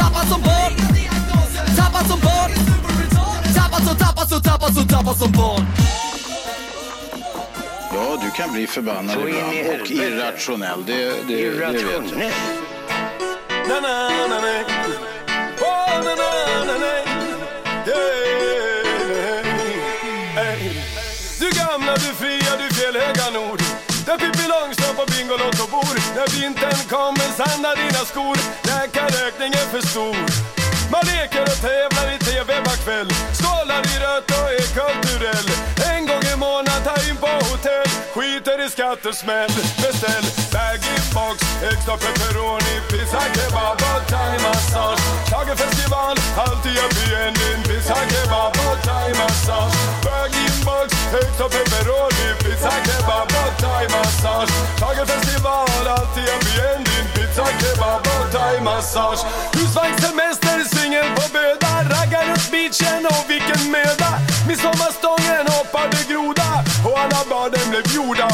Tappad som barn Tappad som barn Tappad som, tappad som, tappad som, tappad som barn Ja, du kan bli förbannad Så in i ibland och helvete. irrationell. Det, det, det vet jag. Irrationell. Oh, Du gamla, du fria, du fjällhöga nord Där Pippi Långstrump och Bingolotto bor När vintern kommer sanda dina skor När karökningen är för stor Man leker och tävlar i TV var kväll Skålar i rött och är kulturell En gång i månaden tar in på hotell Skiter i skatt och smäll Beställ bag-in box Extra pepperoni, pizza kebab och thaimassage Schlagerfestival, alltid jag blir en din pizza kebab och thaimassage Bag-in box, extra pepperoni, pizza kebab och thaimassage Schlagerfestival, alltid jag blir en din pizza kebab och thaimassage Husvagnssemester, singel på Böda Raggar upp beachen och vilken möda Midsommarstången hoppade groda och alla barnen blev gjorda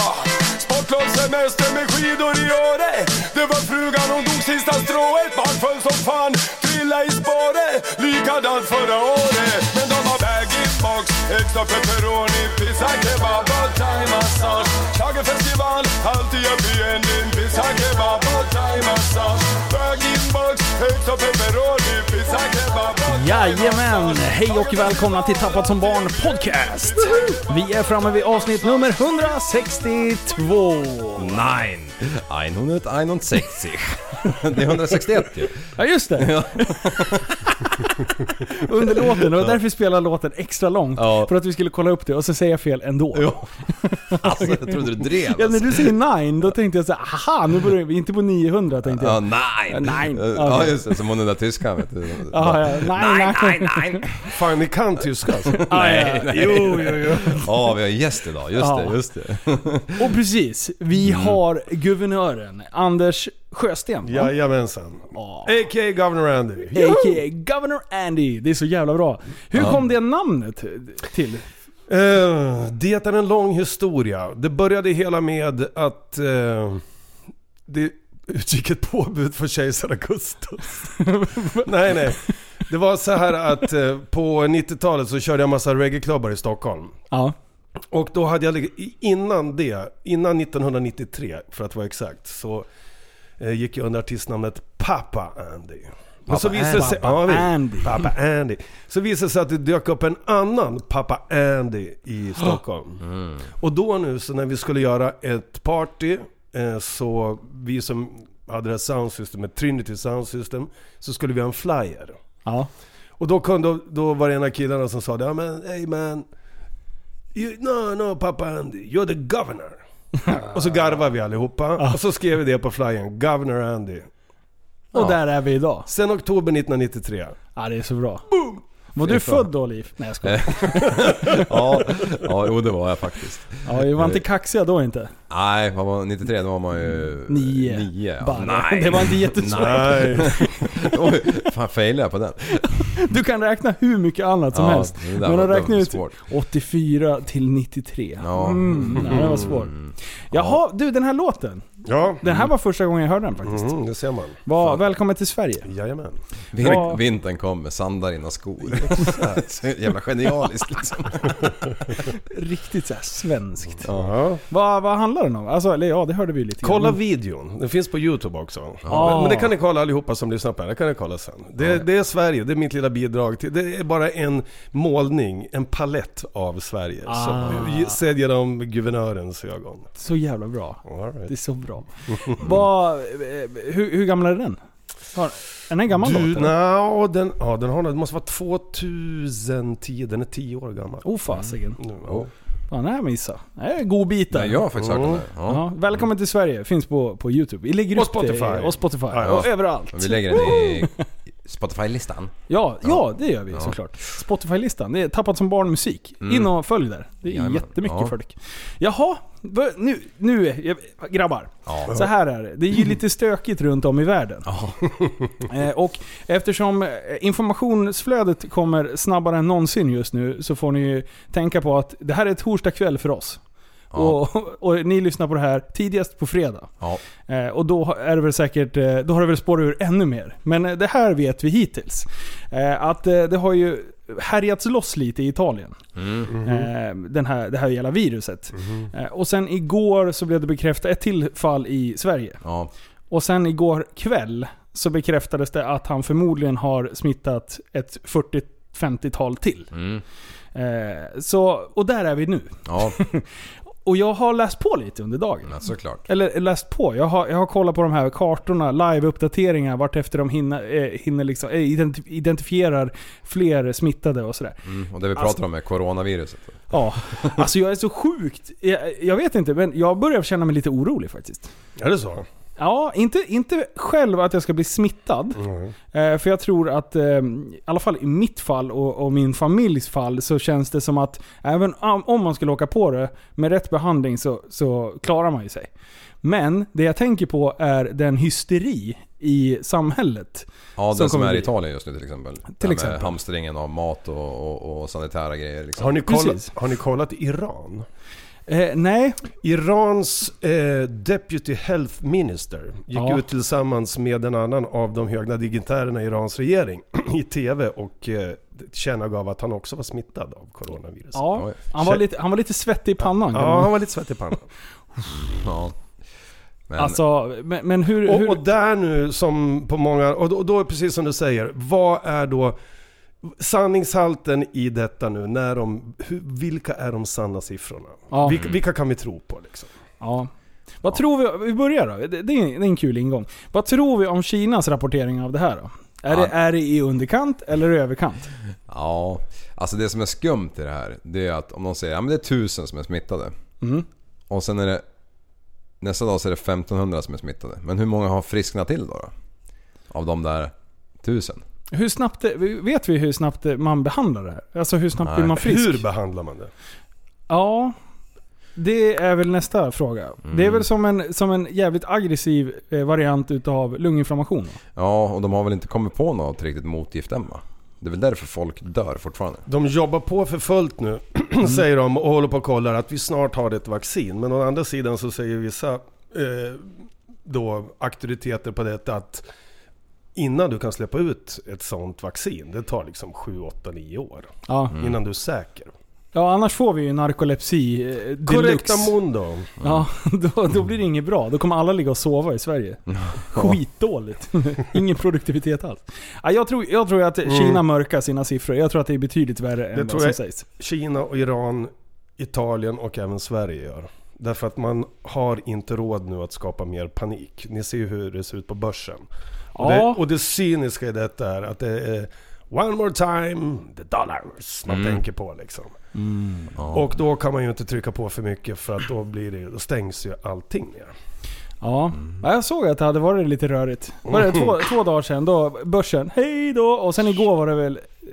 Sportlovssemester med skidor i Åre Det var frugan hon dog sista strået Barn föll som fan, trilla i spåret Likadant förra året Men de har bag-in box Extra pepperoni, pizza kebab och thaimassage Schlagerfestival, alltid jag blir en din Pizza kebab och thaimassage Bag-in box Extra pepperoni, pizza kebab och Jajamän! Hej och välkomna till Tappat som barn podcast! Vi är framme vid avsnitt nummer 162. Nein! 161. Det är 161 ju. Ja, just det! Under låten, det var därför vi spelade låten extra långt. Ja. För att vi skulle kolla upp det och så säger jag fel ändå. Jo. Alltså, jag trodde du drev. Ja, när alltså. du säger 9, då tänkte jag så här, aha, nu börjar vi, inte på 900 tänkte Ja, jag. nein! Nein. Ja, just det. Som hon den där tyskan vet du. Ja, ja, nej, nej. nein! Fan, ni kan tyska alltså. Ja, ja, ja. Jo, jo, jo. Ja, vi har en gäst idag. Just Ja. det, just det. Och precis, vi har guvernören Anders Sjösten. va? Jajamensan. A.k.a. Governor Andy. A.k.a. Governor Andy. Det är så jävla bra. Hur kom det namnet till? Eh, det är en lång historia. Det började hela med att eh, det utgick ett påbud för kejsar Augustus. nej, nej. Det var så här att eh, på 90-talet så körde jag massa reggae-klubbar i Stockholm. Ja. Och då hade jag, leg- innan det, innan 1993 för att vara exakt, så eh, gick jag under artistnamnet Papa Andy. Men så visade sig, Papa ja, vi- Andy. Papa Andy. Så visade det sig att det dök upp en annan Papa Andy i Stockholm. Mm. Och då nu så när vi skulle göra ett party, eh, så vi som hade det här soundsystemet, Trinity Soundsystem, så skulle vi ha en flyer. Ja. Och då, kom, då, då var det en av killarna som sa det, ja men hey man. You, no, no pappa Andy, you're the governor. och så garvade vi allihopa. Och så skrev vi det på flyern, Governor Andy. Och där är vi idag. Sen oktober 1993. Ja, det är så bra. Var du född då, Liv? Nej, jag skojar. Ja, ja jo, det var jag faktiskt. Ja, vi var inte kaxiga då inte. Nej, vad var 93? Då var man ju... Nio. Nio, ja. Bara. Det var inte jättesvårt. Nej. Oj, fan failade jag på den? Du kan räkna hur mycket annat som Ja, helst. det där Men var att räkna dumt ut svårt. 84 till 93. Ja. Mm, nej, det var svårt. Jaha, du den här låten. Ja. Den Mm. här var första gången jag hörde den faktiskt. Mm, det ser man. Var, välkommen till Sverige. Jajamän. Vin- Ja. Vintern kom med sandar innan skor. Så jävla genialiskt liksom. Riktigt såhär svenskt. Ja. Mm. Vad, vad handlar den om? Alltså, eller ja, det hörde vi ju lite grann. Mm. Kolla videon, den finns på Youtube också. Ja. Men det kan ni kolla allihopa som lyssnar på det här, det kan ni kolla sen. Det, det är Sverige, det är mitt lilla bidrag till, det är bara en målning, en palett av Sverige. Ah. Som, sedd genom guvernörens ögon. Så jävla bra. All right. Det är så bra. Vad, eh, hur, hur gammal är den? Har, är den en gammal Du, låt? eller? no, den, ja, den har, det måste vara 2010, den är 10 år gammal. Oh fasiken. Ja. Fan, det här missade jag. Det är en god bit där. Nej, jag har faktiskt hört den där. Ja. Ja, välkommen till Sverige, finns på, på Youtube. Vi lägger Och upp det- Spotify. och Spotify. Ja, ja. Och överallt. Men Vi lägger den i Spotify-listan. Ja, ja det gör vi såklart. Spotify-listan, det är tappat som barnmusik. In och följ där. Det är Mm. Jajamän. jättemycket Ja. folk. Jaha, vad- nu, nu är- jag- grabbar. Ja. Så här är det. Det är ju lite stökigt runt om i världen. Eh, och eftersom eh, informationsflödet kommer snabbare än någonsin just nu så får ni ju tänka på att det här är torsdag kväll för oss. Ja. Och, och ni lyssnar på det här tidigast på fredag. Ja. Eh, och då är det väl säkert, eh, då har det väl spårat ur ännu mer. Men eh, det här vet vi hittills. Eh, att eh, det har ju härjats loss lite i Italien. Mm. Eh, den här, det här jävla viruset. Eh, och sen igår så blev det bekräftat ett till fall i Sverige. Ja. Och sen igår kväll så bekräftades det att han förmodligen har smittat ett 40-50-tal till. Mm. Eh, så, och där är vi nu. Ja, Och jag har läst på lite under dagen. men såklart. Eller läst på. Jag har, jag har kollat på de här kartorna, live-uppdateringar vart efter de hinner, eh, hinner liksom, eh, identi- identifierar fler smittade och sådär. Mm. Och det vi pratar om är coronaviruset. Ja, alltså jag är så sjukt... Jag, jag vet inte, men jag börjar känna mig lite orolig faktiskt. Är det så? Ja, inte, inte själv att jag ska bli smittad. Eh, för jag tror att, eh, i alla fall i mitt fall och, och min familjs fall, så känns det som att även om, om man skulle åka på det med rätt behandling så, så klarar man ju sig. Men det jag tänker på är den hysteri i samhället. Ja, Som den som kommer är i bli- Italien just nu till exempel. Till exempel. Med hamstringen av mat och, och, och sanitära grejer liksom. Har ni, Precis. kollat, har ni kollat Iran? Eh, nej, Irans eh, deputy health minister gick Ja. ut tillsammans med en annan av de höga dignitärerna i Irans regering i TV och eh, tillkännagav att han också var smittad av coronavirus. Ja, ja, Oj. han, var lite, han var lite svettig i pannan. kan man- han var lite svettig i pannan. Ja. Men, Alltså, men, men hur... hur Och, och där nu som på många, och då, och då är precis som du säger, vad är då sanningshalten i detta nu? När de, hur, vilka är de sanna siffrorna? Ja. Vilka, vilka kan vi tro på liksom? Ja. Vad tror vi, vi börjar då. Det, det, är en, det är en kul ingång. Vad tror vi om Kinas rapportering av det här då? Är, Ja. det, är det i underkant eller i överkant? ja. Alltså det som är skumt i det här, det är att om de säger ja men det är tusen som är smittade. Mm. Och sen är det... Nästa dag så är det 1500 som är smittade. Men hur många har frisknat till då? då? Av de där tusen? Hur snabbt, det- vet vi hur snabbt det- man behandlar det här? Alltså hur snabbt Nej. blir man frisk? Hur behandlar man det? Ja, det är väl nästa fråga. Det är väl som en, som en jävligt aggressiv eh, variant utav lunginflammation? Då? Ja, och de har väl inte kommit på något riktigt motgift än va? Det är väl därför folk dör fortfarande. De jobbar på för fullt nu, säger de och håller på och kollar att vi snart har ett vaccin. Men å andra sidan så säger vissa eh, då auktoriteter på detta att innan du kan släppa ut ett sånt vaccin, det tar liksom 7, 8, 9 år Ja. innan du är säker. ja, annars får vi ju narkolepsi eh, deluxe. Korrekta mundo. Ja, då, då blir det inget bra. Då kommer alla ligga och sova i Sverige. Skitdåligt. Ingen produktivitet alls. Ja, jag, tror, jag tror att Kina mörkar sina siffror. Jag tror att det är betydligt värre än Mm. Det vad tror som jag. sägs. Kina och Iran, Italien och även Sverige gör. Därför att man har inte råd nu att skapa mer panik. Ni ser ju hur det ser ut på börsen. Och, Ja. det, och det cyniska i detta är att det är One more time, the dollars Mm. man tänker på liksom. Och då kan man ju inte trycka på för mycket för att då, blir det, då stängs ju allting ner. Ja. Mm. ja, jag såg att det hade varit lite rörigt. Var det två, två dagar sedan, då börsen, hej då. Och sen igår var det väl eh,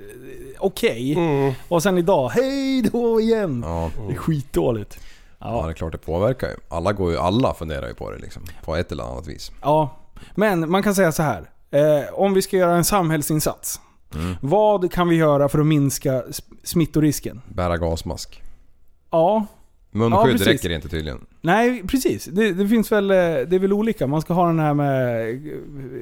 okej. Mm. Och sen idag, hej då igen. Ja, Det är skitdåligt. ja. det är klart det påverkar ju. Alla, går ju, alla funderar ju på det liksom. På ett eller annat vis. Ja, men man kan säga så här. Eh, om vi ska göra en samhällsinsats. Mm. Vad kan vi göra för att minska sm- smittorisken? Bära gasmask. Ja, Ja, Munskydd precis. räcker inte tydligen. nej precis. Det, det finns väl, eh, det är väl olika. Man ska ha den här med,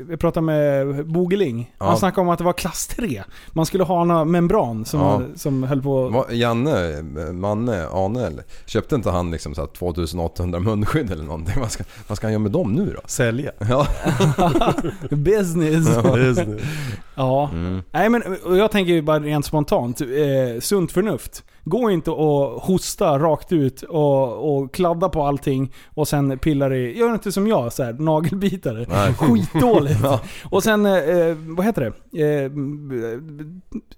vi pratade med Bogeling. Ja. Han snackade om att det var klass 3. Man skulle ha några membran som, Ja. hade- som höll på... Va- Janne, Manne, Anel. Köpte inte han liksom så här 2800 munskydd eller någonting? Vad ska, vad ska han göra med dem nu då? Sälja. Ja, Business. Just nu. Ja. Mm. Nej, men, och jag tänker ju bara rent spontant. Eh, sunt förnuft. Gå inte och hosta rakt ut och, och kladda på allting och sen pillar i, gör inte som jag, så här, nagelbitare. Skitdåligt. Och sen, eh, vad heter det? Eh, b-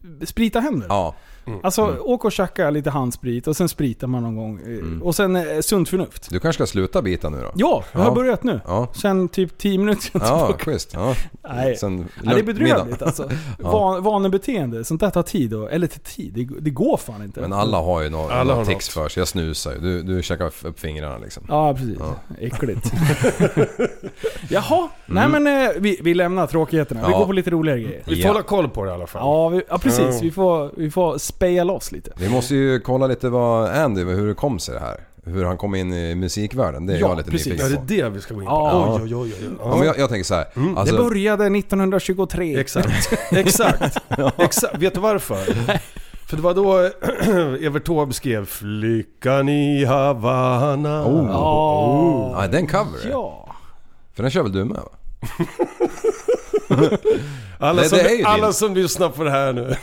b- sprita hem det. Ja. Mm. Alltså åk och tjacka lite handsprit och sen spritar man någon gång. eh, Mm. Och sen eh, sunt förnuft. Du kanske ska sluta bita nu då? Ja, jag har Ja. börjat nu. Ja. Sen typ 10 minuter Ja, tillbaka. schysst. Ja. Nej. Sen Ja, det är bedrövligt middag. alltså. Van, vanebeteende, sånt där tar tid. Och, eller till tid, det, det går fan inte. Men alla har ju några, Alla några har tics för sig. Jag snusar ju. Du, du käkar f- upp fingrarna liksom. Ja, precis. Äckligt. Jaha, nej men eh, vi, vi lämnar tråkigheterna. Vi Mm. Ja. går på lite roligare grejer. Vi får Ja. hålla koll på det i alla fall. Ja, vi, ja precis. Vi får, vi får speja loss lite. Vi måste ju kolla lite vad Andy, hur det kom sig det här. Hur han kom in i musikvärlden. Det är Ja, jag lite precis. Ja, nyfiken det på. är det vi ska gå in på. Ja. Oj, oj, oj, oj. Ja, Ja. men jag, jag tänker så här. Alltså, Mm. det började 1923. Exakt. Exakt. Exakt. Vet du varför? För det var då Evert Taube skrev Flickan i Havanna. Oh. Ja. Oh. ja, den cover. Ja. För den kör väl du med va? Alla, Det- som, det är ju alla din. som lyssnar på det här nu.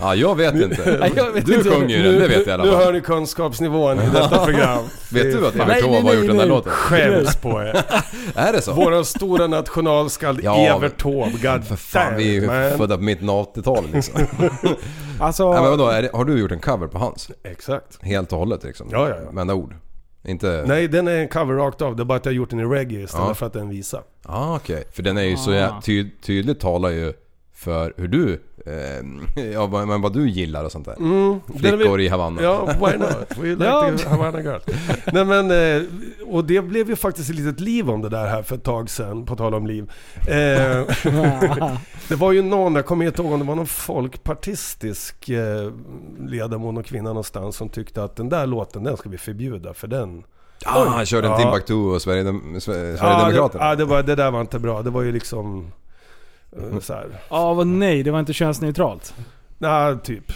Ja, jag vet inte. Nej, jag vet Du inte. sjunger ju den, det vet jag i alla Nu fall. hör ni kunskapsnivån i detta program. Vet du att Evert Nej, nej, Taube har nej, gjort den här nej. låten? Skäms på er. Är det så? Våran stora nationalskald Ja, Evert Taube. God För fan, vi är ju damn, man. födda på mitten av 80-talet liksom. Alltså, Nej, men vadå, är det, har du gjort en cover på hans? Exakt. Helt och hållet liksom? Ja, ja, ja. Med enda ord? Inte... Nej, den är en cover rakt av. Det är bara att jag har gjort den i reggae istället för att den visar. Ah, okej. För den är ju så jä- ty- tydligt talar ju för hur du... Eh, ja, vad- men vad du gillar och sånt där. Mm, Den är Flickor vi- i Havanna. Ja, why not? We like Ja. the Havana girls. Nej men, eh, och det blev ju faktiskt ett litet liv om det där här för ett tag sedan, på tal om liv. Eh, det var ju någon, jag kommer inte ihåg om det var någon folkpartistisk eh, ledamot och kvinna någonstans som tyckte att den där låten, den ska vi förbjuda för den... Ah, han körde en Ja. Timbuktu och Sverigedem- Sver- det, Sverigedemokraterna. ja, det, var, det där var inte bra. Det var ju liksom... eh, Så här. ja, vad nej, det var inte könsneutralt. Nej, typ.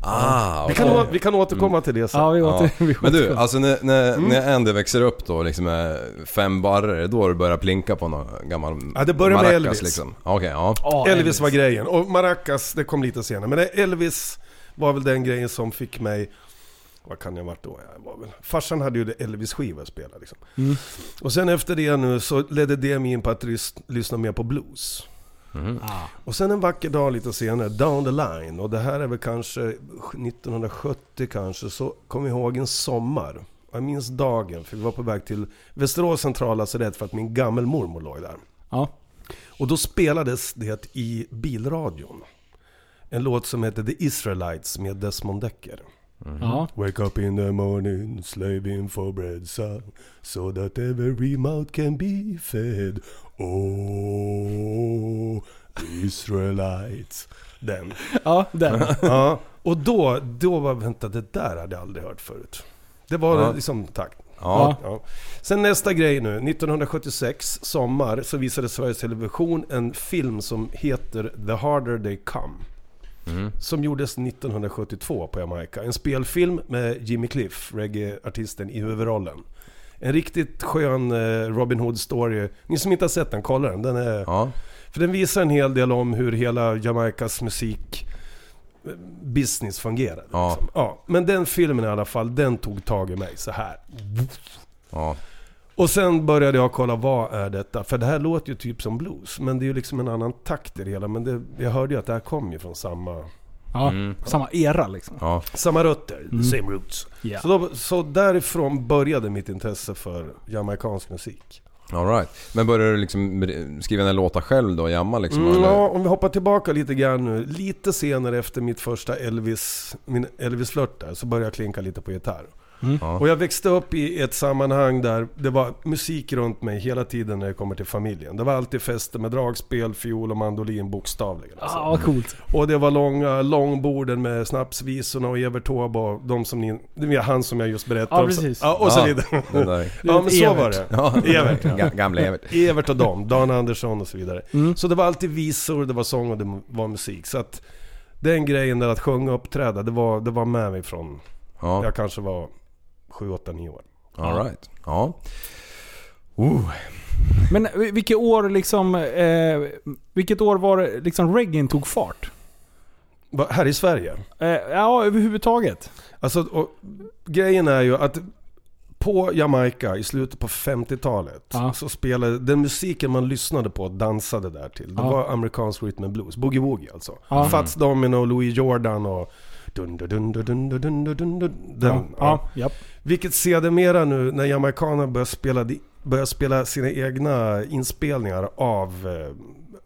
Ah, Vi okej. kan, å- vi kan återkomma till det sen. Ja, vi Ja. åter, vi Men du, återkommer. alltså när, när, Mm. när Andy växer upp då liksom med fem barrer, är det då du börjar plinka på någon gammal Ja, det börjar med maracas, Elvis. liksom? Ja, Okej, ja. Ja, Elvis, var grejen. Och Maracas, det kom lite senare. Men Elvis var väl den grejen som fick mig... Vad kan jag ha varit då? Jag var väl, farsan hade ju Elvis-skivor att spela liksom. Och sen efter det nu så ledde det mig in på att rys- lyssna mer på blues. Och sen en vacker dag lite senare, down the line, och det här är väl kanske 1970 kanske, så kom jag ihåg en sommar. Jag minns dagen, för vi var på väg till Västerås centrallasarett för att min gammelmormor låg där. Ja. Och då spelades det i bilradion. En låt som hette The Israelites med Desmond Decker. Ja. Wake up in the morning, slaving for bread, son, so that every mouth can be fed. Oh, the Israelites. Den. ja, den. Ja, och då, då var, vänta, det där hade jag aldrig hört förut. Det var Ja. liksom, tack. Ja. Ja. Sen nästa grej nu. 1976, sommar, så visade Sveriges Television en film som heter The Harder They Come. Mhm. Som gjordes 1972 på Jamaica. En spelfilm med Jimmy Cliff, reggae-artisten, i huvudrollen. En riktigt skön eh, Robin Hood-story. Ni som inte har sett den, kolla den. den är, ja. För den visar en hel del om hur hela Jamaicas musik eh, business fungerade. Ja. Liksom. Ja, men den filmen i alla fall, den tog tag i mig så här. ja. Och sen började jag kolla, vad är detta? För det här låter ju typ som blues, men det är ju liksom en annan takt i det hela. Men det, jag hörde ju att det här kom ju från samma, Ja. Mm. Samma era liksom. ja. samma rötter, the same roots. Ja. Så, då, så därifrån började mitt intresse för jamaicansk musik. All right. Men började du liksom skriva den här låtar själv då och jamma liksom? Mm, eller? ja, om vi hoppar tillbaka lite grann nu. Lite senare efter mitt första Elvis, min Elvis-flört där, så började jag klinka lite på gitarr. Mm. Ja. Och jag växte upp i ett sammanhang där det var musik runt mig hela tiden när det kommer till familjen. Det var alltid fester med dragspel, fiol och mandolin bokstavligen. alltså. Ja, vad coolt. Och det var långa långborden med snapsvisorna och Evert Taube och de som ni... Det var han som jag just berättade Ja, om. Så- precis. Ja, och så Ja, vidare. Den där. Ja, men så var Evert. det. Ja. Evert, Ga- Gamla Evert. Evert och dem, Dan Andersson och så vidare. Mm. Så det var alltid visor, det var sång och det var musik. Så att den grejen där att sjunga och uppträda, det var, det var med mig från... Ja. Jag kanske var 7, 8, 9 år. All right. Ja. Oh. Men vil- vilket år liksom... Eh, vilket år var det liksom reggaen tog fart? Va- Här i Sverige? Eh, ja, överhuvudtaget. Alltså, och, grejen är ju att på Jamaica i slutet på 50-talet Ja. så spelade, den musiken man lyssnade på och dansade där till, det Ja. var amerikansk rhythm and blues. Boogie-woogie alltså. Ja. Fats Domino, Louis Jordan och dun dun dun dun dun dun dun dun dun den. Ja, ja. ja. japp. Vilket sedermera nu när jamaikanerna börjar spela, di- börjar spela sina egna inspelningar av eh,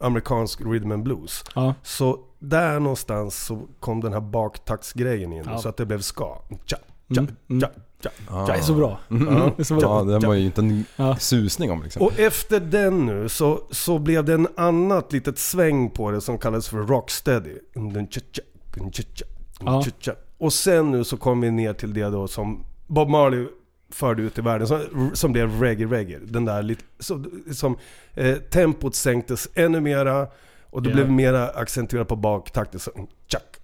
amerikansk rhythm and blues. Ja. Så där någonstans så kom den här baktaktsgrejen in Ja. så att det blev ska. Tja, tja, Mm, mm. tja, tja. Det är så bra. Det är så Ja, bra. den var ju inte en Ja. susning om liksom. Och efter den nu så, så blev det en annat litet sväng på det som kallades för rocksteady. Dun, tja, tja, dun, tja, tja, dun, Ja. tja, tja. Och sen nu så kom vi ner till det då som Bob Marley förde ut i världen som, som blev reggae-reggae. Den där lite, så, som eh, tempot sänktes ännu mera och det Ja. blev mera accentuerat på baktakten. Så, tjack,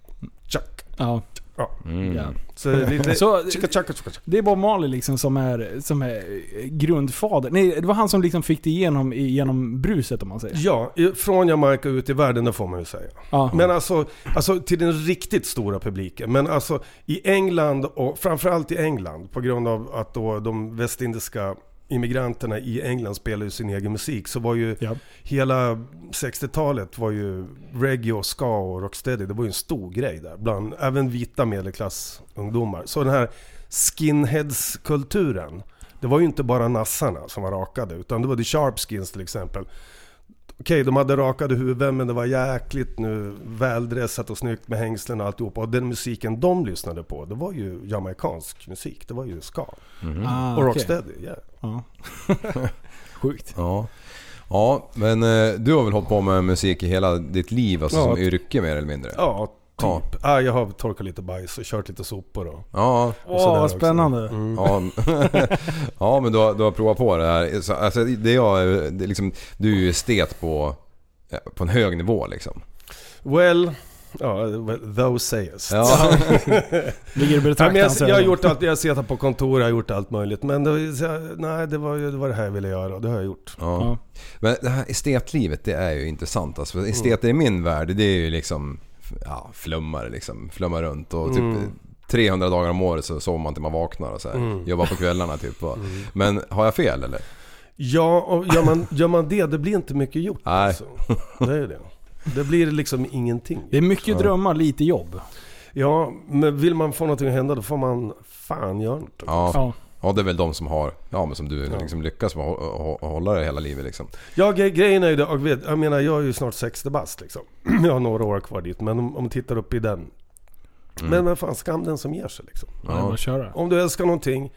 tjack. Ja. Ja. Mm. Ja. Så lite... Så- tjicka, tjacka, tjicka, tjacka. Det är Bob Marley liksom som är, som är grundfader. Nej, det var han som liksom fick det igenom, genom bruset om man säger. Ja, i- från Jamaica ut i världen, det får man ju säga. Ja. Men alltså, alltså till den riktigt stora publiken. Men alltså i England och framförallt i England på grund av att då de västindiska immigranterna i England spelar ju sin egen musik så var ju Ja. hela 60-talet var ju reggae och ska och rocksteady. Det var ju en stor grej där bland även vita medelklassungdomar. Så den här skinheads-kulturen. Det var ju inte bara nassarna som var rakade utan det var The Sharpskins till exempel. Okej, de hade rakade huvuden men det var jäkligt nu väldressat och snyggt med hängslen och alltihopa. Och den musiken de lyssnade på, det var ju jamaicansk musik. Det var ju ska. Ah, Och okej. rocksteady, ja. Ja. Sjukt. Ja. Ja, men eh, du har väl hållit på med musik i hela ditt liv, alltså Ja. som yrke mer eller mindre? Ja, typ. Ja. Ah, jag har torkat lite bajs och kört lite sopor och... Ja, Åh, sådär vad också. spännande. Mm. ja, ja men du har, du har provat på det här. Så, Alltså, det jag, är- det är liksom, du är ju estet på, ja, på en hög nivå liksom. Well, ja, well, those sayest. Ja, Ligger det Nej, men jag, betraktaren jag har gjort allt, jag har suttit på kontor, jag har gjort allt möjligt. Men det, var- så jag- nej, det, var, ju- det var det här jag ville göra och det har jag gjort. ja. Men det här estetlivet det är ju intressant. Alltså, för esteter i min värld det är ju liksom ja, flummare liksom. Flummar runt och typ 300 dagar om året så sover man till man vaknar och så här. Jobbar på kvällarna typ. va. Men har jag fel eller? Ja, och gör man, gör man det, det blir inte mycket gjort Nej. alltså. Det är det. Det blir liksom ingenting. Det är mycket drömmar, lite jobb. Ja, men vill man få någonting att hända då får man fan göra något. Ja. Ja. Ja det är väl de som har, ja men som du liksom lyckas med att hå- hå- hålla det hela livet liksom. Ja, gre- grejen är ju det, jag, vet, jag menar jag är ju snart 60 bast liksom. Jag har några år kvar dit, men om, om man tittar upp i den. Men vad fan, skam den som ger sig liksom. Ja. Det är bara att köra. Om du älskar någonting,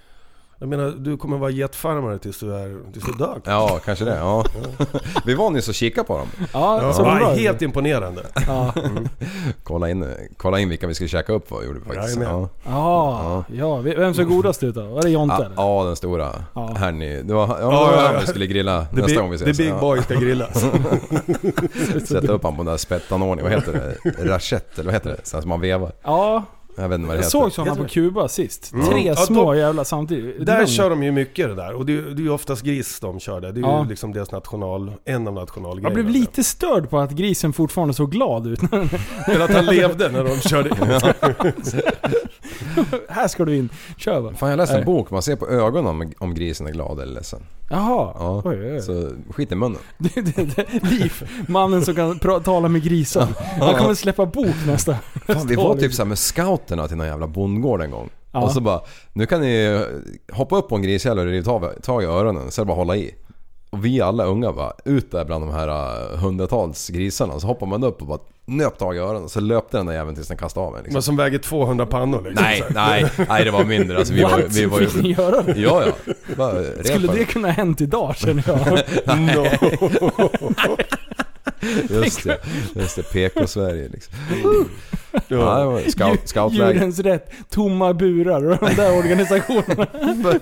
jag menar du kommer vara getfarmare tills du är, tills du dör. Ja kanske det, ja. Vi var nyss och kikade på dem. Ja, Ja, så bra. nej, helt imponerande. Ja, Kolla in, kolla in vilka vi skulle käka upp vad gjorde vi faktiskt. Jajamän. Ja, ja. ja. Vem såg godast ut då? Var det Jonte ja, eller? ja den stora. Ja. Här ni, det var ja, Ja, det var ja, han ja. vi skulle grilla The nästa big, gång vi the ses. big boy ska grillas. Sätta upp han på den där spettanordningen, vad heter det? Rachett eller vad heter det? Så att man vevar. Ja, Jag vet inte vad det jag heter. Mm. såg sådana på Kuba sist. Tre Ja, de- små jävla samtidigt. Där Lång. kör de ju mycket det där. Och det är, ju- det är ju oftast gris de kör där. Det är Ja. ju liksom deras national, en av nationalgrejerna. jag blev där. lite störd på att grisen fortfarande såg glad ut. Eller att han levde när de körde in. här ska du in. Kör va. Fan jag läste en Nej. bok, man ser på ögonen om, om grisen är glad eller ledsen. Jaha. Ja, Oj, oj, oj. så skit i munnen. Det- det- det- Liv, mannen som kan pra- tala med grisar. Han kommer släppa bok nästa. Fan, vi var typ såhär med scouterna till någon jävla bondgård en gång. Ja. Och så bara, nu kan ni hoppa upp på en grishäll och riva tag- tag i öronen, så är det bara att hålla i. Och vi alla unga bara, ut där bland de här eh, hundratals grisarna. Så hoppar man upp och bara nöp tag i öronen. Så löpte den där jäveln tills den kastade av en. Liksom. Men som väger 200 pannor liksom. Nej, nej, nej det var mindre. Alltså, vi, What? var, ju- vi var ju... Fick ni göra det? Ja, ja. Bara, repa. Skulle det kunna ha hänt idag känner jag? Just det, just det. PK-Sverige liksom. Ja, det var scout, scoutläge. Djurens rätt, tomma burar och de där organisationerna.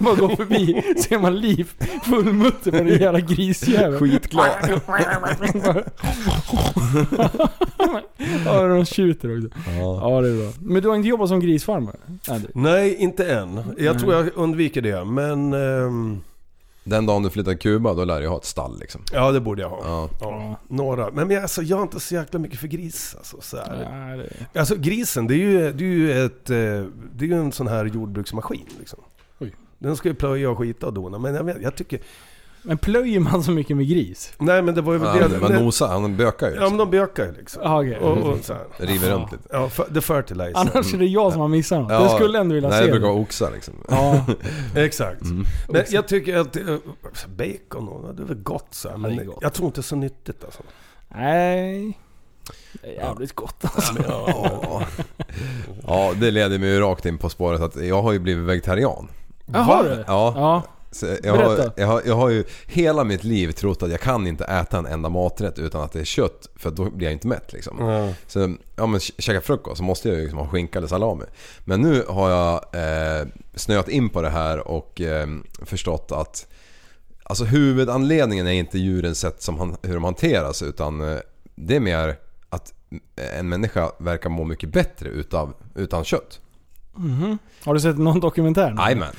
Bara går förbi, ser man Liv fullmutter med den jävla grisjäveln. Skitglad. Ja, de tjuter också. Ja, det är bra. Men du har inte jobbat som grisfarmare? Andy? Nej, inte än. Jag tror jag undviker det. Men ehm, Den dagen du flyttar till Kuba, då lär jag ha ett stall liksom. ja, det borde jag ha. Ja. Ja, några. Men, men alltså, jag är inte så jäkla mycket för gris. Alltså, så här. Nej, det- alltså grisen, det är ju, det är ju, ett, eh, det är ju en sån här jordbruksmaskin. Liksom. Den ska ju plöja och skita och dona. Men jag, vet, jag tycker... Men plöjer man så mycket med gris? Nej men det var ju... Ja, det, man nosar, han bökar ju. ja men de bökar ju liksom. Ah, okej. Och, och så här. River runt lite. Ja, för, the fertilizer. Annars är det jag som har missat något. Jag skulle ändå vilja nej, se jag brukar det. vara oxar liksom. Ja, Exakt. Mm. Men jag tycker att eh, bacon, och- det är väl gott så här, men det är gott. jag tror inte det är så nyttigt alltså. nej. Det är jävligt gott alltså. Ja. ja, det leder mig ju rakt in på spåret att jag har ju blivit vegetarian. Jaha du? Ja. ja. Så Jag har, Berätta. jag, har, jag har ju hela mitt liv trott att jag kan inte äta en enda maträtt utan att det är kött för då blir jag inte mätt liksom. Så ja men kä- käka frukost så måste jag ju liksom ha skinka eller salami. Men nu har jag eh, snöat in på det här och eh, förstått att alltså huvudanledningen är inte djurens sätt som han, hur de hanteras utan eh, det är mer att eh, en människa verkar må mycket bättre utav, utan kött. Har du sett någon dokumentär? nu? Jajamän.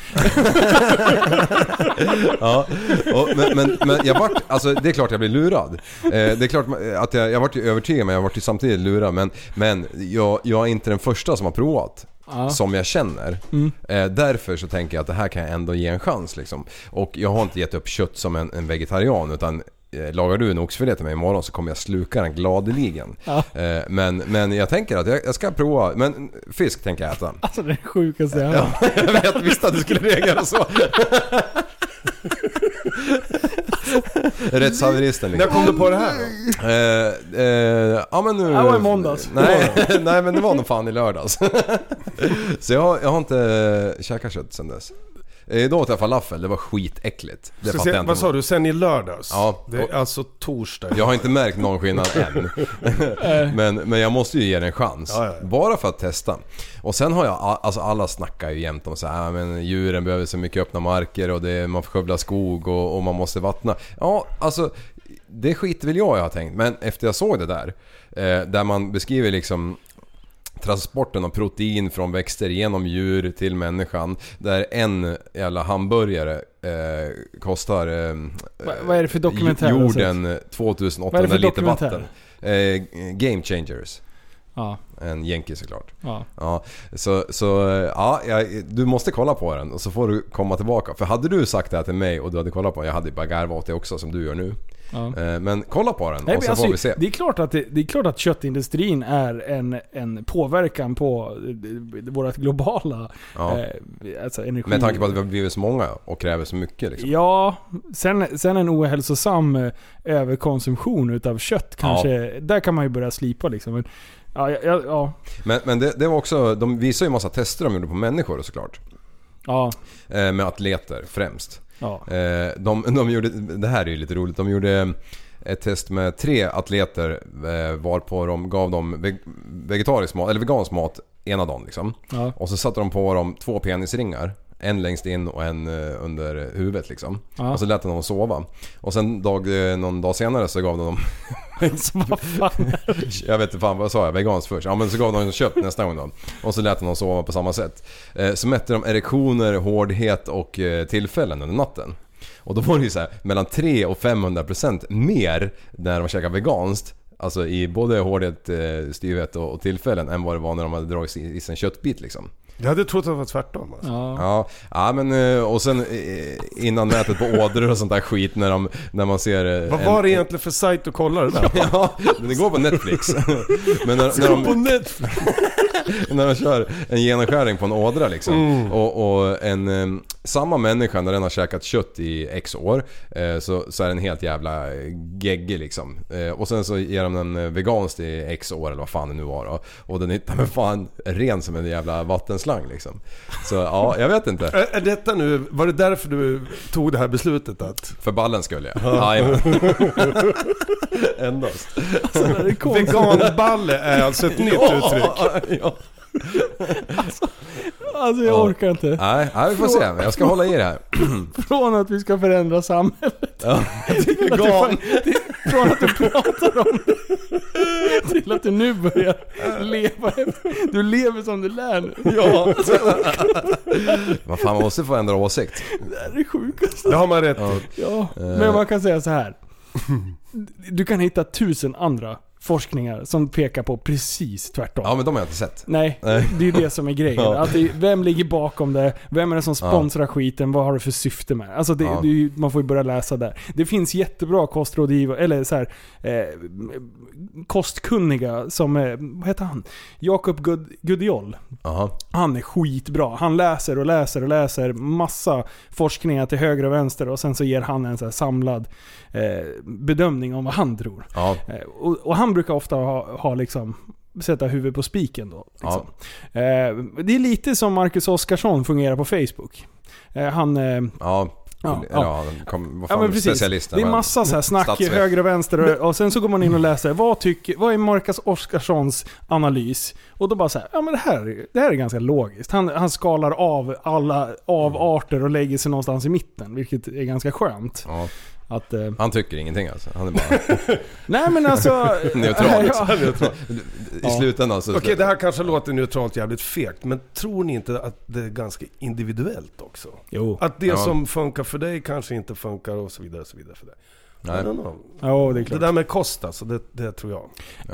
ja, och, men, men, men jag vart, alltså det är klart jag blev lurad. Eh, det är klart ma- att jag, jag vart ju övertygad men jag vart ju samtidigt lurad. Men, men jag, jag är inte den första som har provat. Som jag känner. Eh, därför så tänker jag att det här kan jag ändå ge en chans liksom. Och jag har inte gett upp kött som en, en vegetarian utan eh, Lagar du en oxfilé till mig imorgon så kommer jag sluka den gladeligen. Eh, Men, men jag tänker att jag, jag ska prova. Men fisk tänker jag äta. Alltså det är det sjukaste jag har hört. Jag vet, visste att du skulle reagera så. Rättshaveristen När liksom. kom du på det här då? Eh, eh, ja men nu... Det var i måndags. Nej, nej men det var nog fan i lördags. så jag, har- jag har inte käkat kött sen dess. Eh, Idag åt jag falafel, det var skitäckligt. Det Ska fattar se, jag inte. vad sa du? Sen i lördags? Ja. Det är alltså torsdag. Jag har inte märkt någon skillnad än. Eh. men, men jag måste ju ge den en chans. Ja, ja, ja. Bara för att testa. Och sen har jag, a- alltså alla snackar ju jämt om så här, "Ah, men djuren behöver så mycket öppna marker och det, man får skövla skog och, och man måste vattna. Ja, alltså det skit vill jag jag har tänkt. Men efter jag såg det där, eh, där man beskriver liksom transporten av protein från växter genom djur till människan. Där en jävla hamburgare eh, kostar... Eh, Va- vad är det för dokumentär du har sett? Jorden Vad är 2800 det för liter vatten. dokumentär? Eh, Game Changers. Ja, En jänke såklart. ja. Ja, så, så eh, ja, jag- du måste kolla på den och så får du komma tillbaka. För hade du sagt det här till mig och du hade kollat på den, jag hade ju bara garvat åt det också som du gör nu. ja. Eh, Men kolla på den Nej, och så men får vi alltså, se. det, är klart att det, det är klart att köttindustrin är en, en påverkan på eh, vårt globala Ja. eh, alltså energi. Med tanke på att vi har blivit så många och kräver så mycket liksom. Ja, sen, sen en ohälsosam eh, överkonsumtion utav kött kanske. Där kan man ju börja slipa liksom. Men, ja, ja, ja, ja, Men, men det, det var också, de visar ju massa tester de gjorde på människor såklart. ja, Eh, Med atleter främst. ja. Eh, De, de gjorde, det här är ju lite roligt. De gjorde eh, ett test med tre atleter eh, varpå de gav dem veg- vegetarisk mat, eller vegansk mat ena dagen liksom. Ja. Och så satte de på dem två penisringar. En längst in och en eh, under huvudet liksom. Ja. Och så lät de dem sova. Och sen dag, eh, någon dag senare så gav de dem Alltså, vad fan. jag vet inte fan vad jag sa jag? Veganskt först. Ja men så gav de dem kött nästa gång då. Och så lät de dem sova på samma sätt. Eh, Så mätte de erektioner, hårdhet och eh, tillfällen under natten. Och då var det ju så här, mellan 3 och 500% mer när de käkade veganskt. Alltså i både hårdhet, eh, styvhet och och tillfällen än vad det var när de hade dragit i i sig en köttbit liksom. Jag hade trott att det var tvärtom alltså. Ja. Ja, ja men eh, och sen eh, innan nätet på ådror och sånt där skit när, de, när man ser... eh, Vad en- var det egentligen för sajt du kollade det där? Ja, men det går på Netflix. Men när, när de, Netflix! när de kör en genomskäring på en ådra liksom. Mm. Och, och en, eh, samma människa när den har käkat kött i X år eh, så, så är den helt jävla eh, geggig liksom. Eh, och sen så ger de den eh, veganskt i X år eller vad fan det nu var då. Och den är ta mig fan ren som en jävla vattenslang liksom. Så ja, jag vet inte. Är, är detta nu, var det därför du tog det här beslutet att... För ballen skulle jag. Jajamän. Endast. Det är konstigt. Veganballe är alltså ett nytt uttryck. Ja. Alltså jag Ja. orkar inte. Nej, nej, vi får se. Jag ska hålla i det här. Från att vi ska förändra samhället. Vegan. Från att du pratar om det. Till att du nu börjar leva efter. Du lever som du lär nu. Ja. Vad fan, man måste få ändra åsikt. Det här är sjukast. Det har man rätt i. Ja. Men man kan säga så här. Du kan hitta tusen andra forskningar som pekar på precis tvärtom. Ja men de har jag inte sett. Nej, Nej. det är ju det som är grejen. Ja. Att det, vem ligger bakom det? Vem är det som sponsrar skiten? Vad har det för syfte med? Alltså det, Ja. det är ju- man får ju börja läsa där. Det finns jättebra kostrådgivare, eller så här, eh, kostkunniga som, eh, vad heter han? Jakob Gud, Gudiol. Jaha. Han är skitbra. Han läser och läser och läser massa forskningar till höger och vänster och sen så ger han en så här samlad eh, bedömning om vad han tror. Ja. Eh, Och, och han brukar ofta ha, ha liksom, sätta huvudet på spiken då. Liksom. Eh, det är lite som Marcus Oskarsson fungerar på Facebook. Eh, han... Eh, Ja. Ja, Ja, ja. ja. han Kom, vad Ja fan, men precis. specialisten. Det är men- massa så här snack Statsvet. höger och vänster och, och sen så går man in och läser vad, tycker, vad är Marcus Oskarssons analys? Och då bara så här, ja men det här, det här är ganska logiskt. Han, han skalar av alla avarter och lägger sig någonstans i mitten, vilket är ganska skönt. Ja. Att, eh, Han tycker ingenting alltså. Han är bara nej men alltså... neutral. Ja, liksom. I slutändan så... Okej, det här kanske låter neutralt jävligt fegt, men tror ni inte att det är ganska individuellt också? jo, Att det Ja. som funkar för dig kanske inte funkar och så vidare och så vidare för dig. I Nej. don't know. ja, det är Det klart. där med kost alltså, det, det tror jag.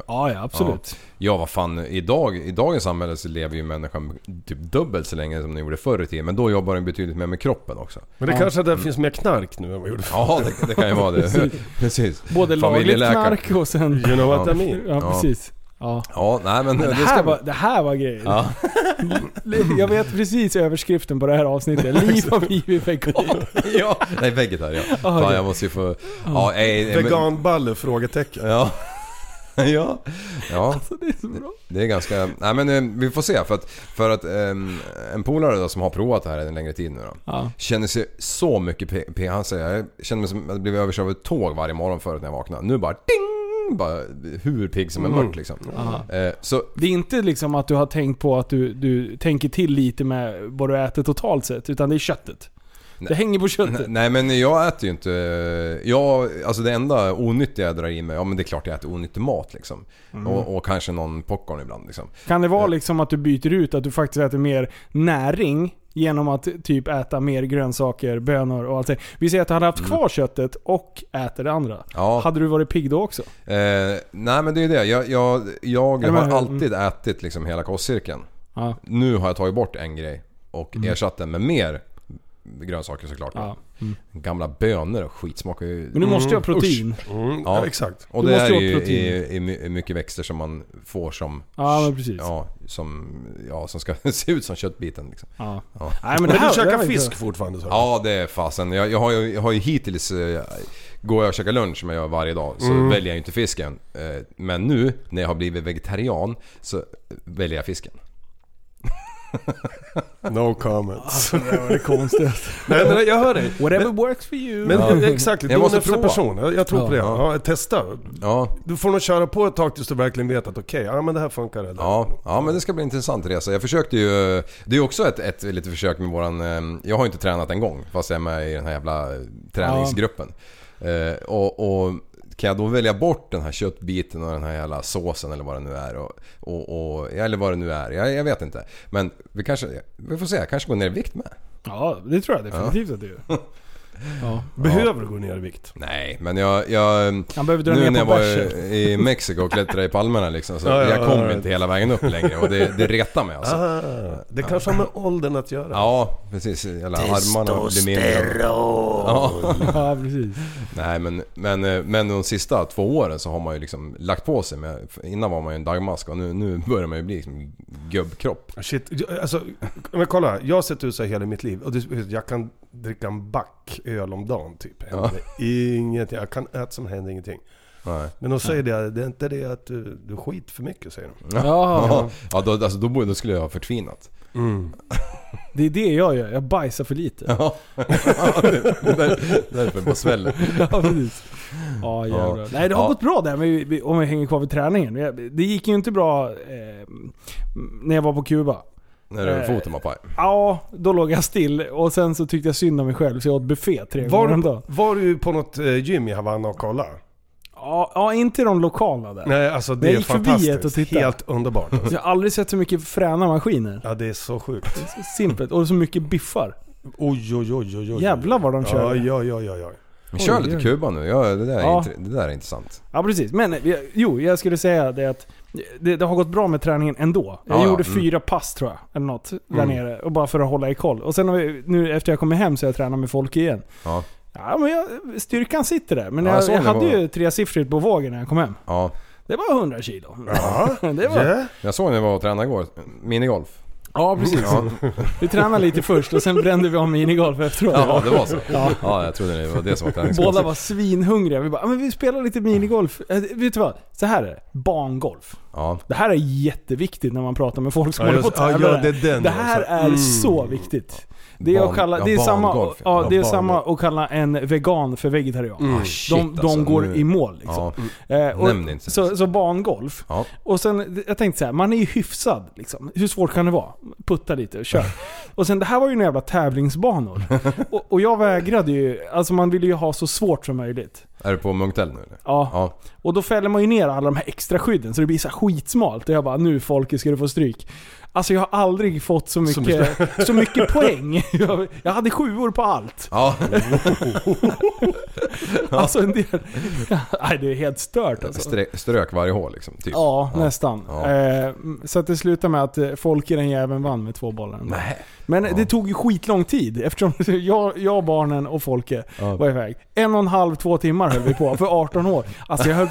Ja, ja absolut. Ja vad fan, idag, i dagens samhälle så lever ju människan typ dubbelt så länge som den gjorde förr i tiden. Men då jobbar den betydligt mer med kroppen också. Men det kanske där finns mer knark nu än vad gjorde förr. Mm. Ja det, det kan ju vara det. Precis. Både lagligt Familjeläkare. knark och sen... You know what Ja. I mean? Ja, Ja. precis. Ja. Ja, nej men, Det det här, ska... var, det här var grejer. Ja. Jag vet precis överskriften på det här avsnittet. Liv har blivit vegan. ja, nej vegetarian. Ah, okej. Fan jag måste ju få... Ja, nej, nej, men- Veganballe? Frågetecken. Ja. ja. Ja, Så det är så bra. det är ganska... Nej men eh, vi får se för att, för att ehm, en polare då, som har provat det här en längre tid nu då. Ja. Känner sig så mycket p- p- Han säger jag känner mig som att jag blivit överkörd av ett tåg varje morgon förut när jag vaknar. Nu bara ding! Bara hur pigg som en mört Mm. liksom. Eh, så Det är inte liksom att du har tänkt på att du, du tänker till lite med vad du äter totalt sett, utan det är köttet. Det hänger på köttet. Nej men jag äter ju inte... Jag, alltså det enda onyttiga jag drar i mig, ja men det är klart jag äter onyttig mat liksom. Mm. Och, och kanske någon popcorn ibland liksom. Kan det vara liksom att du byter ut att du faktiskt äter mer näring genom att typ äta mer grönsaker, bönor och allt det? Vi säger att du hade haft kvar köttet och äter det andra. Mm. Ja. Hade du varit pigg då också? Eh, nej men det är ju det. Jag, jag, jag men- har alltid ätit liksom hela kostcirkeln. Ja. Nu har jag tagit bort en grej och ersatt den med mer grönsaker såklart. Mm. Ja. Gamla bönor och skit smakar ju... Men nu måste jag ha protein. Mm, Ja. ja. Exakt. Och Du det måste är ju ha ju i, protein. i, i mycket växter som man får som... Ja, men precis. Ja, som, ja, som ska se ut som köttbiten liksom. Ja. Ja. Nej, men det här, det Men du här käkar var ju fisk bra. fortfarande så? Ja det är fasen. Jag, jag, har ju, jag har ju hittills... Eh, går jag och käkar lunch som jag gör varje dag så Mm. väljer jag ju inte fisken. Eh, men nu när jag har blivit vegetarian så väljer jag fisken. No comments. Alltså, Det var det konstigaste. Nej men jag hör dig. Whatever works for you. Men exakt, Jag du är måste en efter prova. person. Jag, jag tror på det. Ja. Ja, testa. Ja, Du får nog köra på ett tag tills du verkligen vet att okej, ja men det här funkar eller? ja, ja men det ska bli en intressant resa. Jag försökte ju... Det är ju också ett, ett litet försök med våran... eh, Jag har ju inte tränat en gång fast jag är med i den här jävla eh, träningsgruppen. Eh, och, och kan jag då välja bort den här köttbiten och den här jävla såsen eller vad det nu är. Och, och, och, eller vad det nu är. Jag, jag vet inte. Men vi kanske... Vi får se. Jag kanske går ner i vikt med. Ja, det tror jag definitivt att du gör. Ja. Behöver du gå ner i vikt? Nej, men jag... jag Han behöver dra nu när ner jag på var bärsen. i i Mexiko och klättrade i palmerna liksom, så Ja, ja, jag ja, kom ja. inte hela vägen upp längre och det, det retar mig alltså. Ah, det kanske har med åldern att göra. Ja, precis. Jävla armarna blir mindre. Ja. Ja, precis. Nej, men, men, eh, men de sista två åren så har man ju liksom lagt på sig. Med, för innan var man ju en dagmask och nu, nu börjar man ju bli liksom gubbkropp. Shit, jag- alltså, men kolla. Jag har sett ut så här hela mitt liv. Och det, jag kan dricka en back öl om dagen typ. Händer Ingenting. Jag kan äta som händer ingenting. Nej. Men de säger det, det är inte det att du, du skit för mycket säger de. Ja, Ja, då, alltså, då, borde- då skulle jag ha förtvinat. det är det jag gör. Jag bajsar för lite. Ja, det är där, därför man sväller. Ja, precis. Ja, jävlar. Ja. Nej, det har Ja. gått bra där men vi- om vi hänger kvar vid träningen. Jag- Det gick ju inte bra eh, när jag var på Kuba. När det är foten var paj. Ja, då låg jag still och sen så tyckte jag synd om mig själv så jag åt buffé tre Var, gånger om du, dagen. var du på något eh, gym i Havanna och kolla? Ja, ja, inte de lokala där. Nej alltså det Jag är gick förbi ett och fantastiskt. tittade. Helt underbart. Så jag har aldrig sett så mycket fräna maskiner. Ja det är så sjukt. Så Simpelt. Och så mycket biffar. Oj, oj, oj, oj, oj. Jävlar vad de körde. Ja, ja, ja, ja. ja. Men kör Oj, lite oj. Kuba nu, ja, det, där är Ja. intre- det där är intressant. Ja precis, men eh, jo, jag skulle säga det att det, det har gått bra med träningen ändå. Jag Ja, ja, gjorde mm. fyra pass tror jag, eller något, där nere. Och bara för att hålla i koll. Och sen har vi, nu efter jag kommer hem så har jag tränat med folk igen. Ja, Ja, men jag, styrkan sitter där. Men Ja, jag jag, såg jag, det hade på- ju tresiffrigt på vågen när jag kom hem. ja. Det var 100 kilo. Ja, det var, Ja. Jag såg när vi var och tränade igår, minigolf. ja precis. Ja, Vi tränade lite först och sen brände vi av minigolf efteråt. ja det var så. Ja, jag trodde det var det som var träningsgolf. Båda var svinhungriga. Vi bara, "Ja, men vi spelar lite minigolf. Eh, Vet du vad? Så här är det. Bangolf. Ja. Det här är jättäviktigt när man pratar med folk som Ja, håller på just- att tävla. ja, ja, det är den, det här alltså. är så viktigt. Det är, Mm. Barn- att kalla, ja, det är, samma, barngolf, ja, ja. det är Ja, samma barngolf. att kalla en vegan för vegetarian. Ah, de shit, de alltså, går nu- i mål liksom. Ja. Eh, och, Nämn inte. så, så bangolf. Ja. Och sen, jag tänkte så här, man är ju hyfsad liksom. Hur svårt kan det vara? Putta lite och kör. och sen det här var ju en jävla tävlingsbanor. och, och jag vägrade ju, alltså man ville ju ha så svårt som möjligt. Är du på Munktell nu eller? Ja. Ja. Och då fäller man ju ner alla de här extra skydden så det blir så här skitsmalt. Och jag bara, nu Folke ska du få stryk. Alltså jag har aldrig fått så mycket, så mycket poäng. Jag, jag hade sjuor på allt. Ja. Alltså en del... Nej det är helt stört alltså. Strö- Strök varje hål liksom, typ. Ja, nästan. Ja. Eh, så att det slutade med att eh, Folke den jäveln vann med två bollar. Nej. Men Ja. det tog ju skitlång tid eftersom jag, jag barnen och Folke Ja. var iväg. En och en halv, två timmar höll vi på för 18 år. Alltså jag, höll,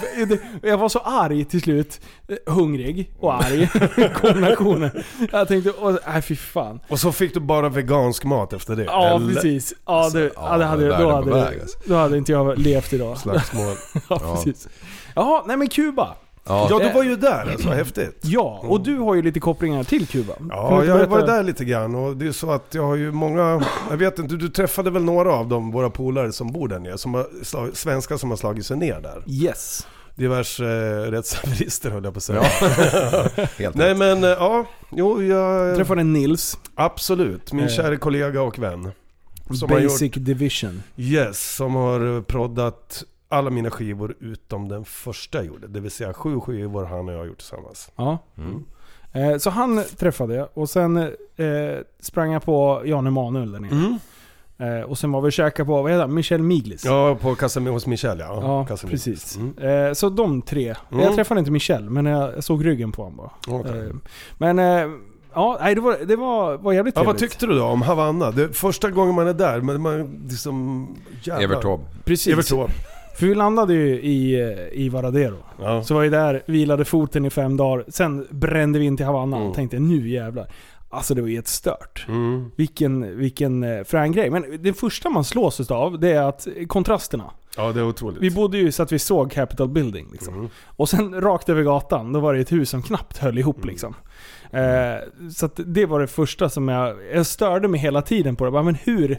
jag var så arg till slut. Eh, Hungrig och arg. Kombinationen. Jag tänkte, åh, nej fy fan. Och så fick du bara vegansk mat efter det? Ja Eller precis. Ja, det, ja, det hade, världen då, på hade, väg, alltså. då hade inte jag levt idag. Slagsmål. Ja, precis. Jaha, nej men Kuba. Ja, du var ju där alltså, häftigt. Ja, och du har ju lite kopplingar till Kuba. Kan du Ja, inte jag var berätta? där lite grann och det är så att jag har ju många, jag vet inte, du träffade väl några av dem, våra polare som bor där nere, som har, slag- svenskar som har slagit sig ner där. Yes. Diverse eh, rättshaverister höll jag på att säga. Helt Nej rätt. men eh, ja, jo Jag jag, träffade Nils, absolut, min Eh. kära kollega och vän. Som har Basic gjort, Division. yes, som har eh, proddat alla mina skivor utom den första jag gjorde. Det vill säga sju skivor han och jag har gjort tillsammans. Ja. Mm. Eh, Så han träffade jag och sen eh, sprang jag på Jan Emanuel där nere. Eh, och sen var vi och käkade på, vad heter han? Michel Miglis. Ja, på Casamigos, hos Michel ja. Ja, Casamigos. precis. Mm. Eh, så de tre. Mm. Jag träffade inte Michel, men jag, jag såg ryggen på honom bara. Okej. Eh, men, eh, ja, nej, det var, det var, var jävligt Ja, vad trevligt. tyckte du då om Havanna? Det är första gången man är där, men man liksom... Jävlar. Evert Taube. Precis. Evert Taube. För vi landade ju i, eh, i Varadero. Ja. Så var jag där, vilade foten i fem dagar. Sen brände vi in till Havanna och tänkte nu jävlar. Alltså det var ju ett stört. Mm. Vilken, vilken eh, frän grej. Men det första man slås utav det är att eh, kontrasterna. ja, det är otroligt. Typ. Vi bodde ju så att vi såg Capitol Building. Liksom. Mm. Och sen rakt över gatan, då var det ett hus som knappt höll ihop. Liksom. Eh, så att det var det första som jag... Jag störde mig hela tiden på det. Jag Bara, men hur?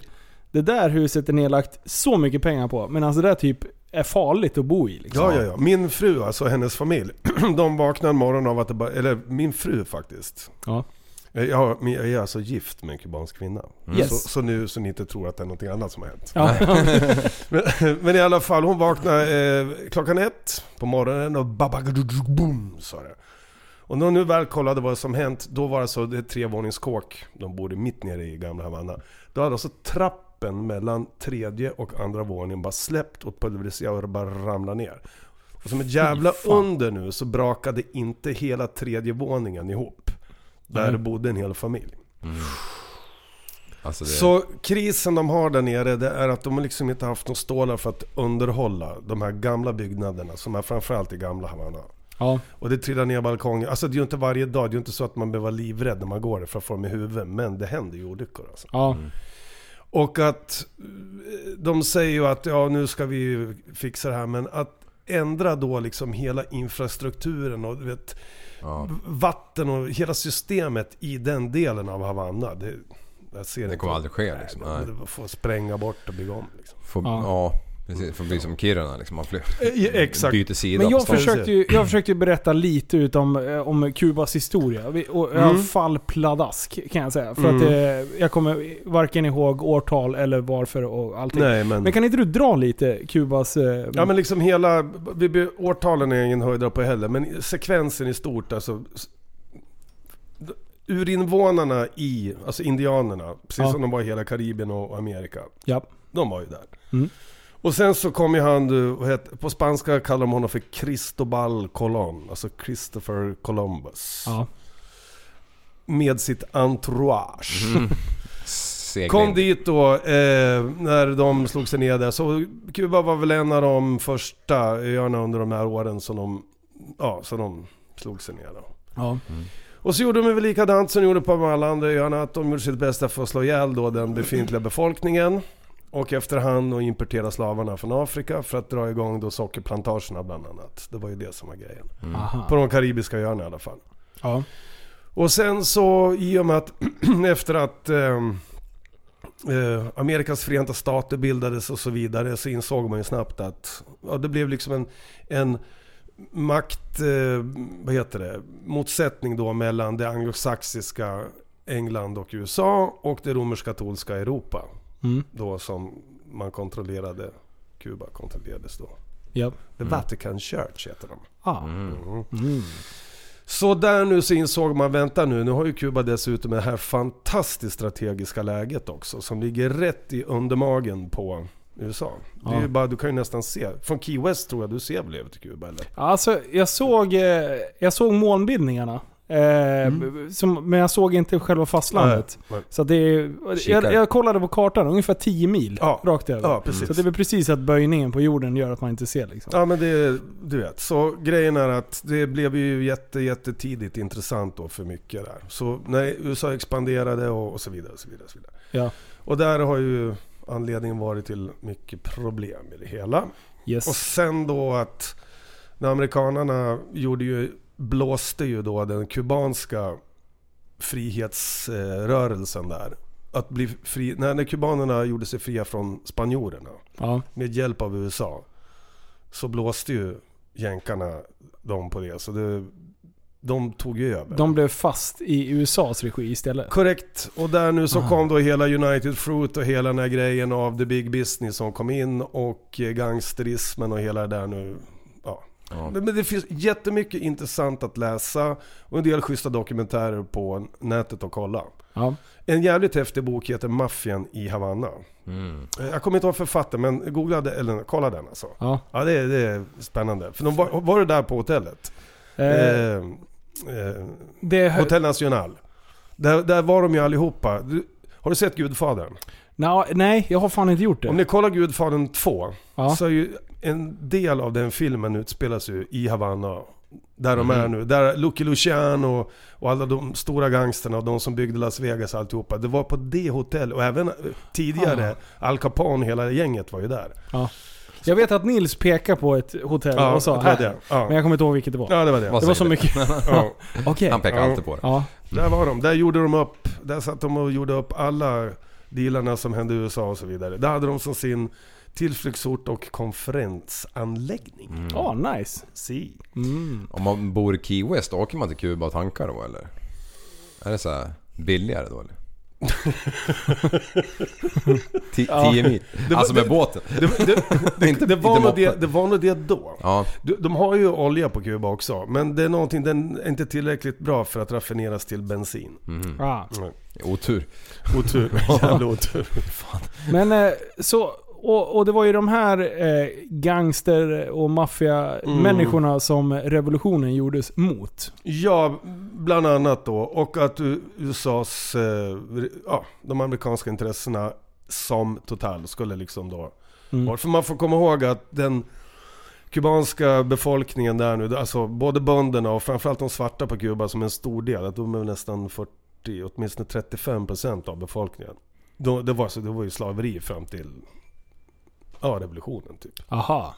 Det där huset är nedlagt så mycket pengar på. Men alltså det där typ är farligt att bo i. Liksom. Ja, ja, ja. Min fru, alltså hennes familj, de vaknar en morgon av att det bara... Eller min fru faktiskt. Ja. Jag, har- Eh, men jag är alltså gift med en kubansk kvinna. Yes. Så, så nu så ni inte tror att det är någonting annat som har hänt. Ja. Men, men i alla fall, hon vaknade eh, klockan ett på morgonen och babagaduduboom sa det. Och när hon nu väl kollade vad som hänt, då var det så, det är trevåningskåk, de bodde mitt nere i gamla Havanna. Då hade alltså trappen mellan tredje och andra våningen bara släppt och pulveriserat och det bara ramlade ner. Och som ett jävla under nu så brakade inte hela tredje våningen ihop. Där Nej. bodde en hel familj. Alltså det... Så krisen de har där nere det är att de har liksom inte haft några stålar för att underhålla de här gamla byggnaderna som är framförallt i gamla Havanna. ja. Och det trillar ner balkonger. Alltså det är ju inte varje dag, det är ju inte så att man behöver vara livrädd när man går där för att få dem i huvudet. Men det händer ju olyckor alltså. ja. Och att eh, de säger ju att ja nu ska vi ju fixa det här men att ändra då liksom hela infrastrukturen och du vet, Ja. vatten och hela systemet i den delen av Havanna. Det, jag ser Det inte- kommer aldrig ske liksom. Nej. Nej. Det får spränga bort och bygga om. Liksom. Får, Ja. ja. precis. Får bli som Kiruna liksom. Man flyr, Eh, exakt. byter sida Men på jag stan. försökte, ju, jag försökte ju berätta lite ut om, eh, om Kubas historia. Vi- Och jag fall pladask kan jag säga. För att eh, jag kommer varken ihåg årtal eller varför och allting. Nej men... Men kan inte du dra lite Kubas... Eh, Ja men liksom hela, vi, vi, årtalen är ingen höjdare på heller, men sekvensen i stort alltså. s- d- Urinvånarna i, alltså indianerna, precis Ja. som de var i hela Karibien och Amerika, ja. de var ju där. Mm. Och sen så kom ju han, du, vad heter, på spanska kallar de honom för Cristobal Colón, alltså Christopher Columbus. Ja. Med sitt entourage. Segling. Kom dit då, eh, när de slog sig ner där. Så Kuba var väl en av de första öarna under de här åren som de, ja, som de slog sig ner då. Ja. Och så gjorde de väl likadant som de gjorde på de alla andra öarna, att de gjorde sitt bästa för att slå ihjäl då den befintliga befolkningen. Och efterhand då importera slavarna från Afrika för att dra igång då sockerplantagerna bland annat. Det var ju det som var grejen. Aha. På de karibiska öarna i alla fall. Ja. Och sen så i och med att efter att ehm, eh, Amerikas förenta stater bildades och så vidare så insåg man ju snabbt att ja, det blev liksom en, en makt, eh, vad heter det, motsättning då mellan det anglosaxiska England och USA och det romersk-katolska Europa. Mm. Då som man kontrollerade, Kuba kontrollerades då. Ja. The Vatican Church heter de. Ah. Mm. Så där nu så insåg man, vänta nu, nu har ju Kuba dessutom det här fantastiskt strategiska läget också som ligger rätt i undermagen på USA. Det är ju bara, du kan ju nästan se. Från Key West tror jag du ser väl över till Kuba eller? Alltså, jag såg, eh, jag såg molnbildningarna. Eh, som, men jag såg inte själva fastlandet. Nej, nej. Så att det är, jag, Kikar. jag kollade på kartan, ungefär 10 mil Ja. rakt över. Ja, precis. Så det är väl precis att böjningen på jorden gör att man inte ser liksom. Ja men det, du vet. Så grejen är att det blev ju jätte, jättetidigt intressant då för mycket där. Så när USA expanderade och, och så vidare och så vidare. Och, så vidare. Ja. och där har ju anledningen varit till mycket problem i det hela. Och Yes. sen då att när amerikanarna gjorde ju, blåste ju då den kubanska frihetsrörelsen där. Att bli fri, när, när kubanerna gjorde sig fria från spanjorerna Ja. med hjälp av USA så blåste ju jänkarna dem på det. Så det, de tog ju över. De blev fast i USAs regi istället. Korrekt. Och där nu så kom då hela United Fruit och hela den här grejen av the big business som kom in och eh, gangsterismen och hela det där nu. Ja. Men men det finns jättemycket intressant att läsa och en del schyssta dokumentärer på nätet att kolla. Ja. En jävligt häftig bok heter Maffian i Havanna. Eh, Jag kommer inte ihåg författaren men googla det, eller kolla den alltså. Ja. Ja det är, det är spännande. För de var, var du där på hotellet? Eh, Eh, eh, det är hö- Hotel National. Där, där var de ju allihopa. Du, har du sett Gudfadern? Nå, nej, jag har fan inte gjort det. Om ni kollar Gudfadern 2 Ja. så är ju en del av den filmen utspelas ju i Havanna. Där de är Mhm. nu. Där Lucky Luciano och, och alla de stora gangsterna och de som byggde Las Vegas och alltihopa. Det var på det hotell och även eh, tidigare Ah. Al Capone, hela gänget var ju där. Jag vet att Nils pekar på ett hotell Ja, och sa jag tror här. det. Ja. Men jag kommer inte ihåg vilket det var. Ja det var det. Vad Det säger var så du? mycket. Ja. Okej. Han pekar Ja. alltid på det. Ja. Där var de. Där gjorde de upp. Där satt de och gjorde upp alla dealarna som hände i USA och så vidare. Där hade de som sin tillflyktsort och konferensanläggning. Ah, nice. Si. Om man bor i Key West, åker man till Kuba och tankar då eller? Är det så här billigare då eller? Ti- Tio mil? Alltså med båten? Det, det, Inte- det, det, var inte nog det, moppen. det var nog det då. Ja, Du, de har ju olja på Kuba också, men det är någonting, den är inte tillräckligt bra för att raffineras till bensin. Ah. Mhm. otur. Otur, jävla otur. Men eh, så, och, och det var ju de här eh, gangster och Mm. maffia-människorna som revolutionen gjordes mot. Ja, bland annat då. Och att U- USAs, eh, ja, de amerikanska intressena som total skulle liksom då... Mm. För man får komma ihåg att den kubanska befolkningen där nu, alltså både bönderna och framförallt de svarta på Kuba som är en stor del, att de är nästan 40, åtminstone 35% av befolkningen. Då, det, var, så, det var ju slaveri fram till ja, revolutionen typ. Aha.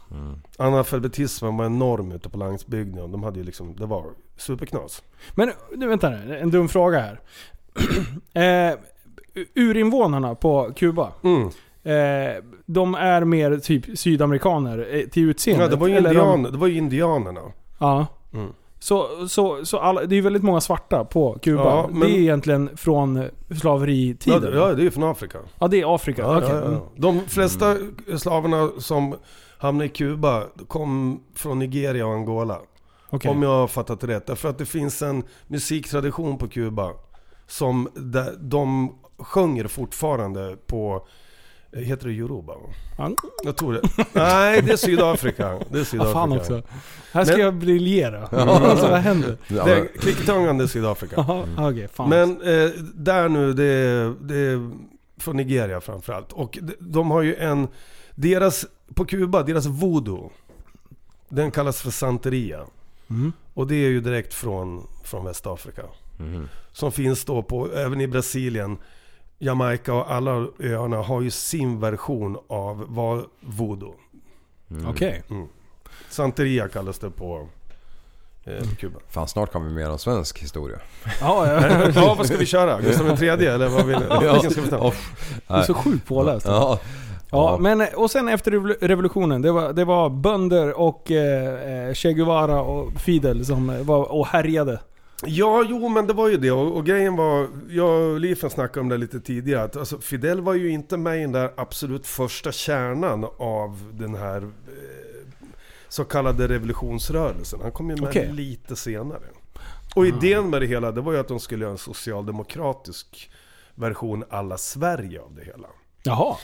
Analfabetismen var enorm ute på landsbygden. De hade ju liksom, det var superknas. Men nu, vänta nu, en dum fråga här. eh, urinvånarna på Kuba. Mm. Eh, de är mer typ sydamerikaner eh, till utseendet? Ja, det var ju, eller indian, De, det var ju indianerna. ja. Mm. Så, så, så alla, det är ju väldigt många svarta på Kuba. Ja, men- Det är egentligen från Ja, slaveritiden. det- ja, det är ju från Afrika. Ja, det är Afrika. Ja, Okej. Mm. ja, ja. De flesta slavarna som hamnade i Kuba kom från Nigeria och Angola. Okej. Om jag har fattat det rätt. Därför att det finns en musiktradition på Kuba som där de sjunger fortfarande på eh, Heter det Yoruba? va? Ja, Jag tror det. Nej, det är Sydafrika. Det är vad Sydafrika. fan också. Här ska Men- jag briljera. Alltså vad händer? Ja, Det men, är Klickitungan, det är Sydafrika. Jaha, okej. fan. Men eh, där nu, det är, det är från Nigeria framförallt. Och de, de har ju en, deras, på Kuba, deras voodoo. Den kallas för santeria. Mm. Och det är ju direkt från, från Västafrika. Som finns då på, även i Brasilien, Jamaica och alla öarna har ju sin version av vad voodoo. Okej. Santeria kallas det på eh, Kuba. Äh, fan snart kan vi mer om svensk historia. Ja, ja. Ja, vad ska vi köra? Gustav III eller vad vill ni? Vilken ska vi ta? Du är så sjukt påläst. Ja. Ja, Ja. men och sen efter revol- revolutionen, det var, det var bönder och eh, eh, Che Guevara och Fidel som eh, var och härjade. Ja, jo men det var ju det. Och, och grejen var, jag och Lifen snackade om det lite tidigare, att alltså, Fidel var ju inte med i den där absolut första kärnan av den här eh, så kallade revolutionsrörelsen. Han kom ju med Okej. lite senare. Och idén med det hela, det var ju att de skulle göra en socialdemokratisk version alla Sverige av det hela. Jaha.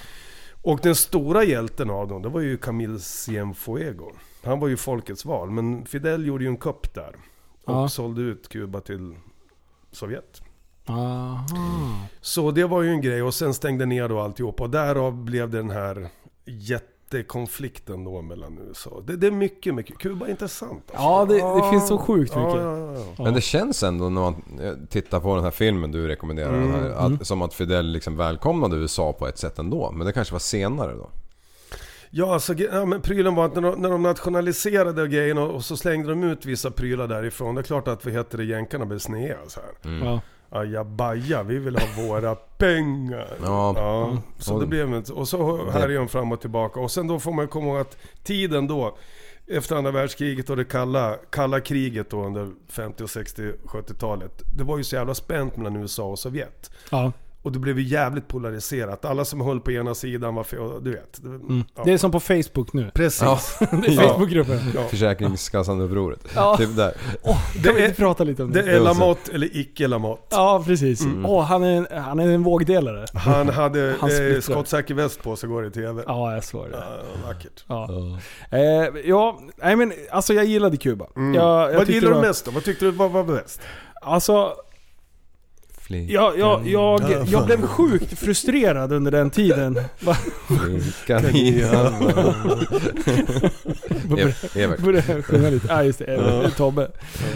Och den stora hjälten av dem, det var ju Camille Cienfuego. Han var ju folkets val, men Fidel gjorde ju en kupp där. Och Ja. sålde ut Kuba till Sovjet. Aha. Så det var ju en grej och sen stängde ner då alltihopa. Och därav blev det den här jättekonflikten då mellan USA. Det, det är mycket, mycket. Kuba är intressant. Alltså. Ja, det, det finns så sjukt Ja, mycket. ja, ja. Men det känns ändå när man eh, tittar på den här filmen du rekommenderar. den Mm. här, att, Som att Fidel liksom välkomnade USA på ett sätt ändå. Men det kanske var senare då. Ja, alltså, ge- ja men prylen var att när de, när de nationaliserade grejen och, och så slängde de ut vissa prylar därifrån. Det är klart att, vad heter det, jänkarna blev snea så här. Ja. Ajabaja, vi vill ha våra pengar. Ja. så det blev inte. Och så härjade de fram och tillbaka. Och sen då får man komma ihåg att tiden då, efter andra världskriget och det kalla, kalla kriget då under 50-, 60 och 70-talet. Det var ju så jävla spänt mellan USA och Sovjet. Ja. Och det blev ju jävligt polariserat. Alla som höll på ena sidan var för, du vet. Det- Ja. Det är som på Facebook nu. Precis. Ja. Det är Ja. Facebookgruppen. Ja. Försäkringskassan-upproret. Ja. Typ där. Kan vi Det är- inte prata lite om Det Mm. det? är Lamotte eller icke Lamotte. Ja, precis. Åh, han, är en, han är en vågdelare. Han hade Han splittrar. eh, skottsäker väst på sig går i TV. Ja. Ja, jag såg det. vackert. Ja. Eh, ja, nej men alltså jag gillade Kuba. Jag, jag Mm. vad tyckte gillar det du var- mest då? Vad tyckte du var, var bäst? Alltså, Flickan jag, Mm. jag, jag, jag blev sjukt frustrerad under den tiden. Va? i handen. Börja- Evert. Börja sjunga lite. Ja, just det. Eh, Tobbe.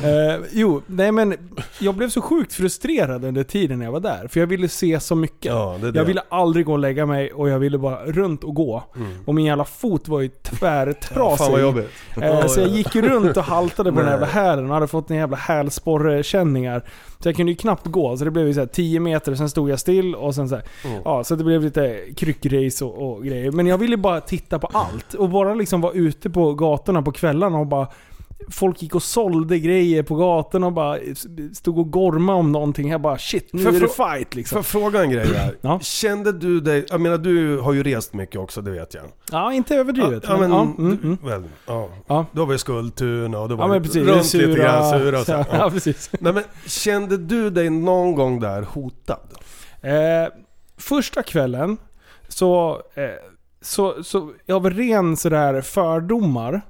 Eh, jo, nej men jag blev så sjukt frustrerad under tiden jag var där. För jag ville se så mycket. Ja, det är det. Jag ville aldrig gå och lägga mig och jag ville bara runt och gå. Och min jävla fot var ju tvärtrasig. Mm. Fan vad jobbigt. Eh, så jag gick ju runt och haltade på den här jävla Nej. hälen och hade fått en jävla hälsporrekänningar. Så jag kunde ju knappt gå, så det blev ju så här 10 meter, sen stod jag still och sen så här, Mm. Ja, så det blev lite kryckrace och, och grejer. Men jag ville bara titta på allt och bara liksom vara ute på gatorna på kvällarna och bara Folk gick och sålde grejer på gatorna och bara stod och gormade om någonting. Jag bara shit, nu För- är det för- fight Får liksom. jag fråga en grej där? Ja. Kände du dig, jag menar du har ju rest mycket också, det vet jag. Ja, inte överdrivet. ja, men, ja, mm, du, mm. väl, ja. Ja. Då var ju Skultuna och då var ja men det precis. runt Sura, lite grann, sura och så. ja, här. ja, Ja. precis. Nej, men, kände du dig någon gång där hotad? Eh, första kvällen så, eh, så, så av ren sådär fördomar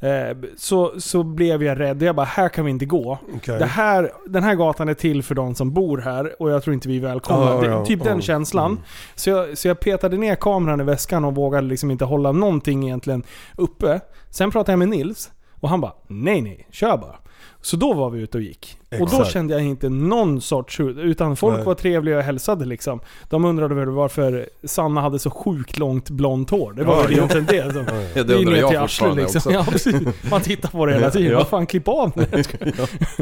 eh, så, så blev jag rädd. Jag bara, här kan vi inte gå. Okej. Det här, den här gatan är till för de som bor här och jag tror inte vi är välkomna. Ja, Det- ja, typ ja. Mm. den känslan. Så, jag, så jag petade ner kameran i väskan och vågade liksom inte hålla någonting egentligen uppe. Sen pratade jag med Nils och han bara nej nej, kör bara. Så då var vi ute och gick. Och då Exakt. kände jag inte någon sorts hud, utan folk Nej. var trevliga och hälsade liksom. De undrade väl varför Sanna hade så sjukt långt blont hår. Det var Ja, väl ja. egentligen det. Liksom. Ja, Det det är ner undrar till jag arslet fortfarande liksom. också. Ja, precis. Man tittar på det hela tiden. Vad fan, klipp av nu.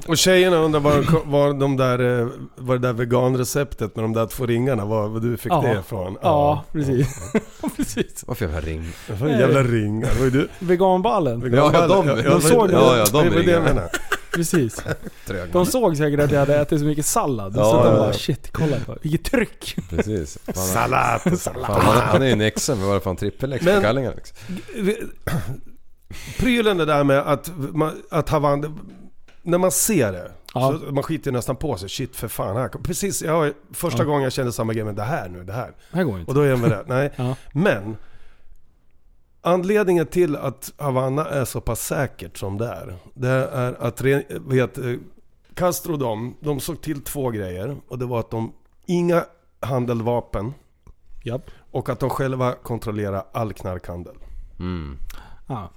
Och tjejerna undrar var, var, de där, eh, var det där veganreceptet med de där två ringarna, var, var du fick Ja. det ifrån? Ja, precis. precis. Varför jag har ring? Det var en Jävla ringar. Det var ju du. Veganballen. Ja, ja, de, Ja, de såg det. Ja, ja, var de det jag ringarna. menade. Precis. Trög. De såg säkert att jag hade ätit så mycket sallad. Ja, så att de ja, bara ja. shit, kolla på vilket tryck. Precis. Fan, Salat, salat. fan, han, han är ju en exen, men varför han trippel-ex på Men- kallingarna liksom? Prylen det där med att, man- att Havan, när man ser det, Ja. Så man skiter ju nästan på sig. Shit för fan. Här. kom- Precis, jag, har- första gången jag kände samma grej, men det här nu, det här. Det här går inte. Och då är den väl det. Nej. Ja. Men anledningen till att Havanna är så pass säkert som det är. Det är att re- vet, eh, Castro och de, de såg till två grejer. Och det var att de, inga handeldvapen. Japp. Och att de själva kontrollerar all knarkhandel. Ja.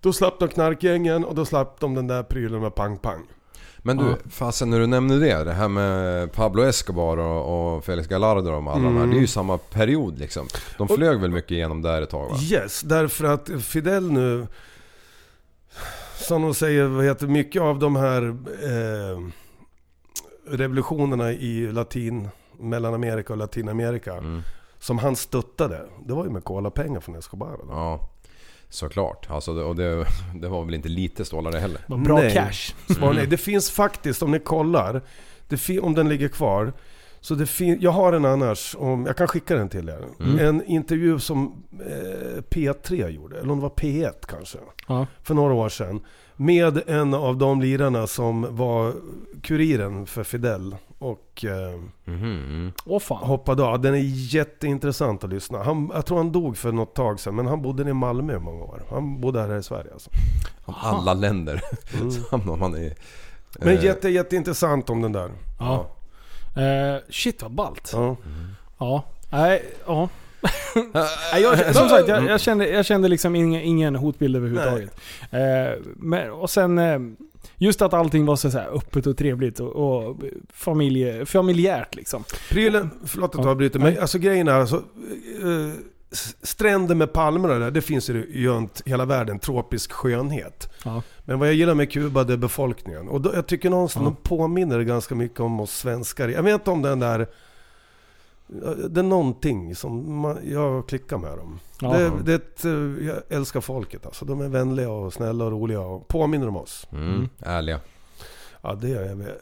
Då slapp de knarkgängen och då slapp de den där prylen med pang-pang. Men du, fasen när du nämner det. Det här med Pablo Escobar och, och Felix Gallardo och alla de här. Det är ju samma period liksom. De flög väl mycket igenom där ett tag va? Yes, därför att Fidel nu, som de säger, vad heter, mycket av de här eh, revolutionerna i Latin, Mellanamerika och Latinamerika, som han stöttade, det var ju med kolapengar från Escobar. Då. Ja, såklart. Alltså, det- och det, det var väl inte lite stålar det heller. Vad Bra Nej. cash. Svar nej. Det finns faktiskt, om ni kollar, det fi- om den ligger kvar. Så det fin- jag har en annars, om, jag kan skicka den till er. En intervju som eh, P3 gjorde, eller om det var P1 kanske, Ja. för några år sedan. Med en av de lirarna som var kuriren för Fidel och eh, Åh fan. hoppade av. Den är jätteintressant att lyssna. Han, jag tror han dog för något tag sedan, men han bodde i Malmö i många år. Han bodde här i Sverige alltså. Om alla länder. så hamnar man i... Men eh, jätte, jätteintressant om den där. Ja. Eh, shit vad ballt. Ja. Ja. Nej, ja. Nej, Eh, jag, som sagt, jag, jag, kände, jag kände liksom ingen, ingen hotbild överhuvudtaget. Eh, men, och sen, eh, just att allting var så, så här öppet och trevligt och, och familje, familjärt liksom. Prylen, förlåt att jag avbryter, men alltså grejen är alltså, eh, s- Stränder med palmer och det där, det finns ju runt hela världen, tropisk skönhet. Ja. Men vad jag gillar med Kuba det är befolkningen. Och då, jag tycker någonstans Ja. de påminner ganska mycket om oss svenskar. Jag vet inte om den där... eh, Det är någonting som man, jag klickar med dem. Ja. Det, det är ett, eh, jag älskar folket alltså. De är vänliga och snälla och roliga och påminner om oss. Mm, ärliga. Ja, det är, är det.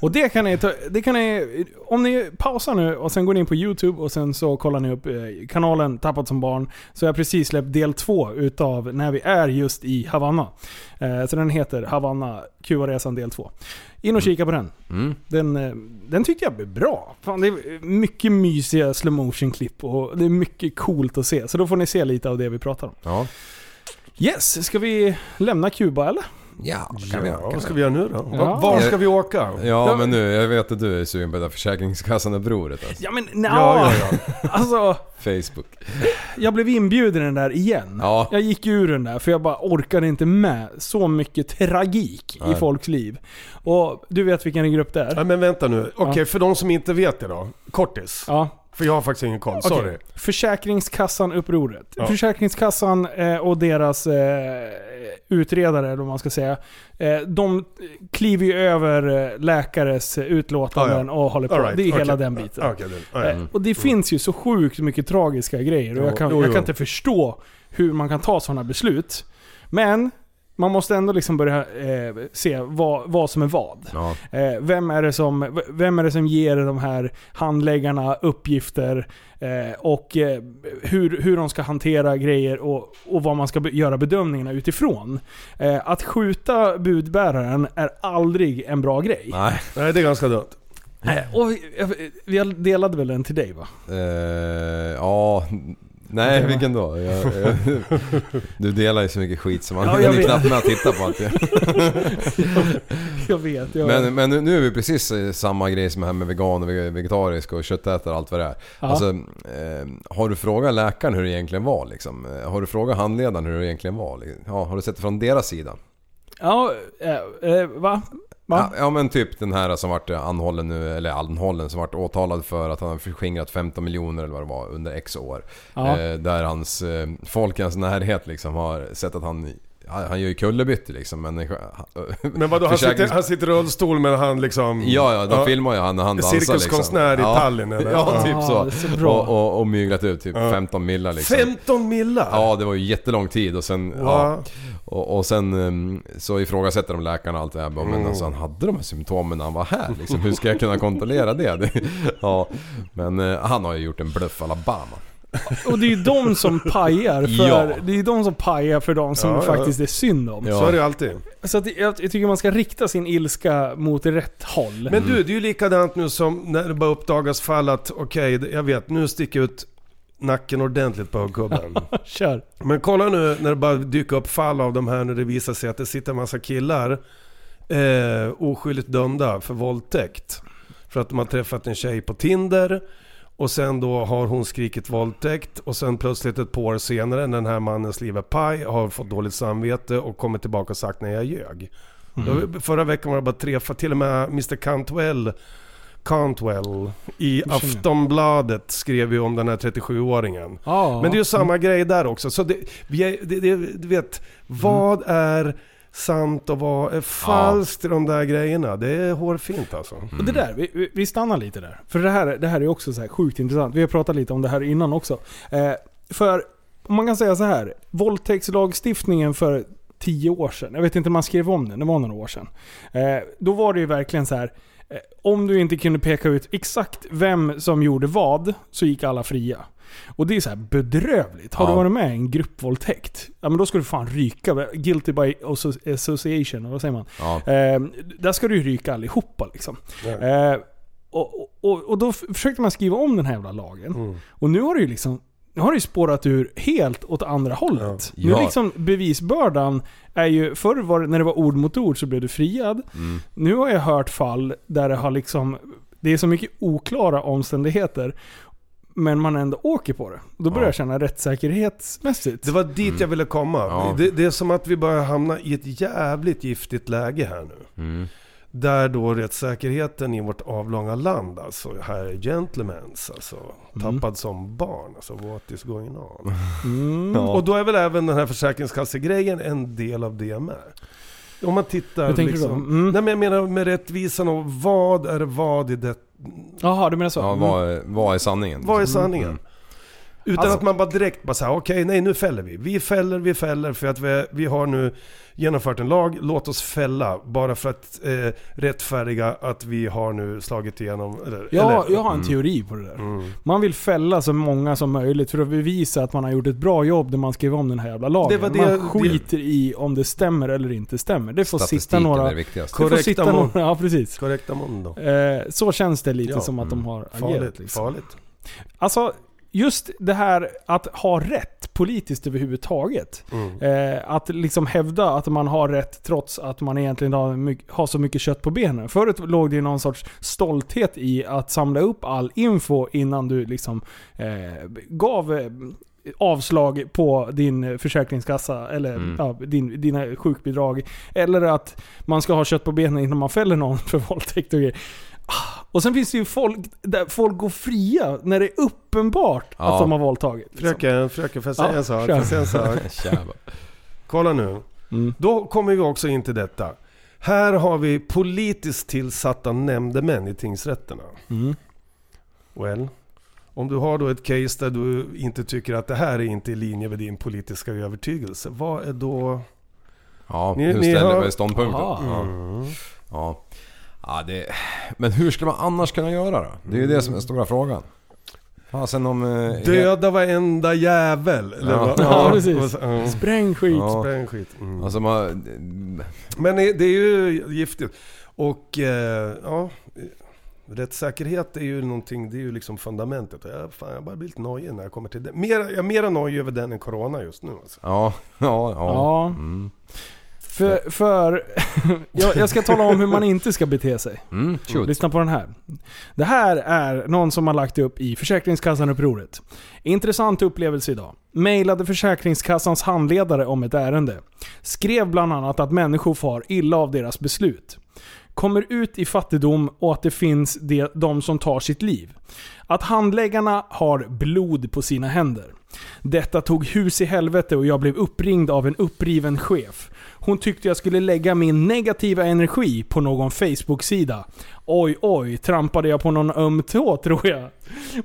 Och det kan ni ta, det kan ni, om ni pausar nu och sen går ni in på YouTube och sen så kollar ni upp eh, kanalen Tappat som barn. Så har jag precis släppt del två utav när vi är just i Havanna. Eh, så den heter Havanna Cuba-resan del 2. In och kika på den. Mm. Den, eh, den tyckte jag blev bra. Fan, det är mycket mysiga slow motion klipp och det är mycket coolt att se. Så då får ni se lite av det vi pratar om. Ja. Yes, ska vi lämna Kuba eller? Ja, kan vi, Ja, kan vad ska vi. vi göra nu då? Ja. Var, var ska vi åka? Ja men nu, jag vet att du är sugen på det där Försäkringskassan och broret alltså. Ja men nja. Ja, ja, ja. Alltså, Facebook. jag blev inbjuden i den där igen. Ja. Jag gick ur den där för jag bara orkade inte med så mycket tragik i Nej. folks liv. Och du vet vilken grupp det Nej är? men vänta nu. Okej, för de som inte vet det då. Kortis. Ja. För jag har faktiskt ingen koll. Okej. Sorry. Försäkringskassan-upproret. Ja. Försäkringskassan eh, och deras eh, utredare, eller vad man ska säga. Eh, de kliver ju över eh, läkares utlåtanden och håller på. All right. Det är Okej. hela den biten. Ja, okej, det- ja, ja. Eh, Och det finns ju så sjukt mycket tragiska grejer och jag kan, Mm. Jo, jo, jag kan jo. inte förstå hur man kan ta sådana beslut. Men man måste ändå liksom börja eh, se vad, vad som är vad. Ja. Eh, vem, är det som, v- vem är det som ger de här handläggarna uppgifter eh, och eh, hur, hur de ska hantera grejer och, och vad man ska be- göra bedömningarna utifrån. Eh, att skjuta budbäraren är aldrig en bra grej. Nej. Nej, det är ganska dumt. Eh, och vi, eh, vi delade väl den till dig va? Eh, ja. Nej, vilken då? Jag, jag, du delar ju så mycket skit som man Ja, jag hinner vet. knappt med att titta på allt. Jag vet. Jag Men, men nu- nu är vi precis i samma grej som här med vegan och vege- vegetarisk och köttätare och allt vad det är. Ja. Alltså, eh, har du frågat läkaren hur det egentligen var liksom? Eh, Har du frågat handledaren hur det egentligen var? Liksom? Ja, har du sett det från deras sida? Ja, eh, eh, va? Ja, va? ja men typ den här som vart anhållen nu, eller anhållen, som vart åtalad för att han har förskingrat 15 miljoner eller vad det var under X år. Ja. Eh, där hans eh, folk i hans närhet liksom har sett att han, han han gör ju kullerbyte liksom men... Men vadå, han, Försäkrings- sitter, han sitter i rullstol men han liksom... Ja, ja, de filmar ju han när han dansar Cirkuskonstnär i liksom. Tallinn, eller? Ja, Ja. typ Ja, det är så. så bra. och, och, och myglat ut typ 15 millar liksom. 15 millar? Ja, det var ju jättelång tid och sen... Ja, Va? och, och sen ehm, så ifrågasätter de läkarna och allt det här. Bara, Mm. Men alltså han hade de här symptomen när han var här liksom. Hur ska jag kunna kontrollera det? ja, men eh, han har ju gjort en bluff Alabama. och det är ju de som pajar för, Ja. det är ju de som pajar för de som Ja, ja. faktiskt är synd om. Så är det ju alltid. Så att jag, jag tycker man ska rikta sin ilska mot rätt håll. Men Mm. du, det är ju likadant nu som när det bara uppdagas fall att okej, jag vet, nu sticker ut nacken ordentligt på högkubben. Kör. Men kolla nu när det bara dyker upp fall av de här när det visar sig att det sitter en massa killar eh, oskyldigt dömda för våldtäkt. För att de har träffat en tjej på Tinder och sen då har hon skrikit våldtäkt och sen plötsligt ett par år senare när den här mannens liv är paj har fått dåligt samvete och kommer tillbaka och sagt nej jag ljög. Då- Förra veckan var det bara tre, för till och med Mr Cantwell Cantwell i Aftonbladet skrev ju om den här 37-åringen. Ja. Men det är ju samma grej där också. Så det, vi är, det, det, du vet, vad är sant och vad är falskt i de där grejerna? Det är hårfint alltså. Och det där, vi- vi, vi stannar lite där. För det här, det här är också så här sjukt intressant. Vi har pratat lite om det här innan också. Eh, för man kan säga så här. Våldtäktslagstiftningen för tio år sedan. Jag vet inte, man skrev om den. Det var några år sedan. Eh, då var det ju verkligen så här. eh, Om du inte kunde peka ut exakt vem som gjorde vad så gick alla fria. Och det är så här bedrövligt. Har Ja. du varit med i en gruppvåldtäkt? Ja men då ska du fan ryka. Guilty by asso- association, eller vad säger man? Ja. Eh, där ska du ju ryka allihopa liksom. Eh, och, och, och då f- försökte man skriva om den här jävla lagen. Mm. Och nu har det ju liksom nu har det ju spårat ur helt åt andra hållet. Ja. Nu Ja. liksom bevisbördan är ju... Förr var det, när det var ord mot ord så blev du friad. Mm. Nu har jag hört fall där det har liksom... Det är så mycket oklara omständigheter. Men man ändå åker på det. Då börjar Ja. jag känna rättssäkerhetsmässigt. Det var dit jag ville komma. Ja. Det, det är som att vi börjar hamna i ett jävligt giftigt läge här nu. Där då rättssäkerheten i vårt avlånga land alltså, här är gentlemans alltså. Tappad som barn alltså, what is going on? Mm. Mm. Och då är väl även den här försäkringskassegrejen en del av det med. Om man tittar Hur tänker du liksom, då? Mm. Nej men jag menar med rättvisan och vad är vad i det, Jaha, du menar så? Ja, Mm. vad, är- vad är sanningen? Mm. vad är sanningen? Utan Alltså- att man bara direkt bara säger okej nej nu fäller vi. Vi fäller, vi fäller för att vi, vi har nu genomfört en lag, låt oss fälla. Bara för att eh, rättfärdiga att vi har nu slagit igenom. Eller, Ja, eller, Mm. jag har en teori på det där. Man vill fälla så många som möjligt för att bevisa att man har gjort ett bra jobb när man skrev om den här jävla lagen. Det var det- man skiter i om det stämmer eller inte stämmer. Det får sitta Statistiken är några... det viktigaste. Det får Korrekta sitta mål. några ja, precis. Korrekt Amondo. Eh, så känns det lite Ja, mm. som att de har agerat. Farligt, Liksom. farligt. Alltså, just det här att ha rätt politiskt överhuvudtaget. Mm. Eh, att liksom hävda att man har rätt trots att man egentligen har, my- har så mycket kött på benen. Förut låg det ju någon sorts stolthet i att samla upp all info innan du liksom eh, gav eh, avslag på din eh, försäkringskassa eller Mm. ja, din, dina sjukbidrag. Eller att man ska ha kött på benen innan man fäller någon för våldtäkt och grejer. Ah, Och sen finns det ju folk där folk går fria när det är uppenbart att Ja. de har våldtagit. liksom. Fröken, fröken får jag säga Ja, en sak? Får kör. jag säga en sak? Jävlar. Kolla nu. Mm. Då kommer vi också in till detta. Här har vi politiskt tillsatta nämndemän i tingsrätterna. Well, om du har då ett case där du inte tycker att det här är inte i linje med din politiska övertygelse. Vad är då... Ja, Ni- hur ni ställer har- vi ståndpunkten? Aha. Ja. Ja. Ja, det... Men hur ska man annars kunna göra då? Det är ju det som är den stora frågan. Fasen om... eh, Döda varenda jävel! Eller Ja. vad? Ja, precis. Ja. Spräng skit. Ja. Spräng skit. Mm. Alltså man... Men det det är ju giftigt. Och eh, ja, rättssäkerhet är ju någonting, det är ju liksom fundamentet. Jag, fan, jag bara blir lite nojig när jag kommer till det. Mer, jag är mera nojig över den än corona just nu alltså. Ja, ja, ja. Mm. Ja. För, för jag, jag ska tala om hur man inte ska bete sig. Mm, shoot. Lyssna på den här. Det här är någon som har lagt upp i Försäkringskassan-upproret. Intressant upplevelse idag. Mailade Försäkringskassans handledare om ett ärende. Skrev bland annat att människor far illa av deras beslut. Kommer ut i fattigdom och att det finns de, de som tar sitt liv. Att handläggarna har blod på sina händer. Detta tog hus i helvete och jag blev uppringd av en uppriven chef. Hon tyckte jag skulle lägga min negativa energi på någon Facebook-sida. Oj, oj, trampade jag på någon öm tå tror jag.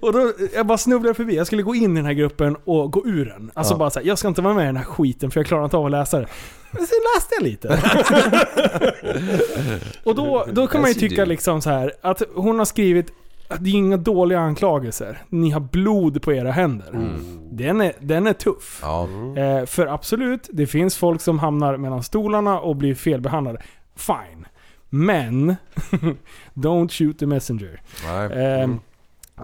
Och då, jag bara snubblade förbi. Jag skulle gå in i den här gruppen och gå ur den. Alltså bara såhär, jag ska inte vara med i den här skiten för jag klarar inte av att läsa det. Men sen läste jag lite. och då, då kan man ju tycka liksom så här att hon har skrivit det är inga dåliga anklagelser. Ni har blod på era händer. Den, är, den är tuff. Ja. Eh, för absolut, det finns folk som hamnar mellan stolarna och blir felbehandlade. Fine. Men, don't shoot the messenger. Nej. Eh,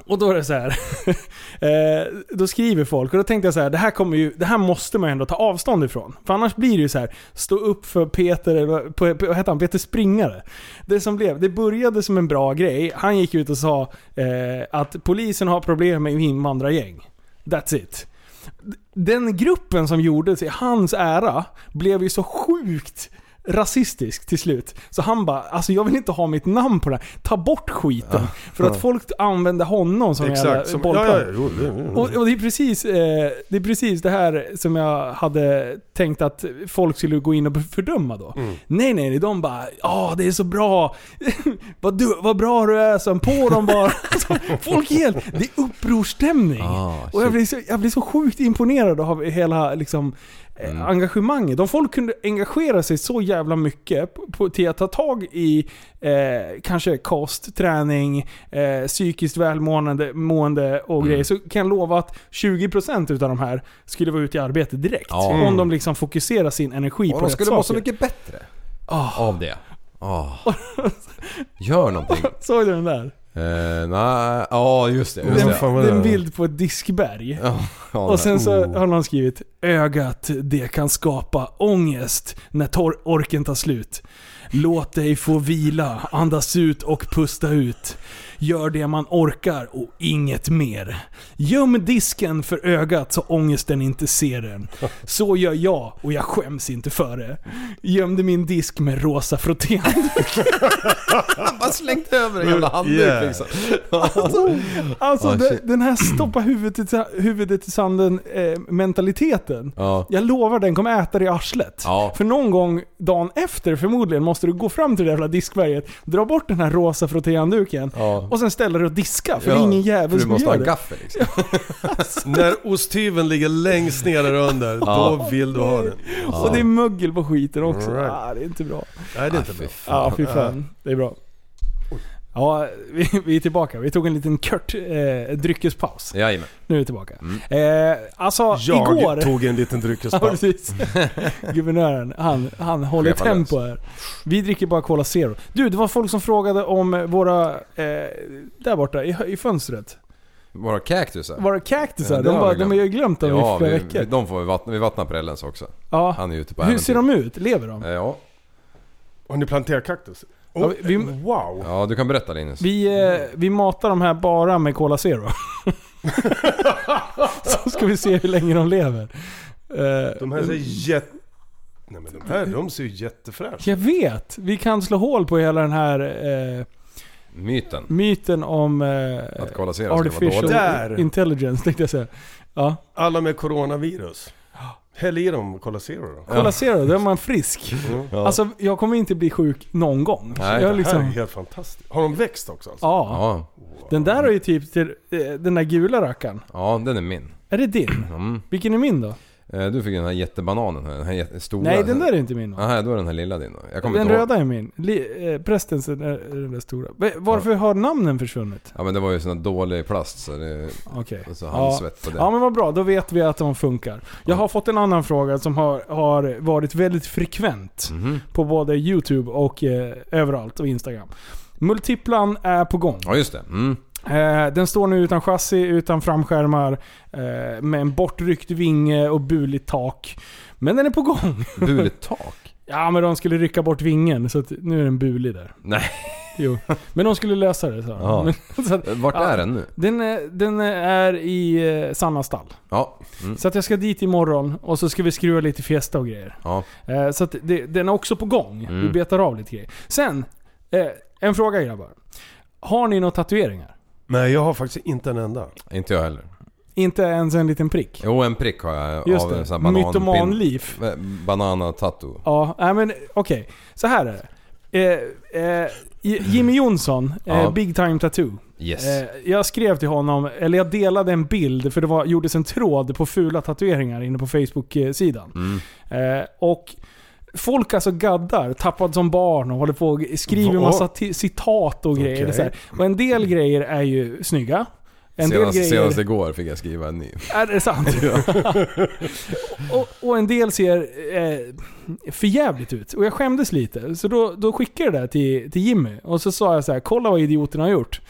och då är det så här. eh, då skriver folk och då tänkte jag så här, det här, kommer ju, det här måste man ju ändå ta avstånd ifrån. För annars blir det ju så här, stå upp för Peter, eller på, på, vad hette han? Peter Springare. Det som blev, det började som en bra grej. Han gick ut och sa eh, att polisen har problem med invandrargäng. That's it. D- Den gruppen som gjordes i hans ära blev ju så sjukt rasistisk till slut. Så han bara, alltså jag vill inte ha mitt namn på det här. Ta bort skiten. För att folk använde honom som jävla Exakt. Som, ja, bollplank. ja, jo, det- Och, och det, är precis, eh, det är precis det här som jag hade tänkt att folk skulle gå in och fördöma då. Mm. Nej, nej, nej. De bara ja det är så bra. vad, du, vad bra du är som på dem bara. alltså, folk är helt... Det är upprorsstämning. Ah, och jag shit. blir, så, jag blir så sjukt imponerad av hela liksom, eh, Mm. engagemanget. De folk kunde engagera sig så jävla mycket på, på, till att ta tag i eh, kanske kost, träning, eh, psykiskt välmående mående och Mm. grejer. Så kan jag lova att 20% utav de här skulle vara ute i arbete direkt. Ja. Om de liksom fokuserar sin energi Och på de rätt skulle må så saker. Ah. mycket bättre. Av det. Oh. Gör någonting. Såg du den där? Eh, nej, ja just det. Just Det Vem det. fan var är det? en bild på ett diskberg. Ja, ja, Och sen så Oh. har någon skrivit Ögat, det kan skapa ångest när tor- orken tar slut. Låt dig få vila, andas ut och pusta ut. Gör det man orkar och inget mer. Göm disken för ögat så ångesten inte ser den. Så gör jag och jag skäms inte för det. Gömde min disk med rosa frottén. bara slängt över en jävla handduk Yeah. liksom. Alltså Ah, den, shit. den här stoppa huvudet, i- huvudet i sanden eh, mentaliteten. Ja. Jag lovar den kommer äta dig i arslet. Ja. För någon gång dagen efter förmodligen måste du gå fram till det jävla diskberget, dra bort den här rosa frottéhandduken Ja. och sen ställa dig och diska för Ja, det är ingen för jävel Du som måste gör ha en det. gaffel liksom. När osthyveln ligger längst ner där under, då vill du ha den. Och det är mögel på skiten också. Alright. Ah, det är inte bra. Nej, det är inte Fy bra. fan. Ja, fy fan. Det är bra. Ja, vi, vi är tillbaka. Vi tog en liten kort eh, dryckespaus. Jajamän. Nu är vi tillbaka. Mm. Eh, alltså, Jag igår... tog en liten Ja, dryckespaus. precis. Guvernören, han, han håller Chefen alltså. tempo här. Vi dricker bara Cola Zero. Du, det var folk som frågade om våra... Eh, där borta, i, i fönstret. Våra cactusar. Våra kaktusar. Ja, det de, har bara, vi de glömt. har ju glömt dem Ja, i flera vi, veckor. vi, de får vi vattna. Vi vattnar Prellens också. ja. Han är ute på Hur ser äventyr. de ut? Lever de? Eh, Ja. Har ni planterat kaktus? Ja, vi- vi- wow! ja, du kan berätta Linus. Vi, eh, vi matar de här bara med Cola Zero. Så ska vi se hur länge de lever. Eh, De här ser jätte... Nej men de här, de ser ju jättefräscha jag vet! Vi kan slå hål på hela den här eh, Myten. myten om... Eh, Att kolla serien skulle vara Artificial dålig. Där! intelligence tänkte jag säga. Ja. Alla med coronavirus. Häll i dem Cola Zero då. Kolla Zero, då är man frisk. Alltså jag kommer inte bli sjuk någon gång. Nej, det jag Mm. Det här är liksom, helt fantastiskt. Har de växt också alltså? ja. Ja, Den där är ju typ till eh, den där gula rackaren. ja, den är min. Är det din? Mm. Vilken är min då? Eh, Du fick den här jättebananen här, den här jätte- stora. Nej, den där är inte min. Nej, då är den här lilla din då. Jag kommer Den inte ihåg. röda är min. Li, eh, prästens är är den där stora. Va- Varför har namnen försvunnit? Ja men det var ju sån här dålig plast så det... Okej. Och så Ja. handsvett Alltså, på det. ja men vad bra, då vet vi att de funkar. Jag har fått en annan fråga som har, har varit väldigt frekvent. Mhm. på både YouTube och eh, överallt och Instagram. Multiplan är på gång. Ja just det. Mm. Eh, den står nu utan chassi, utan framskärmar, eh, med en bortryckt vinge och buligt tak. Men den är på gång. Buligt tak. Ja, men de skulle rycka bort vingen, så att nu är den bulig där. Nej. Jo. Men de skulle lösa det, sa Ja. de. Men, så att, Eh, Vart Ja. är den nu? den, eh, den är i eh, Sannas stall. Ja. Mm. Så att jag ska dit imorgon och så ska vi skruva lite fiesta och grejer. Ja. Eh, Så att det, den är också på gång. Mm. Vi betar av lite grejer. Sen, eh, en fråga grabbar. Har ni några tatueringar? Nej jag har faktiskt inte en enda. Inte jag heller. Inte ens en liten prick? Jo en prick har jag Just av en det. sån här banan... Mytomanliv. Banana-tattoo. Ja, nej men okej. Så här är det. Eh, eh, J- Jimmy Jonsson, eh, Ja. Big Time Tattoo. Yes. Eh, jag skrev till honom, eller jag delade en bild, för det var, eh, gjordes en tråd på fula tatueringar inne på Facebook-sidan. Mm. Eh, och Folk alltså gaddar, tappad som barn och håller på och skriver Va? massa ti- citat och grejer. Okej. Så här. Och en del grejer är ju snygga. En del senast, grejer... senast igår fick jag skriva en ny. Är det sant? och, och en del ser eh, förjävligt ut. Och jag skämdes lite. Så då, då skickade jag det där till, till Jimmy. Och så sa jag så här, kolla vad idioterna har gjort.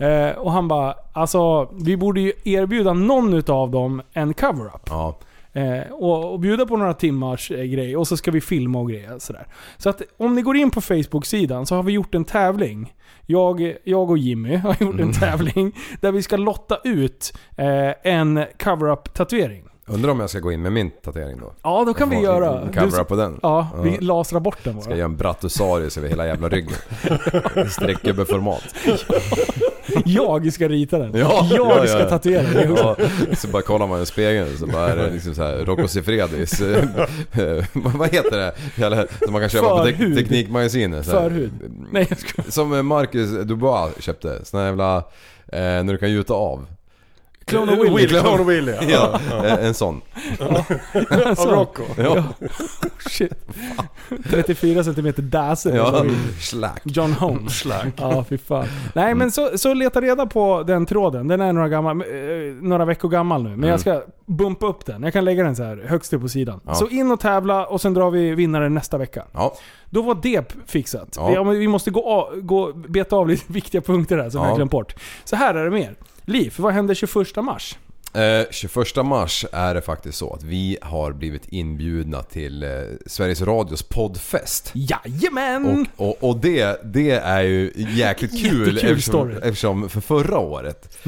Eh, och han bara, alltså vi borde ju erbjuda någon utav dem en cover-up. Ja. Eh, och, och bjuda på några timmars eh, grej och så ska vi filma och grejer. Sådär. Så att om ni går in på Facebook-sidan så har vi gjort en tävling. Jag, jag och Jimmy har gjort Mm. en tävling där vi ska lotta ut eh, en cover-up tatuering. Undrar om jag ska gå in med min tatuering då? Ja, då kan vi Få göra. en Du- Cover på den. Ja, vi Ja. lasrar bort den Ska jag bara. göra en brattosarius över hela jävla ryggen. Streckgubbeformat. Jag ska rita den. Ja, jag ja, ja. ska tatuera den. Ja, så bara kollar man i spegeln så bara är det liksom så här Rocco Siffredis. Vad vad heter det? Jävla- Som man kan köpa på te- Förhud. Teknikmagasinet. så här. Förhud. Nej, jag ska... Som Marcus Dubois köpte. Såna jävla... Eh, när du kan gjuta av. Clone of Willy. Clone of Willy, ja. Ja, eh, en sån. Alltså, Rocco. Ja. Shit. 34 cm dazzle. ja. Slack. John Holmes. Ja, fy fan. Nej men så, så leta reda på den tråden. Den är några, gammal, eh, några veckor gammal nu. Men jag ska bumpa upp den. Jag kan lägga den så här högst upp på sidan. Mm. Ja. Så in och tävla och sen drar vi vinnaren nästa vecka. Ja. Då var det fixat. Ja. Ja, men Vi måste gå, av, gå beta av lite viktiga punkter här som jag Ja. har glömt bort. Så här är det mer. Liv, vad händer 21 mars? Eh, 21 mars är det faktiskt så att vi har blivit inbjudna till eh, Sveriges Radios poddfest. Jajamän! Och, och, och det, det är ju jäkligt kul Mm. Jättekul eftersom, story. Mm. eftersom för förra året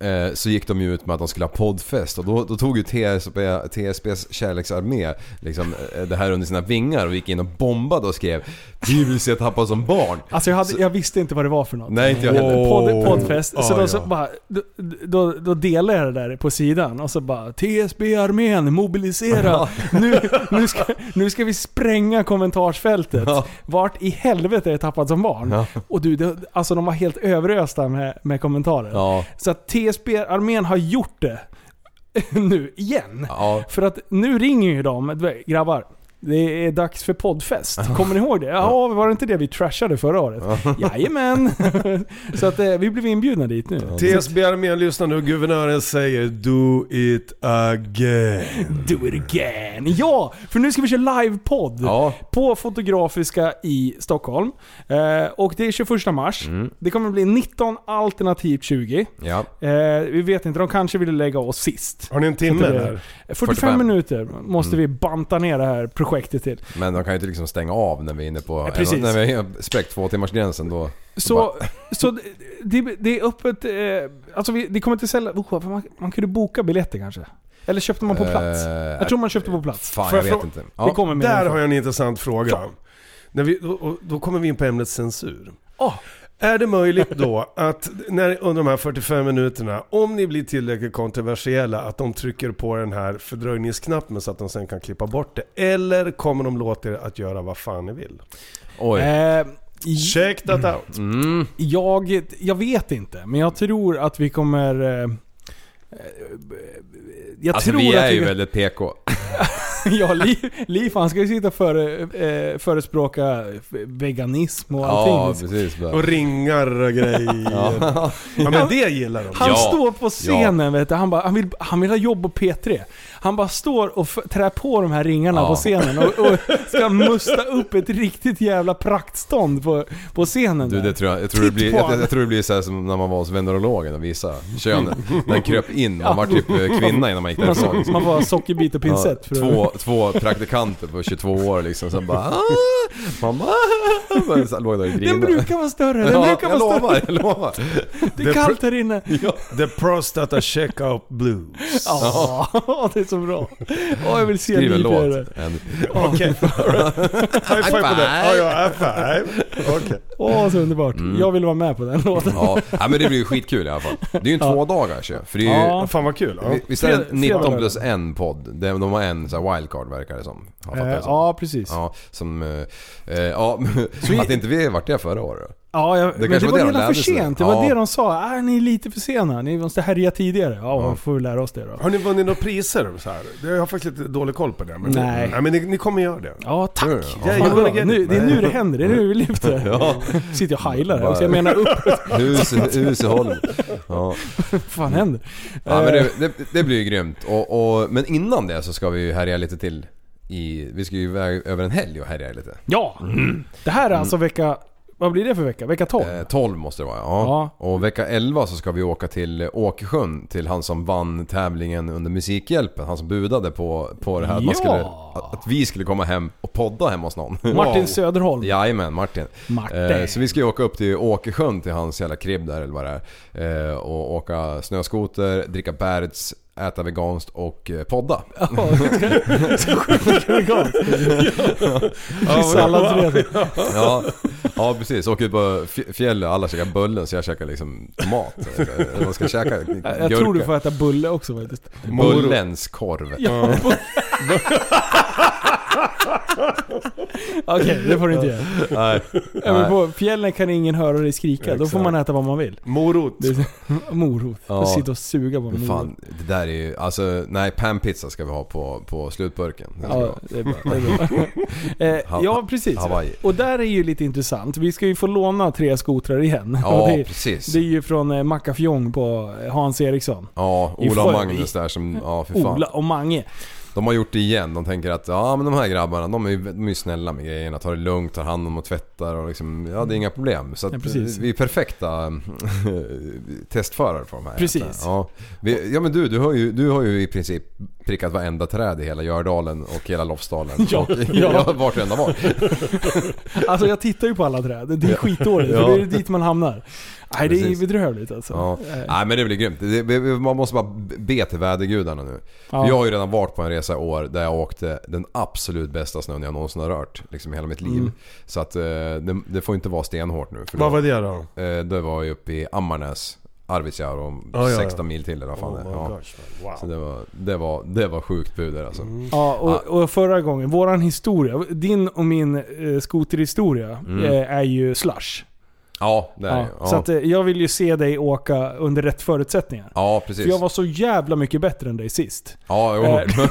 eh, så gick de ju ut med att de skulle ha poddfest och då, då tog ju TSB, TSBs kärleksarmé liksom, eh, det här under sina vingar och gick in och bombade och skrev Vi vill se Tappa som barn. Alltså jag, hade, jag visste inte vad det var för något. Nej inte jag heller. Wow. Podd, poddfest. så Ja, då, ja. så bara, då, då, då delade jag det där på sidan och så bara TSB-armén mobilisera. nu, nu, ska, nu ska vi spränga kommentarsfältet. Ja. Vart i helvete är jag tappad som barn? Ja. Och du, det, alltså de var helt överösta med, med kommentarer. Ja. Så att TSB-armén har gjort det nu igen. Ja. För att nu ringer ju de. Du vet, Grabbar, det är dags för poddfest. Kommer ni ihåg det? Ja, var det inte det vi trashade förra året? Jajamän! Så att eh, vi blev inbjudna dit nu. TSB-armén lyssnar nu, guvernören säger Do it again. Do it again! Ja! För nu ska vi köra livepodd. Ja. På Fotografiska i Stockholm. Eh, och det är 21 mars. Det kommer bli 19 alternativt 20. Ja. Eh, vi vet inte, de kanske ville lägga oss sist. Har ni en timme Det- där? 45, 45. minuter måste vi banta ner det här projektet till. Men de kan ju inte liksom stänga av när vi är inne på... precis. när vi har spräckt två timmars gränsen då. Så, så det- det, det är öppet... Eh, alltså vi, det kommer inte sälja... Oh, man, man kunde boka biljetter kanske? Eller köpte man på plats? Eh, jag tror man köpte på plats. Fan Får jag jag vet frå- inte. Det kommer med. Där info. har jag en intressant fråga. Ja. När vi, då- och då kommer vi in på ämnet censur. Ah, Är det möjligt då att när, under de här 45 minuterna, om ni blir tillräckligt kontroversiella, att de trycker på den här fördröjningsknappen så att de sen kan klippa bort det? Eller kommer de låta er att göra vad fan ni vill? Oj. eh, Check that out. Mm. jag, jag vet inte, men jag tror att vi kommer... Eh, eh, jag Alltså tror vi att är vi, ju väldigt PK. Ja, Liv, Liv han ska ju sitta och före, eh, förespråka veganism och allting. Ja liksom. precis. bara. Och ringar och grejer. Ja. men det gillar de. Han Ja. står på scenen vet du, han, bara, han, vill, han vill ha jobb på P3. Han bara står och f- trär på de här ringarna Ja. på scenen och, och ska musta upp ett riktigt jävla praktstånd på, på scenen. Du, där. det tror jag, jag, tror det Titt blir, på jag, honom. Mm. jag tror det blir så här som när man var hos venerologen och visade könet. Den kröp in, man var typ eh, kvinna innan man gick man, därifrån. liksom. så- man får ha sockerbit och Ja, pinsett. för att- två, två praktikanter på 22 år liksom, sen bara "Ah, Mamma! Men så Låg där och Den grinade. brukar vara större, den Ja, brukar jag vara lovar, större. jag lovar. Det är kallt här inne. The Prostata Checkup Blues. Ja, det är så bra. Åh, jag vill se Skriv en Liv göra det. låt. En, Okej. High five på det. Ja, ja, high five. Okej. Åh, så underbart. Jag vill vara med på den låten. Mm. ja. ja, men det blir ju skitkul i alla fall. Det är ju en två dagar ju. För det är ju, Ja. Fan vad kul. Ja. vi- Visst är det Fredag- 19 fredag. plus en podd? De de har en så här wildcard verkar det som. Har jag fattat Eh, det som. Ja, precis. Ja, som... eh, eh, Ja, att inte vi vart det förra året. Ja, jag, men det kanske var var det det de redan för lärde sig. sent. Det Ja. var det de sa. Ah, ni är lite för sena. Ni måste härja tidigare. Ja, Ja. vi får vi lära oss det då. Har ni vunnit några priser? Så här? Jag har faktiskt lite dålig koll på det. Men Nej. men ni, ni kommer göra det. Ja, tack! Gör det? Fan, Ja. Jajamän. vad bra. nu, det är nu det händer, det är nu vi lyfter. Sitter jag och heilar här också. Jag menar upp, Hus, hus i Holm. Ja. vad fan händer? Ja, men det, det, det blir ju grymt. Och, och, men innan det så ska vi ju härja lite till. I, vi ska ju iväg över en helg och härja lite. Ja! Det här är alltså vecka... Vad blir det för vecka? Vecka 12? Mm. Eh, 12 måste det vara ja. Och vecka 11 så ska vi åka till Åkersjön till han som vann tävlingen under Musikhjälpen. Han som budade på, på det här att, man Ja. skulle, att, att vi skulle komma hem och podda hemma hos någon. Martin Söderholm. Jajamän, Martin. Martin. Eh, så vi ska ju åka upp till Åkersjön till hans jävla kribb där eller vad det är. Eh, och åka snöskoter, dricka bärts, äta veganskt och eh, podda. Salladsredan. Ja, ja precis. Åker ut på fj- fjället och alla käkar bullen så jag käkar liksom tomat. Eller vad ska jag käka? Jag tror du får äta bulle också faktiskt. Bullens korv. Ja. bu- Okej, det får du inte göra. Nej. Även Nej. på fjällen kan ingen höra dig skrika. Då får man äta vad man vill. Morot. Det är morot. Ja. Sitta och suga på en Men morot. Fan, det där är ju... Alltså, nej, panpizza ska vi ha på, på slutburken. Den ska vi Ja, ha. det är bra. Det är bra. Eh, ja, precis. Hawaii. Och där är ju lite intressant. Vi ska ju få låna tre skotrar igen. Och Ja, det, precis. det är ju från eh, Mackafjong på eh, Hans Eriksson. Ja, I Ola och sjö- Magnus där som... Ja, för fan. Ola och Mange. De har gjort det igen. De tänker att ja men de här grabbarna de är ju, de är ju snälla med grejerna. Tar det lugnt, tar hand om och tvättar och liksom, ja det är inga problem. Så att, Ja, precis. vi är perfekta mm, testförare för de här. Precis. egentligen. Ja, vi, ja men du, du har, ju, du har ju i princip prickat varenda träd i hela Gördalen och hela Lofsdalen. Ja, och, ja. vart du än har varit. Alltså jag tittar ju på alla träd. Det är skitdåligt. för Ja. Det är ju dit man hamnar. Nej, det är Precis. bedrövligt alltså. Ja. Eh, Nej men det blir grymt. Det, vi- vi- man måste bara be till vädergudarna nu. Ja. Jag har ju redan varit på en resa i år där jag åkte den absolut bästa snön jag någonsin har rört. Liksom i hela mitt liv. Så att eh, det, det får inte vara stenhårt nu. För då- Vad var det då? Eh, då var jag uppe i Ammarnäs, Arvidsjaur och Ja, ja, 16 ja. mil till eller vad fan Oh det my är. ja. gosh, man. Så Wow. det var, det var, det var sjukt puder alltså. Ja, och, och förra gången, våran historia, din och min eh, skoterhistoria Mm. eh, är ju slush. Ja, det är Ja, det ja. Så att, eh, jag vill ju se dig åka under rätt förutsättningar. ja, precis. För jag var så jävla mycket bättre än dig sist. Ja, jo. Eh,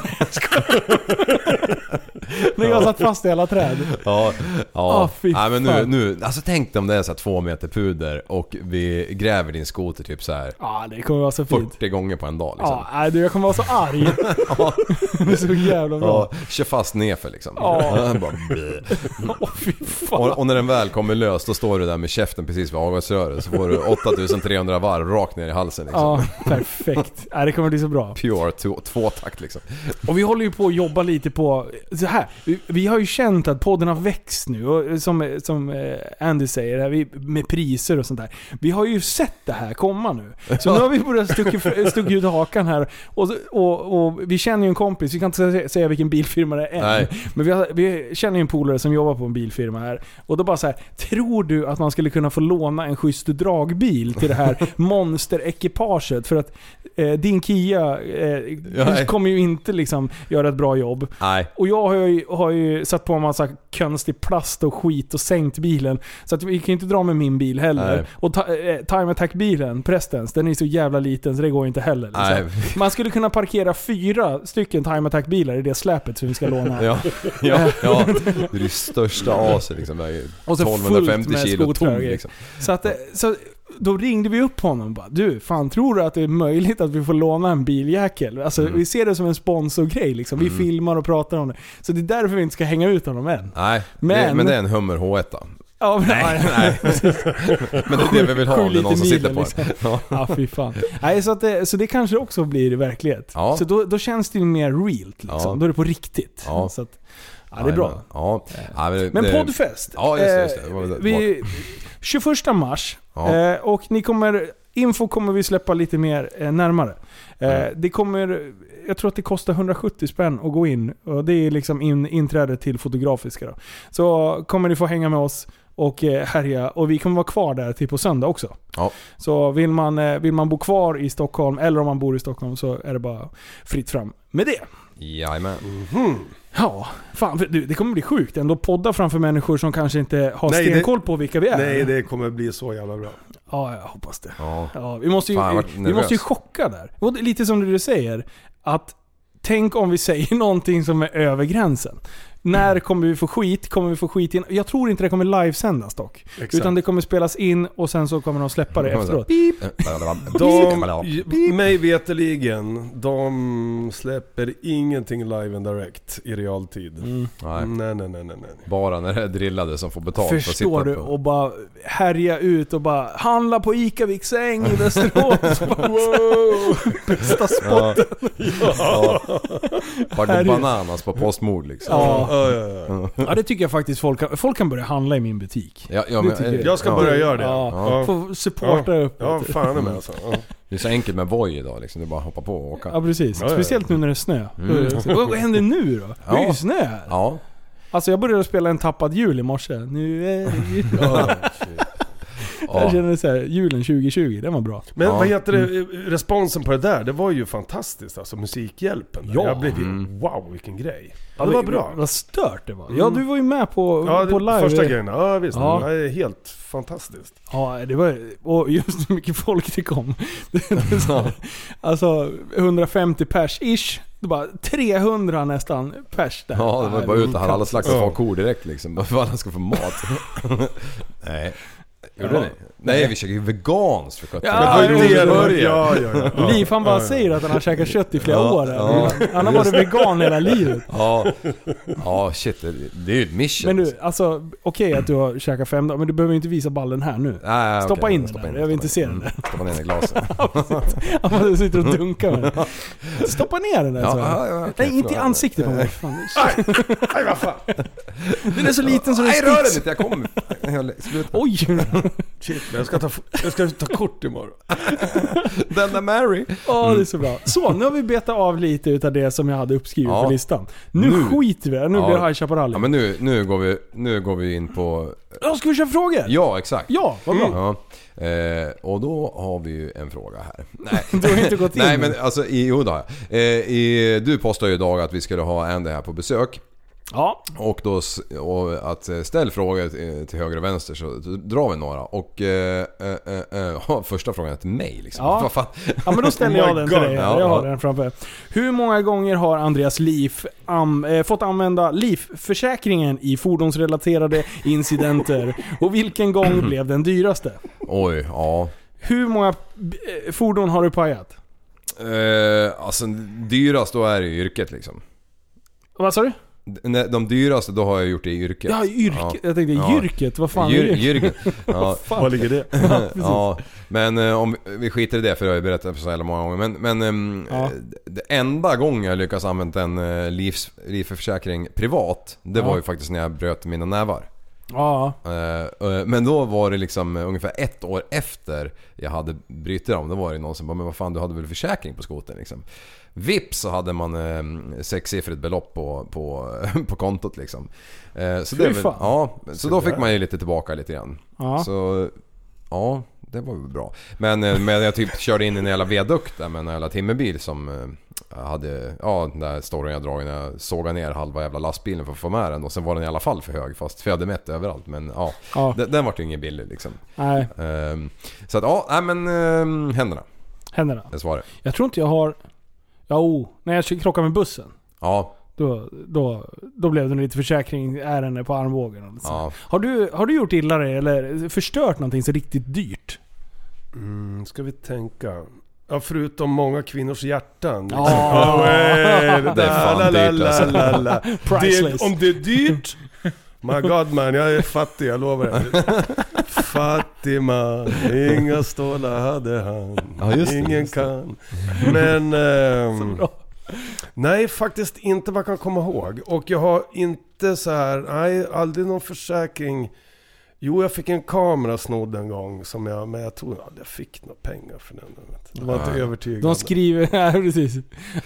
När jag satt fast i alla träd. ja, Ah, ja. fy Nej, men nu, fan. nu, alltså tänk dig om det är så här två meter puder och vi gräver din skoter typ så här Ja, det kommer vara så fint. 40 gånger på en dag liksom. Ja, nej, du, jag kommer vara så arg. det är så jävla bra. Ja, kör fast nerför liksom. Ja. Bara, bleh. Åh fy fan. och, och när den väl kommer lös då står du där med käften precis vid avgasröret så får du 8300 varv rakt ner i halsen liksom. Ja, perfekt. Ja, det kommer bli så bra. Pure två- tvåtakt liksom. Och vi håller ju på att jobba lite på... Så här, vi, vi har ju känt att podden har växt nu, och som, som eh, Andy säger, här, vi, med priser och sånt där. Vi har ju sett det här komma nu. Så nu har vi börjat stucka, stucka ut hakan här. Och, och, och vi känner ju en kompis, vi kan inte sä- säga vilken bilfirma det är än. Nej. Men vi, har, vi känner ju en polare som jobbar på en bilfirma här. Och då bara så här, tror du att man skulle kunna få låna en schysst dragbil till det här monsterekipaget? För att eh, din Kia eh, Nej. kommer ju inte liksom göra ett bra jobb. Nej. Och jag har ju, har ju satt på en massa konstig plast och skit och sänkt bilen. Så att vi kan ju inte dra med min bil heller. Nej. Och ta, eh, Time Attack-bilen, Prestens, den är så jävla liten så det går ju inte heller. Liksom. Nej. Man skulle kunna parkera fyra stycken Time Attack-bilar i det släpet som vi ska låna. Ja, ja, ja. Det är det största aset liksom. Det är ju Och så fullt 1250 med kilo skotrar tom och grejer. liksom. Så, att, eh, så då ringde vi upp honom och bara, du, fan tror du att det är möjligt att vi får låna en biljäkel? Alltså Mm. vi ser det som en sponsorgrej liksom. Vi filmar och pratar om det. Så det är därför vi inte ska hänga ut honom än. Nej, men det, Men- men det är en Hummer H1. Ja, men, Nej. Men det är det vi vill ha Sju om det är någon som liter sitter milen, på liksom. den. Ja. Ja, fy fan. Nej, så, att det, så det kanske också blir verklighet. Ja. Så då, då känns det ju mer realt liksom. Ja. Då är det på riktigt. Ja. Så att, ja, det är bra. Ja. Ja, men det- Men det- poddfest. Ja, just det, just det. Eh, Det var väl det. Vi, 21 mars. Ja. Eh, och ni kommer, info kommer vi släppa lite mer eh, närmare. Eh, Det kommer, jag tror att det kostar 170 spänn att gå in. Och det är liksom in, inträde till Fotografiska. Då. Så kommer ni få hänga med oss och eh, härja. Och vi kommer vara kvar där till på söndag också. Ja. Så vill man, eh, vill man bo kvar i Stockholm, eller om man bor i Stockholm, så är det bara fritt fram med det. Jajamän. Ja, fan för- du, det kommer bli sjukt ändå. Podda framför människor som kanske inte har Nej, det- stenkoll på vilka vi är. Nej, det kommer bli så jävla bra. Ja, jag hoppas det. Ja. Ja, vi, måste ju, Fan, jag vart vi nervös. måste ju chocka där. Och det är lite som du säger, att tänk om vi säger någonting som är över gränsen. Mm. När kommer vi få skit? Kommer vi få skit in? Jag tror inte det kommer livesändas dock. Exakt. Utan det kommer spelas in och sen så kommer de släppa det Kommer så här, efteråt. Eh, De, j- mig veterligen, de släpper ingenting live and direct i realtid. Mm. Nej, Nej, nej, nej, nej, nej. bara när det är drillade som får betalt för att sitta Förstår du? på- Och bara härja ut och bara handla på ICA Viksäng i Västerås. wow. Bästa spot. Ja. ja. Vart det bananas på Postnord liksom. Ja. Ja, ja, ja. ja, det tycker jag faktiskt folk kan, folk kan börja handla i min butik. Ja, ja, Det tycker jag. Jag ska börja göra det. Ja. Ja. Få supporta upp Ja, lite. fan är med alltså. Ja. Det är så enkelt med Voi idag liksom. Det är bara att hoppa på och Ja åka. precis. Ja, Mm. ja, ja. Speciellt nu när det är snö. Då är det så- Vad vad händer nu då? Det är ju Ja. snö här. Ja. Alltså jag började spela en tappad jul i morse. Nu är det jul. Jag ja. känner såhär, julen 2020, den var bra. Men Ja. vad heter det, Mm. responsen på det där, det var ju fantastiskt alltså. Musikhjälpen. där. Ja. Mm. Jag blev ju, wow vilken grej. Ja, det var bra. Mm. Vad stört det var. Ja du var ju med på, Ja, på det, live. första grejen. Ja, visst. Ja. Det är helt fantastiskt. Ja, det var Och just hur mycket folk det kom. Det är så här, alltså 150 pers-ish. Det var 300 nästan pers där. ja, det var bara ut och hade alla slags Ja. kor direkt liksom. Bara för att alla ska få mat. Nej. Gjorde ni? Nej, vi käkade ju veganskt för sjutton. Ja, Det var ju det det var. Ja, ja, ja. ja. Liv han bara säger att han har käkat kött i flera Ja, år. ja. Han har varit vegan hela livet. Ja, ja shit. Det, det är ju ett mission. Men alltså. du, alltså okej att du har käkat fem dagar, men du behöver ju inte visa ballen här nu. Nej, nej, Stoppa okej, in den där. Jag vill inte se den där. Mm, Stoppa ner den i glaset. Han bara sitter och dunkar med den. Stoppa ner den där Ja, så. ja, ja, okej, Nej, inte i förlåt. ansiktet på mig. Fan, Aj, vad fan. Den är så liten så den Nej, rör den sticks. inte. Jag kommer. Hela- Sluta. Oj! Shit, men jag ska ta, jag ska ta kort imorgon. Den där Mary. Ja, det är så bra. Så, nu har vi betat av lite utav det som jag hade uppskrivet Ja. på listan. Nu, Nu. skiter vi i det. Nu Ja. blir det High Chaparral. Ja Ja, men nu, nu, går vi, nu går vi in på... Ska vi köra frågor? Ja, exakt. Mm. Ja, vad bra. Ja. Eh, och då har vi ju en fråga här. Nej, Du har inte gått in. Nej men alltså, i, jo det har jag. eh, i, Du postade ju idag att vi skulle ha Andy här på besök. Ja. Och då s- och att eh, ställ frågor till- till höger och vänster så drar vi några. Och eh, eh, eh, eh, första frågan är till mig liksom. Ja. Vad fan? Ja men då ställer Oh jag my den God. till dig. Ja, jag har ja. den framför. Hur många gånger har Andreas Liv am, eh, fått använda livförsäkringen i fordonsrelaterade incidenter? Och vilken gång blev den dyraste? Oj, ja. Hur många eh, fordon har du pajat? Eh, alltså dyrast då är det ju yrket liksom. Vad sa du? D- nej, De dyraste då har jag gjort det i yrket. Ja, yrket. Jag tänkte Ja. yrket. Vad fan är Jyr- det? Jürgen. Ja, Var ligger det? ja, men eh, om vi skiter i det för det har jag ju berättat för så jävla många gånger. Men, men ehm, Ja. eh, det enda gången jag lyckas använda en eh, livs, livförsäkring privat, det Ja. var ju faktiskt när jag bröt mina nävar. Ja. Eh, eh, Men då var det liksom eh, ungefär ett år efter jag hade brutit dem. Då var det någon som bara “Men vad fan, du hade väl försäkring på skotern?” liksom. Vips så hade man eh, sexsiffrigt belopp på, på, på kontot liksom. Eh, Så, det är väl, fan. ja, så då fick man ju lite tillbaka lite grann. Ja. Så ja, det var väl bra. Men, eh, men jag typ körde in i en jävla viadukt där med en jävla timmerbil som eh, hade, ja den där storyn jag dragit när jag sågade ner halva jävla lastbilen för att få med den och sen var den i alla fall för hög fast för jag hade mätt överallt men ja. Ja. Den, den vart ju ingen billig liksom. Nej, Ehm, Så att ja, nej men ehm, händerna. händerna. Det svarar Jag tror inte jag har... Ja, oh. När jag krockade med bussen. Ja, Då, då, då blev det lite försäkringsärende på armbågen. Och lite sånt. ja. Har du, har du gjort illa dig eller förstört någonting så riktigt dyrt? Mm, ska vi tänka. Ja, förutom många kvinnors hjärtan. Ja. way, Det är fan la, la, dyrt, la, alltså. la, la. Priceless. Det, om det är dyrt. My God man, jag är fattig, jag lovar er. Fattig man, inga stålar hade han. Ja, just det, Ingen just det. kan. Men... ehm, nej, faktiskt inte vad jag kan komma ihåg. Och jag har inte så här, nej, aldrig någon försäkring. Jo, jag fick en kamera snodd en gång, som jag, men jag tror aldrig jag fick några pengar för den. jag vet. Det var inte Ah. övertygande. De skriver... Ja, precis.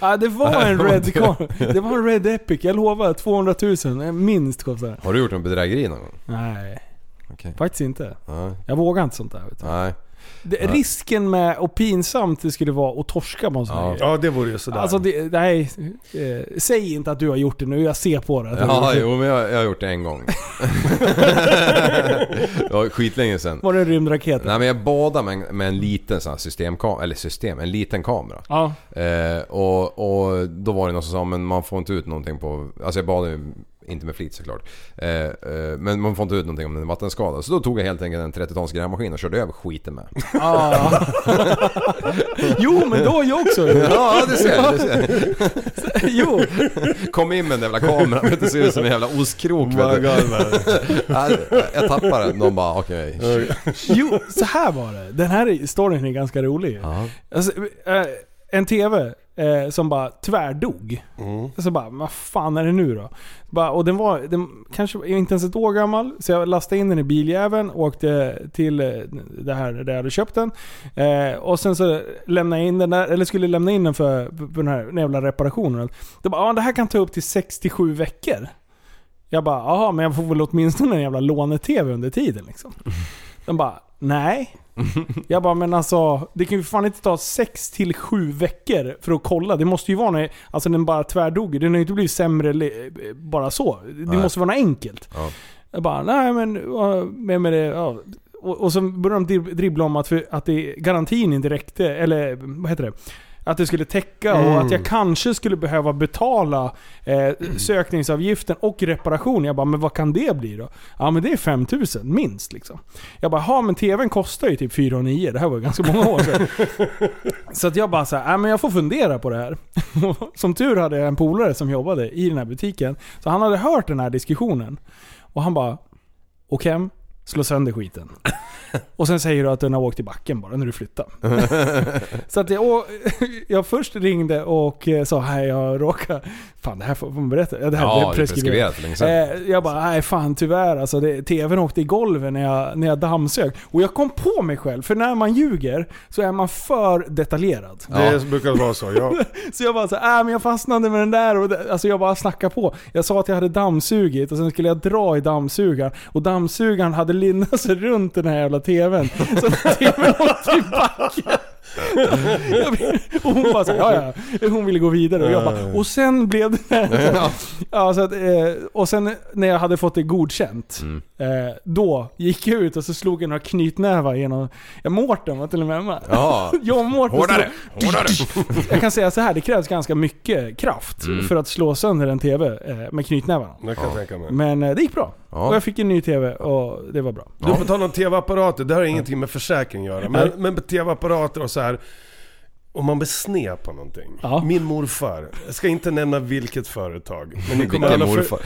Ja, det var en Red Car. Det var en Red Epic. Jag lovar. 200 000 eh, minst kostar det. Har du gjort en bedrägeri någon gång? Nej, Okej. faktiskt inte. Nej. Jag vågar inte sånt där. Vet du. Nej. Det, Risken med och pinsamt det skulle vara att torska på en sån Ja. här grej. Ja, det vore ju sådär. Alltså det, nej, eh, säg inte att du har gjort det nu, jag ser på det. Ja, jo men jag, jag har gjort det en gång. det var skitlänge sen. Var det en rymdraket? Nej men jag badade med en, med en liten sån här systemkamera, eller system, en liten kamera. Ja. Eh, och, och då var det någon som sa men man får inte ut någonting på... Alltså jag badade ju inte med flit såklart. Eh, eh, men man får inte ut någonting om den är vattenskadad. Så då tog jag helt enkelt en 30-tons grävmaskin och körde över skiten med. Ah. jo, men då har jag också gjort. ja det ser jag, det ser jag. Jo. Kom in med den jävla kameran, vet du, ser ut som en jävla ostkrok Oh My vet du. God, man. Ja, Jag tappade den, de bara okej. jo, så här var det. Den här storyn är ganska rolig. Alltså, eh, en TV eh, som bara tvärdog. Mm. Så bara, vad fan är det nu då? Bara, och den var den kanske var inte ens ett år gammal. Så jag lastade in den i biljäveln, åkte till eh, det här där jag hade köpt den. Eh, och sen så lämnade jag in den där, eller skulle lämna in den för, för den här den jävla reparationen. Då bara, ja det här kan ta upp till 67 veckor. Jag bara, jaha men jag får väl åtminstone en jävla låne-TV under tiden liksom. De bara, nej. Jag bara, men alltså det kan ju fan inte ta 6 till 7 veckor för att kolla. Det måste ju vara när, alltså den bara tvärdog. Den har ju inte blivit sämre le- bara så. Det Nej. måste vara något enkelt. Ja. Jag bara, nej men, ja, men med det, ja. Och, och så började de drib- dribbla om att, för, att det, garantin inte räckte, eller vad heter det? Att det skulle täcka och att jag kanske skulle behöva betala eh, sökningsavgiften och reparation. Jag bara, men vad kan det bli då? Ja men det är 5000 minst liksom. Jag bara, ja men tvn kostar ju typ 4 900. Det här var ju ganska många år sedan. så att jag bara så här, "Nej, men jag får fundera på det här. som tur hade jag en polare som jobbade i den här butiken. Så han hade hört den här diskussionen. Och han bara, åk hem, slå sönder skiten. Och sen säger du att den har åkt i backen bara när du flyttar. så att jag, å- jag först ringde och eh, sa, hej jag råkar... Fan det här får får man berätta. Ja, det här Ja, är det är preskriberat för länge sedan. Eh, jag bara, nej fan tyvärr alltså. Det, TVn åkte i golvet när jag, när jag dammsög. Och jag kom på mig själv, för när man ljuger så är man för detaljerad. Det brukar vara så, ja. Så jag bara så här, äh, men jag fastnade med den där och det, alltså jag bara snackade på. Jag sa att jag hade dammsugit och sen skulle jag dra i dammsugaren. Och dammsugaren hade linnat sig runt den här jävla TVn. Så att TVn åkte i backen. och hon bara så här, ja ja. Hon ville gå vidare och jag bara, och sen blev det här. Ja, så att, eh, och sen när jag hade fått det godkänt. Mm. Eh, då gick jag ut och så slog jag några knytnävar genom... Ja, Mårten var till och med med. Ja. Jag och Mårten Hårdare! Hårdare! jag kan säga så här, det krävs ganska mycket kraft för att slå sönder en TV eh, med knytnävarna. Det kan jag tänka Mm. mig. Men eh, det gick bra. Ja. Och jag fick en ny TV och det var bra. Du får ta någon tv-apparater, det här har Mm. ingenting med försäkring att göra. Men, men med tv-apparater och så här. Om man blir sned på någonting. Ja. Min morfar, jag ska inte nämna vilket företag. Men ni, kommer Vilken alla för, morfar.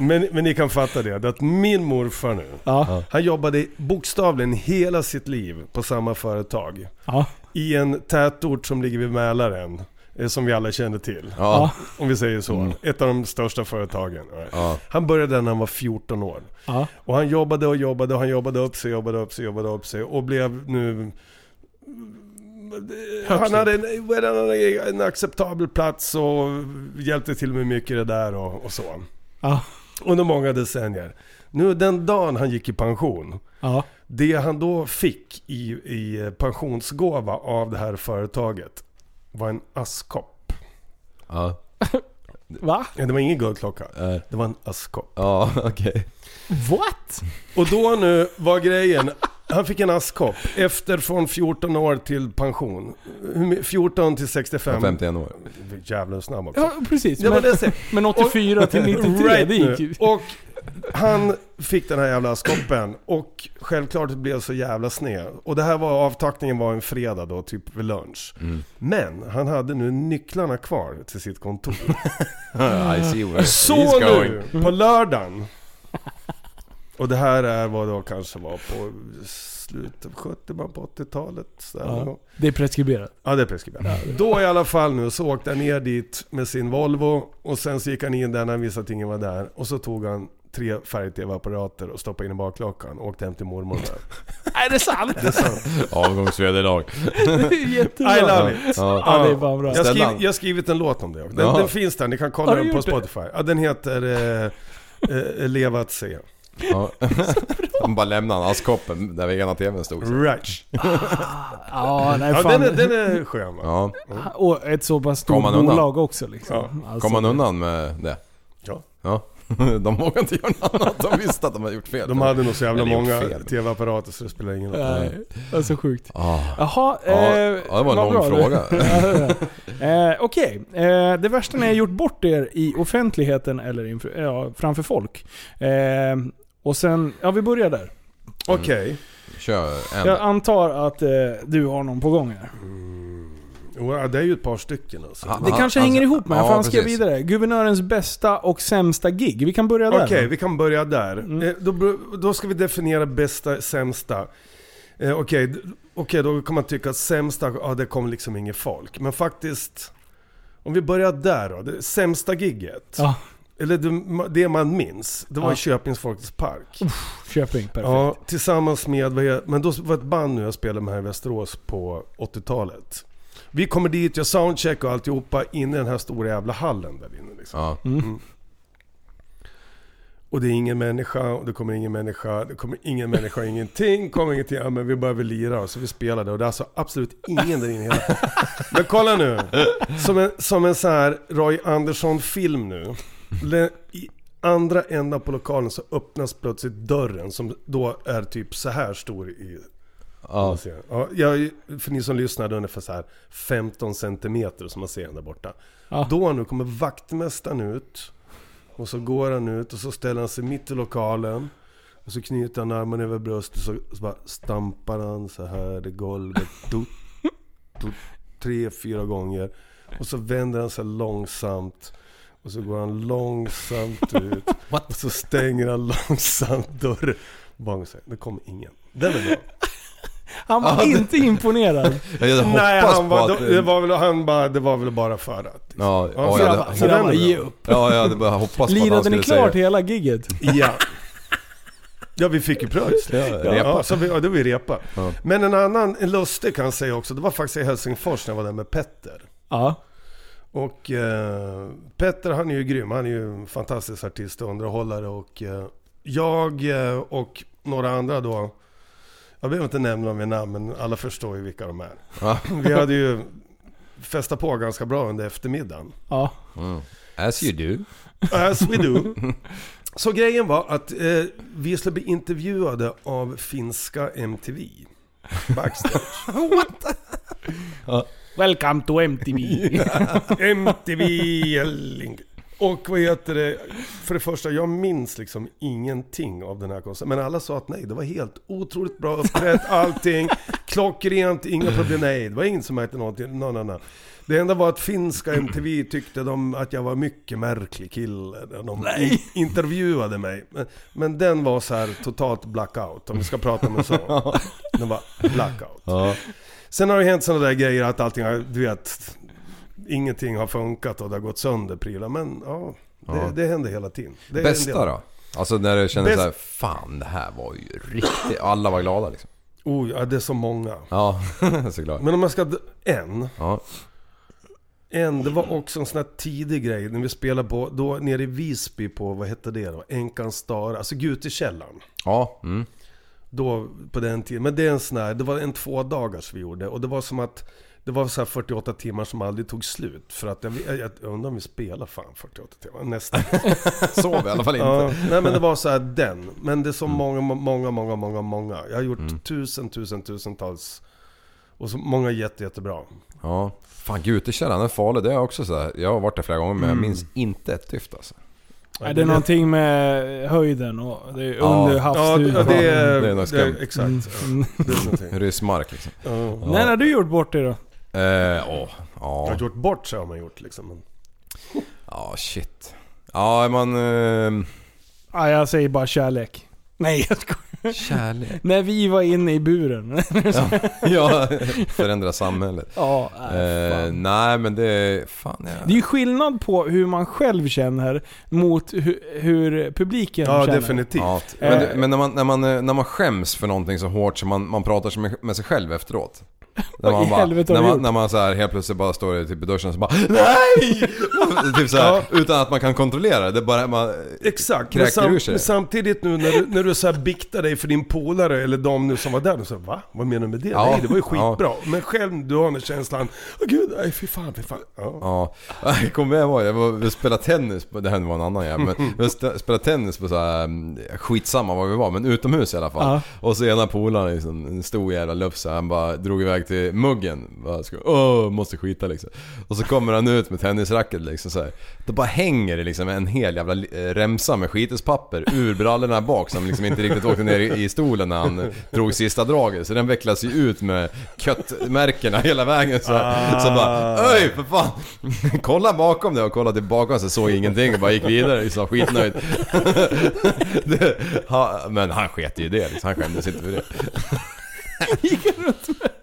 men, men ni kan fatta det. det är Att min morfar nu, Ja. han jobbade bokstavligen hela sitt liv på samma företag. Ja. I en tätort som ligger vid Mälaren. eh, Som vi alla känner till. Ja. Mm. Om vi säger så. Ett av de största företagen. Ja. Han började när han var 14 år. Ja. Och han jobbade och jobbade och han jobbade upp sig, jobbade upp sig, jobbade upp sig och blev nu... Han hade en, vad är det, han hade en acceptabel plats och hjälpte till med mycket i det där och, och så. Ja. Under många decennier. Nu den dagen han gick i pension, Ja. det han då fick i, i pensionsgåva av det här företaget var en askkopp. Ja. Va? Ja, Det var ingen guldklocka, Nej. det var en askkopp. eh, Ja, okej. What? Och då nu var grejen, han fick en askkopp efter från 14 år till pension. Hur my- 14 till 65. 51 år. Jävla snabb också. Ja, precis. Ja, men men, det ser- men 84 till 93, Right det nu. gick ju... Och han fick den här jävla askkoppen och självklart blev så jävla sned. Och det här var avtackningen var en fredag då, typ vid lunch. Men han hade nu nycklarna kvar till sitt kontor. I see where Så nu, på Mm. lördagen. Och det här är vad då kanske var på slutet av 70 början på 80-talet. Så där någon Ja. gång. Det är preskriberat. ja, det är preskriberat. Då i alla fall nu så åkte han ner dit med sin Volvo och sen så gick han in där när han visste att ingen var där. Och så tog han tre färg-tv-apparater och stoppade in i baklockan och åkte hem till mormor där. Är det sant? Det är, Avgångsvederlag. jättebra. I love it! Ja. Ja, det är bara bra. Jag, skriv, Ställa. jag har skrivit en låt om det också. Den, Jaha. den finns där, ni kan kolla Har du den på gjort det? Spotify. Ja, den heter eh, eh, Leva att se. Ja. De bara lämnade askkoppen där vegan-tvn stod. Så. Ratch. Ja, nej Ja, fan. den är, den är skön. va? Ja, Och ett så pass stort Kom man undan? bolag också liksom. Alltså, kom man undan med det? Ja. Ja. De vågade inte göra något annat. De visste att de hade gjort fel. De hade nog så jävla Eller gjort många fel. tv-apparater så det spelar ingen roll. Nej, det är så sjukt. Ah. Jaha, eh, Ja, ja, det var en vad lång bra du. fråga. eh, Okej, eh, det värsta ni har gjort bort er i offentligheten eller inför, ja, framför folk. Eh, och sen, ja vi börjar där. Okej. Kör en. Jag antar att eh, du har någon på gång här. Jo, ja, Det är ju ett par stycken alltså. Han- Det han- kanske han- hänger ihop med, ja, för han skrev precis. vidare. Guvernörens bästa och sämsta gig. Vi kan börja där. Okej, vi kan börja där. Mm. Eh, Då, br- då ska vi definiera bästa, sämsta. Eh, Okej, d- okej, då kan man tycka att sämsta, ja det kom liksom inget folk. Men faktiskt, om vi börjar där då. Det sämsta gigget, Ja, eller det, ma- det man minns, det var Ja. i Köpings Folkets Park. Köping. Perfekt. Ja, tillsammans med, vad heter- men då var det ett band nu jag spelade med här i Västerås på 80-talet. Vi kommer dit, jag soundcheck och alltihopa inne i den här stora jävla hallen där inne. Liksom. Ja. Och det är ingen människa, och det kommer ingen människa, det kommer ingen människa, ingenting, kommer ingenting. Ja, men vi bara vill lira och så vi spelade och det är alltså absolut ingen där inne hela Men kolla nu. Som en, som en så här Roy Andersson-film nu. Le, I andra änden på lokalen så öppnas plötsligt dörren som då är typ så här stor i... Ja. Ja, jag, för ni som lyssnar, det är ungefär så här 15 centimeter som man ser den där borta. Ja. Då nu kommer vaktmästaren ut. Och så går han ut och så ställer han sig mitt i lokalen. Och så knyter han armen över bröstet så, så bara stampar han så här i golvet. Tut, tut, tre, fyra gånger. Och så vänder han sig långsamt. Och så går han långsamt ut. What? och så stänger han långsamt dörren. Bakom sig. Det kommer ingen. Den är bra. Han var inte imponerad. Jag hade Nej, hoppats han på var, att... det, var väl, han bara, det var väl bara för att. Ja, Ja, ja, så jag jag Så, hade, så den där är var bra. ge upp. ja, jag hade bara hoppats på att han Lirade skulle ni klart säga... hela gigget? Ja. Ja, vi fick ju pröjs. Ja, repa. ja, så vi, ja, det var ju repa. Men en annan en lustig kan jag säga också, det var faktiskt i Helsingfors när jag var där med Petter. Ja. Och eh, Petter han är ju grym, han är ju en fantastisk artist och underhållare. Och eh, jag eh, och några andra då, jag behöver inte nämna dem vid namn men alla förstår ju vilka de är. Ja. Vi hade ju festat på ganska bra under eftermiddagen. ja. As you do. As we do. Så grejen var att eh, vi skulle bli intervjuade av finska MTV. Backstage. Welcome to MTV. MTV Jelling. Och vad heter det? För det första, jag minns liksom ingenting av den här konserten. Men alla sa att nej, det var helt otroligt bra uppträtt, allting. Klockrent, inga problem. Nej, det var ingen som märkte någonting. No, no, no. Det enda var att finska MTV tyckte de att jag var mycket märklig kille. när De in- intervjuade mig. Men, men den var så här totalt blackout, om vi ska prata med så. Den var blackout. Sen har det hänt sådana där grejer att allting har, du vet, ingenting har funkat och det har gått sönder prylar. Men ja, det, det händer hela tiden. Det är en Bästa del- då? Alltså när du känner Bäst- såhär, fan det här var ju riktigt... Alla var glada liksom. Oh, ja, det är så många. Ja, såklart. Men om jag ska... d- En. Ja. En, det var också en sån här tidig grej när vi spelade på, då nere i Visby på, vad hette det då? Enkan Stara, alltså Gutekällan. Ja, mm. Då på den tiden. Men det är en sån här, det var en två dagars vi gjorde och det var som att det var så här 48 timmar som aldrig tog slut. För att jag, jag, jag undrar om vi spelar fan 48 timmar, nästan. Sov i alla fall inte. Ja, nej men det var så här den. Men det är så många, många, många, många, många. Jag har gjort tusen, tusen, tusentals. Och så många jätte, jättebra. Ja. Fan Gutekällan är farlig. Det är också så här. Jag har varit där flera gånger men jag minns inte ett dyft alltså. Är det någonting med höjden och det är Ja. under Ja, det, havsduken? ja, det är... Det är något det är skumt. Mm. exakt. Ja, det är någonting. Ryssmark liksom. Ja. När har du gjort bort det då? Eh, åh. Jag Ja. har gjort bort sig har man gjort liksom. Men, Ja, shit. Ja, man... ehm, Ah, jag säger bara kärlek. Nej jag skojar. Kärlek. När vi var inne i buren. ja, förändra samhället. ja, äh, Eh, fan. nej men det är... Fan Det jag... är ju skillnad på hur man själv känner mot hu- hur publiken ja, känner. definitivt. Ja, eh, men, det- men när, man, när, man, eh, när man skäms för någonting så hårt så man, man pratar så mycket med sig själv efteråt. När Vad i man, bara, helvete har när du man, gjort? när man så här helt plötsligt bara står typ i duschen och så bara NEJ! typ så här, utan att man kan kontrollera det. det. är Bara man, Exakt, men, Kräker sam, ur sig. men samtidigt nu när du, när du så här biktar dig för din polare eller de nu som var där, du så här, va? Vad menar du med det? Ja, Nej, det var ju ja. skitbra. Men själv, du har den känslan, åh gud, nej fy fan, fy fan. Ja. ja. Jag kommer ihåg, jag var, vi spelade tennis, på, det här var en annan jävel, men vi st- spelade tennis på så här, mm, skitsamma var vi var, men utomhus i alla fall. Och så ena polaren, liksom, en stor jävla lufs, han bara drog iväg till muggen. Bara, ska- Åh, måste skita liksom. Och så kommer han ut med tennisracket liksom så här. Då bara hänger det liksom en hel jävla li- eh, remsa med skitespapper ur brallorna bak som liksom inte riktigt åkte ner i i stolen när han drog sista draget. Så den vecklas ju ut med köttmärkena hela vägen. Så, så bara Ah. Öj för fan! Kolla bakom dig och kolla tillbaka så såg jag ingenting och bara gick vidare liksom skitnöjd. Det, ha, men han sket ju i det liksom. Han skämdes inte för det.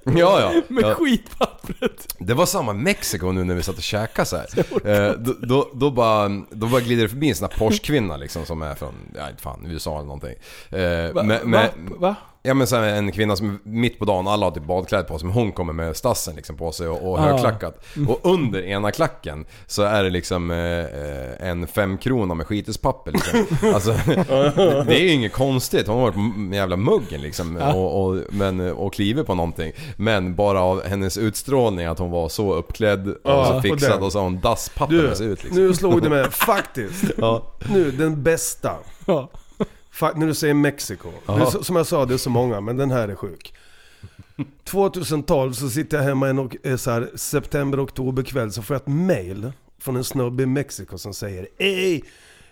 Ja, ja. Med ja. skitpappret. Det var samma Mexiko nu när vi satt och käkade så här. Eh, då, då, då, bara, då bara glider det förbi en sån här Porsche-kvinna liksom som är från, jag vet fan, USA eller någonting. Eh, med- med- Va? Va? Ja men sen en kvinna som mitt på dagen, alla har typ badkläder på sig, men hon kommer med stassen liksom på sig och, och Ah. högklackat. Mm. Och under ena klacken så är det liksom eh, eh, en femkrona med skitespapper liksom. Alltså, det- det är ju inget konstigt, hon har varit på m- jävla muggen liksom och, och, men, och kliver på någonting. Men bara av hennes utstrålning att hon var så uppklädd och Ja, så och fixad den. och så har hon dasspapper Du, med sig ut liksom. nu slog det mig, faktiskt. Ja. Nu, den bästa. Ja. Fa- när du säger Mexiko. Nu, så- som jag sa, det är så många, men den här är sjuk. 2012 så sitter jag hemma en och, eh, så här, september, oktober kväll så får jag ett mail från en snubbe i Mexiko som säger Ey!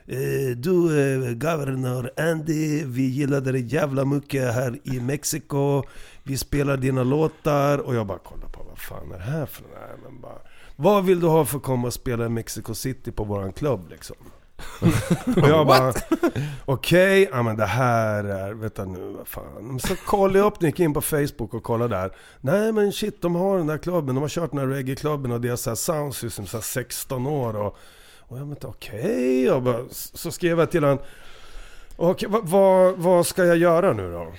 eh, Du eh, governor Andy, vi gillade dig jävla mycket här i Mexiko. Vi spelar dina låtar och jag bara kollar på vad fan är det här för nej, men bara, Vad vill du ha för att komma och spela i Mexico City på våran klubb liksom? Och jag bara, okej, ja men det här är, vänta nu, vad fan. Så kollade jag upp, gick in på Facebook och kollade där. Nej men shit, de har den där klubben, de har kört den här reggae-klubben och deras så här soundsystem, så här 16 år och... Och jag tänkte okej, jag bara, så skrev jag till honom. Okej, vad, vad, vad ska jag göra nu då?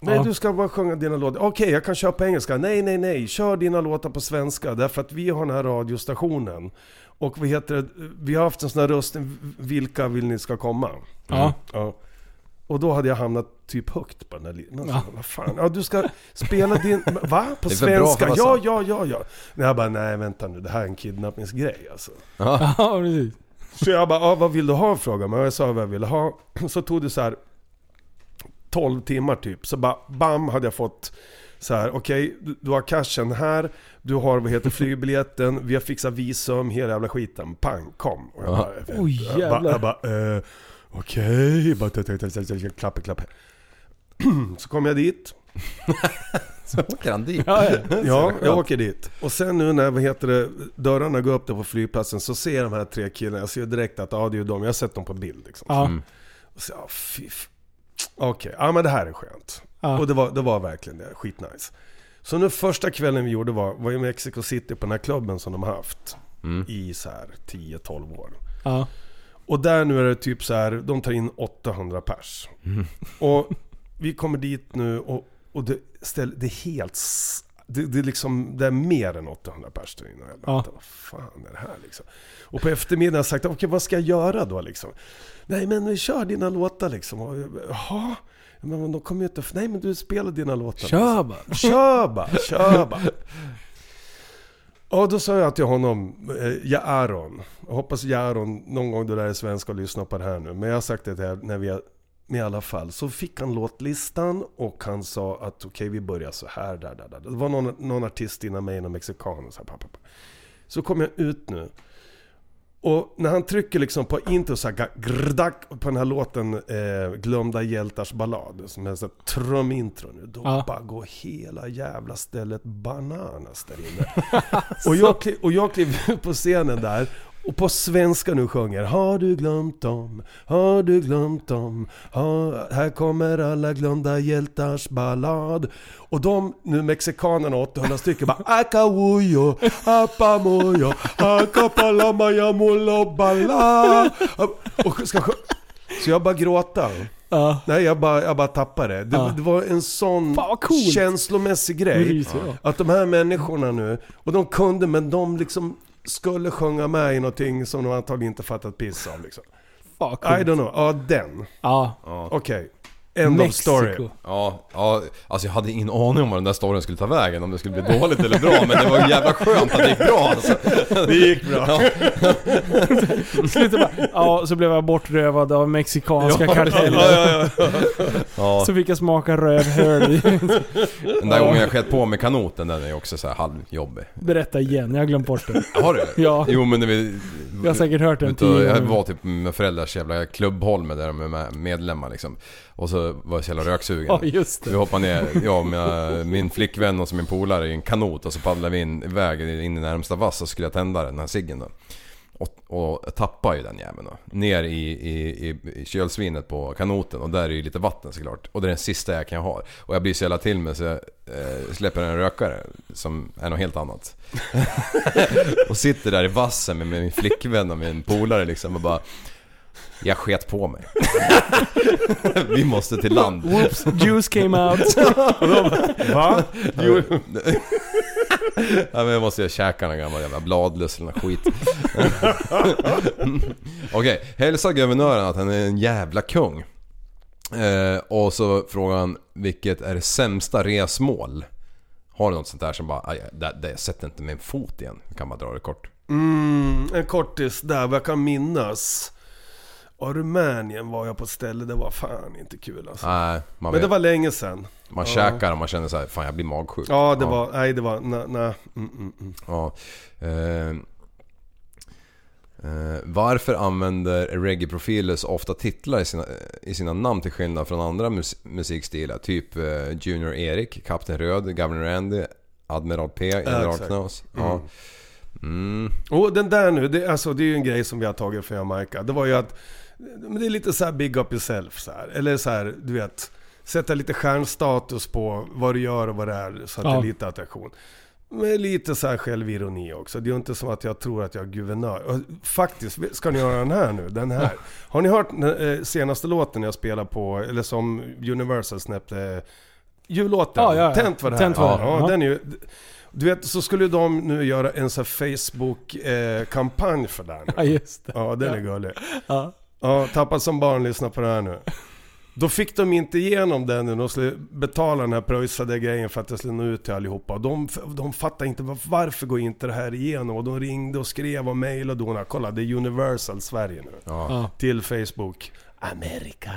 Nej, Ja. du ska bara sjunga dina låtar. Okej, jag kan köra på engelska. Nej, nej, nej. Kör dina låtar på svenska. Därför att vi har den här radiostationen. Och vi, heter, det? vi har haft en sån här röst, vilka vill ni ska komma? Ja. Ja. Och då hade jag hamnat typ högt på den här listan. Ja. Vad fan, ja, du ska spela din... Va? På Det är för bra för svenska? att vara Ja, sant. ja, ja, ja. Men jag bara, nej vänta nu, det här är en kidnappningsgrej alltså. Ja, precis. Så jag bara, ah, vad vill du ha? frågade mig. Och jag sa vad jag ville ha. Så tog det så här 12 timmar typ. Så bara, bam hade jag fått så här, okej, du, du har cashen här, du har vad heter flygbiljetten, vi har fixat visum, hela jävla skiten. Pang, kom. Och jag bara, jag vet- Oj, jag bara, jävlar. jag bara eh, okej, Bara, t- t- t- t- t- klapp, klapp. Så kom jag dit. Så åker han dit. Ja, ja. Ja, jag åker dit. Och sen nu när vad heter det, dörrarna går upp där på flygplatsen så ser jag de här tre killarna. Jag ser ju direkt att ja, det är ju de. Jag har sett dem på bild. Liksom. ja. Och så, ja, fy f- Okej, ja men det här är skönt. Ja. Och det var, det var verkligen det. Skitnice. Så nu första kvällen vi gjorde var, var i Mexico City på den här klubben som de har haft. I så här 10-12 år. ja. Och där nu är det typ så här, de tar in 800 pers. Mm. Och vi kommer dit nu och, och det, ställ, det är helt... s- Det, det, är liksom, det är mer än 800 pers där inne. Jag bara, Ja. Vad fan är det här liksom? Och på eftermiddagen har jag sagt, okej vad ska jag göra då liksom? Nej men vi kör dina låtar liksom. Och jag bara, Jaha? Men men de kommer ju inte... Nej men du spelar dina låtar. Kör bara. Kör bara, kör bara. Och då sa jag till honom, eh, ja Aron. Jag hoppas Jaron någon gång du lär dig svenska och lyssnar på det här nu. Men jag har sagt det här när vi har, men i alla fall. Så fick han låtlistan och han sa att okej vi börjar så här, där, där, där. Det var någon, någon artist innan mig, någon mexikan och så här, pa, pa, pa. Så kom jag ut nu. Och när han trycker liksom på intro så här, ga- grrdack, på den här låten eh, Glömda hjältars ballad, som är så här trumintro nu. Då Ja. bara går hela jävla stället bananas där inne. och, jag kliv, och jag kliver ut på scenen där och på svenska nu sjunger Har du glömt dem? Har du glömt dem? Har, här kommer alla glömda hjältars ballad. Och de, nu mexikanerna, 800 stycken bara Akawuyo, apamoyo, akapalamaya bala. Och ska sjö- Så jag bara gråta. Ja. Nej, jag bara, jag bara tappade det. Det, Ja. det var en sån Fan, vad coolt. känslomässig Det grej. ryser jag. Att de här människorna nu, och de kunde men de liksom skulle sjunga med i någonting som de antagligen inte fattat piss av. Liksom. Fan, vad I coolt. don't know, ja den. Ja. Okej. End of story. Mexiko. Ja, ja, alltså jag hade ingen aning om vad den där storyn skulle ta vägen, om det skulle bli dåligt eller bra, men det var jävla skönt att det gick bra alltså. Det gick bra. Ja, Slutet bara, ja, så blev jag bortrövad av mexikanska Ja. karteller. ja. Så fick jag smaka rövhöl. i- Den där gången jag skett på med kanoten, den är också så här halvjobbig. Berätta igen, jag har glömt bort det. Har du? Ja. Jo men när vi... Jag har säkert hört den Vet du, tio Jag gånger. var typ med mina föräldrars jävla klubbholme där de är med- medlemmar liksom. Och så var jag så jävla röksugen. Ja, just det. Vi hoppade ner, jag och mina, min flickvän och så min polare i en kanot och så paddlade vi in, iväg in i närmsta vass och skulle tända den här ciggen då. Och, och tappade ju den jäveln då. Ner i, i, i, i kölsvinet på kanoten och där är ju lite vatten såklart. Och det är den sista jag kan ha. Och jag blir så jävla till mig så jag eh, släpper en rökare som är något helt annat. och sitter där i vassen med min flickvän och min polare liksom och bara... Jag sket på mig. Vi måste till land. Whoops, juice came out. Va? Jo. ja, men jag måste ju käka någon gammal jävla bladlöss eller någon skit. Okej, hälsa guvernören att han är en jävla kung. Eh, och så frågar han vilket är det sämsta resmål? Har du något sånt där som bara, aj, där, där jag sätter inte min fot igen. Jag kan bara dra det kort. Mm, en kortis där, vad jag kan minnas. Och Rumänien var jag på ett ställe, det var fan inte kul alltså. Nej, man, Men det vet, var länge sedan. man käkar och man känner så här, fan jag blir magsjuk. Ja, det var, nej det var, nej, nej. Mm, mm, mm. Ja. Eh, eh, varför använder reggae-profiler så ofta titlar i sina, i sina namn till skillnad från andra mus- musikstilar? Typ eh, Junior Erik, Kapten Röd, Governor Andy, Admiral P, General exakt. Knas. Ja. Mm. Och den där nu, det, alltså, det är ju en grej som vi har tagit från Jamaica. Det var ju att, men det är lite så här big up yourself så här. Eller så här, du vet, sätta lite stjärnstatus på vad du gör och vad det är så att det Ja. är lite attraktion. Med lite så här självironi också. Det är ju inte som att jag tror att jag är guvernör. Och faktiskt, ska ni höra den här nu? Den här. Har ni hört den eh, senaste låten jag spelar på, eller som Universal släppte? Jullåten. Ja, ja, ja. Tänt var det här. Tänt var det. Ja, Ja. den är ju, du vet, så skulle ju de nu göra en sån här Facebook-kampanj för det här Ja, nu. just det. Ja, den är gullig. Ja. Ja, tappad som barn, lyssna på det här nu. Då fick de inte igenom den nu, de skulle betala den här pröjsade grejen för att det skulle nå ut till allihopa. Och De, de fattade inte var- varför går inte det här igenom? Och de ringde och skrev och mejlade och donade. Kolla, det är Universal Sverige nu. Ja. Till Facebook. Amerika.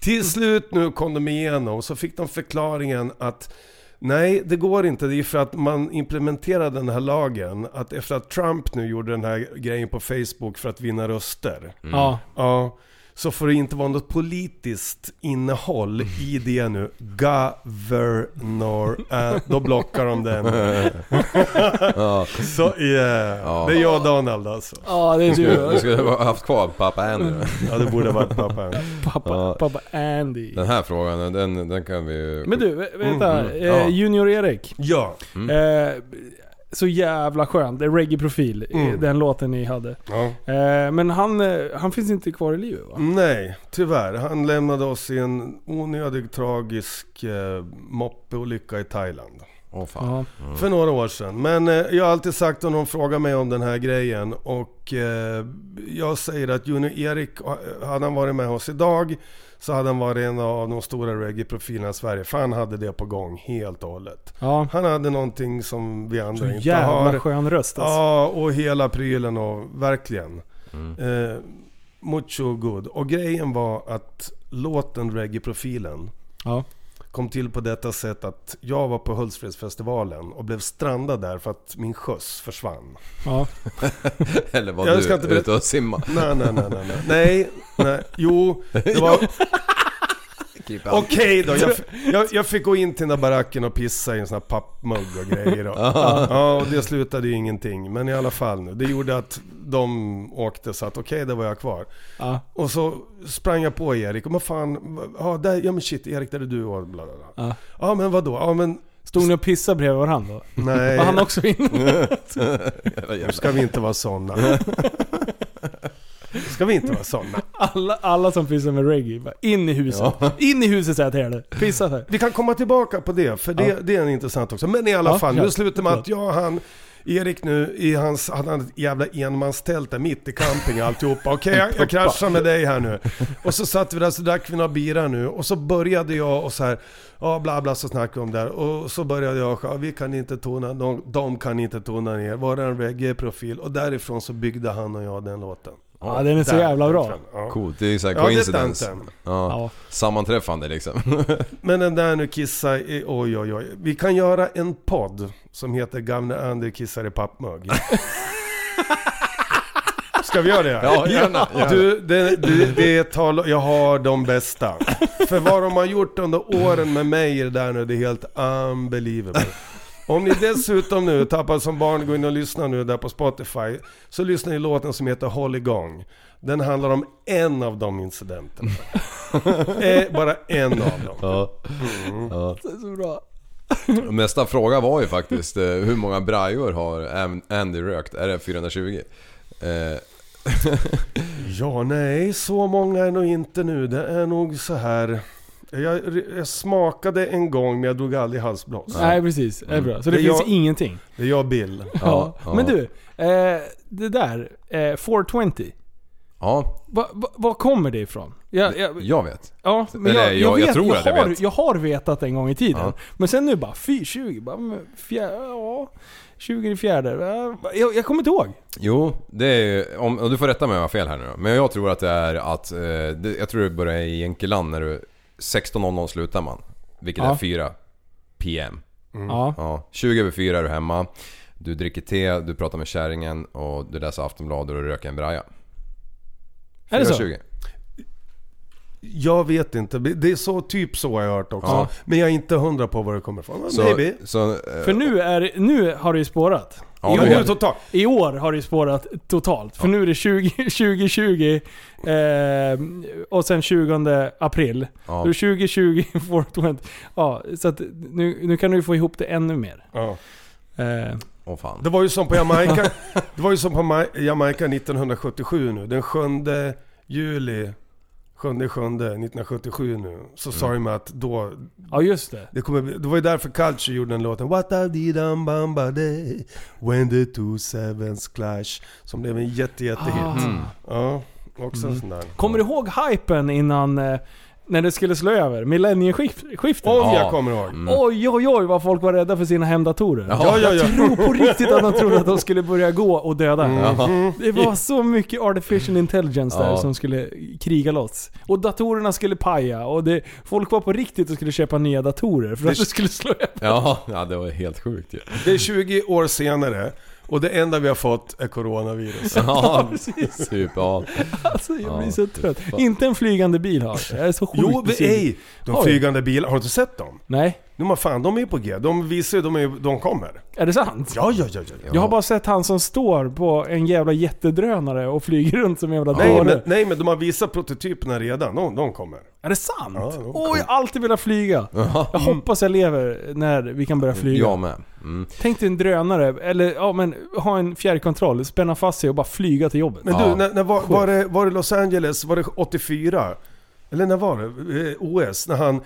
Till slut nu kom de igenom så fick de förklaringen att nej, det går inte. Det är för att man implementerade den här lagen att efter att Trump nu gjorde den här grejen på Facebook för att vinna röster. Mm. Ja. Ja, så får det inte vara något politiskt innehåll i det nu. Governor. Äh, då blockar de den. så yeah. Det är jag och Donald alltså. ja, det är Du du. skulle ha haft kvar pappa Andy då. Ja, det borde varit pappa. Pappa, pappa Andy. Den här frågan, den, den kan vi ju... Men du, vä- vänta. Ja. Mm. Eh, Junior Erik. Ja. Eh, så jävla skönt. Det är Reggae-profil, eh, Mm. den låten ni hade. ja. Eh, men han, eh, han finns inte kvar i livet va? Nej, tyvärr. Han lämnade oss i en onödig tragisk eh, moppeolycka i Thailand. Åh, fan. Ja. För några år sedan. Men eh, jag har alltid sagt om någon frågar mig om den här grejen och eh, jag säger att Junior Erik, eh, hade han varit med oss idag så hade han varit en av de stora reggae-profilerna i Sverige. För han hade det på gång helt och hållet. ja. Han hade någonting som vi andra Så inte jävla har. skön röst alltså. Ja, och hela prylen och verkligen. Eh, mucho good. Och grejen var att låten Reggae-profilen Ja. kom till på detta sätt att jag var på Hultsfredsfestivalen och blev strandad där för att min skjuts försvann. Ja. Eller var Jag du ska inte ute berätta- och simma? Nej, nej, nej, nej, nej. Nej, nej. Jo, det var... Okej då, jag, jag, jag fick gå in till den där baracken och pissa i en sån här pappmugg och grejer. Och, ja, och det slutade ju ingenting. Men i alla fall nu. Det gjorde att de åkte så att okej, där var jag kvar. Ja. Och så sprang jag på Erik och men fan, ja, där, ja men shit Erik där är du och bla bla bla. Ja. Ja, men vadå? Ja men Stod ni och pissade bredvid varandra då? nej. Var han också inne? Jävla- Nu ska vi inte vara sådana. Ska vi inte vara sådana? Alla, alla som pysslar med reggae, bara in i huset. In i huset säger jag till er. Pissa här. Vi kan komma tillbaka på det, för det, det är en intressant också. Men i alla Ja, fall, kör. nu slutar med att jag och han, Erik nu, i hans, han hade ett jävla enmanstält där mitt i camping och alltihopa. Okej, jag, jag kraschar med dig här nu. Och så satt vi där, så drack vi några bira nu. Och så började jag och så här, ja bla bla så snackade vi om det här. Och så började jag, ja, vi kan inte tona, de, de kan inte tona ner. Var det en reggae-profil? Och därifrån så byggde han och jag den låten. Ja, den är så jävla bra. Ja. Coolt, det är ju såhär Ja, det är coincidence. tanten. Ja, Ja. sammanträffande liksom. Men den där nu kissa i, oj oj oj. Vi kan göra en podd som heter Gamle Ander kissar i pappmugg. Ska vi göra det? Ja, gärna, gärna. Du, det, du, det är tal, jag har de bästa. För vad de har gjort under åren med mig i det där nu, det är helt unbelievable. Om ni dessutom nu, tappar som barn, går in och lyssnar nu där på Spotify, så lyssnar ni låten som heter Håll igång. Den handlar om en av de incidenterna. Eh, Bara en av dem. Ja. Ja. Nästa fråga var ju faktiskt eh, hur många brajor har An- Andy rökt? Är det 420? Eh, Ja, nej, så många är nog inte nu. Det är nog så här. Jag, jag smakade en gång men jag drog aldrig halsblås. Nej, precis. Det är bra. Så det Det finns jag- ingenting. Det är jag och Bill. Ja. ja. Men du, eh, det där. Eh, 420. ja, Va, va, var kommer det ifrån? Jag, jag, jag vet. ja, men eller jag, jag- jag, jag vet, tror jag, att jag har, vet. jag har vetat en gång i tiden. Ja. Men sen nu bara 420. Bara, men fjär, ja, 20 i fjärde. Va, Jag, jag kommer inte ihåg. Jo, det är ju- om, och du får rätta mig om jag har fel här nu då. Men jag tror att det är att, eh, det, jag tror det börjar i Jänkeland när du, 16.00 slutar man. Vilket Ja. är 4 PM. Ja. Ja, 20 över 4 är du hemma. Du dricker te, du pratar med kärringen och du läser Aftonbladet och du röker en braja. Är det så? 4.20. Jag vet inte. Det är så typ så jag har hört också. Ja. Men jag är inte hundra på var det kommer ifrån. Så, Maybe. så, eh, För nu, är, det- nu har det ju spårat. ja, jag nu- borde ta I år har det ju spårat totalt. För nu är det 20 2020 eh, och sen 20 april. Ja. Då är det 2020, 420. Ja, så att nu, nu kan du ju få ihop det ännu mer. Ja. Eh, Åh fan. Det var ju som på Jamaica. det var ju som på Ma- Jamaica 1977 nu. Den 7 juli. 7 7 1977 nu. Så sa Mm. de att då, ja, just det. Det, kommer, bli- det var ju därför Culture gjorde den låten. What a dee dum bam ba day When the two sevens clash. Som blev en jätte, jättehit. Ah. Mm. Ja, också en sån där. Kommer du ihåg hypen innan eh, när det skulle slå över? Millennieskiftet? Om Ja. jag kommer ihåg. Oj, oj, oj vad folk var rädda för sina hemdatorer. Ja, ja, ja. Jag tror på riktigt att de trodde att de skulle börja gå och döda. Det var så mycket artificial intelligence där Ja. som skulle kriga loss. Och datorerna skulle paja och det, folk var på riktigt och skulle köpa nya datorer för att det skulle slå över. Ja, ja, det var helt sjukt ju. Det är 20 år senare och det enda vi har fått är coronavirus. Ja, precis. Typ, ja. Alltså jag blir Ja, så fy trött. fan. Inte en flygande bil har jag. Jag är så sjukt Jo, vi, besviken. ej! De Oj. flygande bilarna, har du inte sett dem? Nej, Nu men fan, de är på G. De visar ju, de, är, de kommer. är det sant? Ja, ja, ja, ja. ja. Jag har bara sett han som står på en jävla jättedrönare och flyger runt som en jävla Nej, dåre. men, nej men de har visat prototyperna redan. De, de kommer. Är det sant? Ja, Åh, det var jag har alltid velat flyga. Jag hoppas jag lever när vi kan börja flyga. Jag med. Mm. Tänk dig en drönare, eller ja men ha en fjärrkontroll, spänna fast sig och bara flyga till jobbet. Men Ja. du, när, när var, var, det, var det Los Angeles, var det 84? Eller när var det? Eh, OS, när han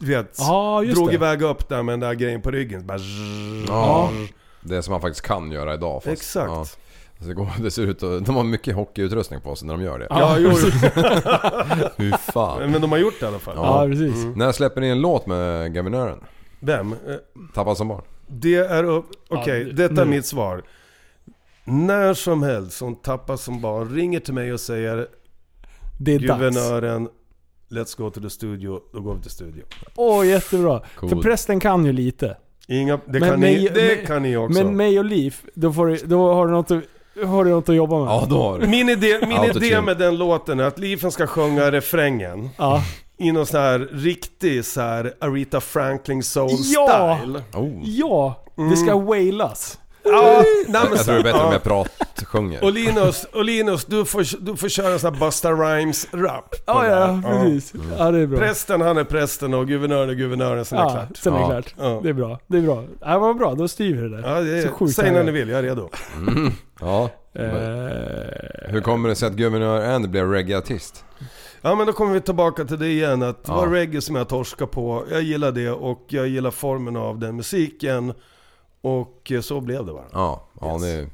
du vet, Ja, just drog det. iväg upp där med den där grejen på ryggen. Bara, Mm, Ja. Det som man faktiskt kan göra idag. Fast, Exakt. Ja. Så det, går, det ser ut att, de har mycket hockeyutrustning på sig när de gör det. Ja, jo, Hur fan. men de har gjort det i alla fall. Ja, precis. Mm. När släpper ni en låt med Gaminören? Vem? Eh, Tappad som barn? Det är upp... Okej, Ja, det- detta är nu. mitt svar. När som helst som tappas som barn ringer till mig och säger Det är dags. guvernören Let's go to the studio, då går vi till studio. Åh, jättebra. Cool. För prästen kan ju lite. Inga, det Men kan, ni, mig- det mig- kan ni också. Men mig och Liv, då, får, du- då har, du något, att- har du något att jobba med. Ja, då har du. Min idé, min Autotune. idé med den låten är att Lifen ska sjunga refrängen Ja. i någon sån här riktig så här Aretha Franklin soul Ja! style. Oh. ja det ska Mm. wailas. Ja! nej, men Jag så- tror det är bättre om ja. jag prat sjunger. Och Linus, och Linus du, får, du får köra en sån här Busta Rhymes-rap. Ja, ja, precis. Ja, det är bra. Prästen han är prästen och guvernören är guvernören, sen är det Ja, klart. sen är det Ja. klart. Ja. Det är bra. Det är bra. Ja, vad bra, då styr vi det där. Ja, det Så är, sjukt säg när taggad. ni vill, jag är redo. Ja. Eh, Hur kommer det sig att Guvernör Andy blev reggaeartist? Ja men då kommer vi tillbaka till det igen att det Ja. var reggae som jag torskade på. Jag gillar det och jag gillar formen av den musiken. Och eh, så blev det bara. Ja, ja Yes. det,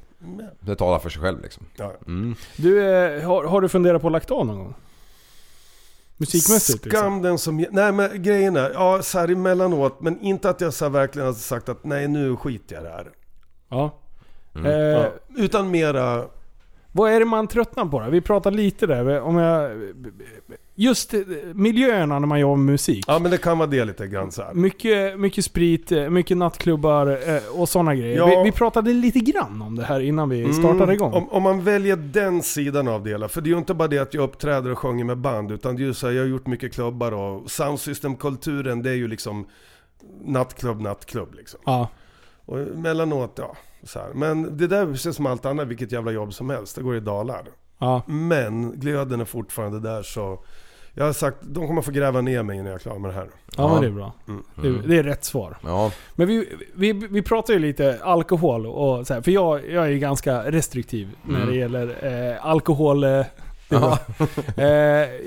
det talar för sig själv liksom. Ja. Mm. du, eh, har, har du funderat på att lagt av någon gång? Musikmässigt? liksom? till exempel. Skam den som... ge- Nej men grejen är, ja så här emellanåt men inte att jag så här verkligen har sagt att nej nu skiter jag i det här. Ja. Ja. Eh, Utan mera... Vad är det man tröttnar på då? Vi pratade lite där om jag... Just eh, miljöerna när man jobbar med musik. Ja men det kan vara det lite grann så Mm, här. Mycket, mycket sprit, eh, mycket nattklubbar eh, och sådana grejer. Ja. Mm, Vi, vi pratade lite grann om det här innan vi startade igång. Om, om man väljer den sidan av det hela. För det är ju inte bara det att jag uppträder och sjunger med band. Utan det är ju så här, jag har gjort mycket klubbar och soundsystemkulturen det är ju liksom nattklubb, nattklubb liksom. Ja. Och emellanåt, ja. Så här. Men det där ser som allt annat, vilket jävla jobb som helst. Det går i dalar. ja. Men glöden är fortfarande där så... Jag har sagt, de kommer få gräva ner mig innan jag är klar med det här. Ja, Ja. men det är bra. Det, det är rätt svar. Ja, Men vi, vi, vi pratar ju lite alkohol och så här, för jag, jag är ju ganska restriktiv när det gäller eh, alkohol. Eh, eh,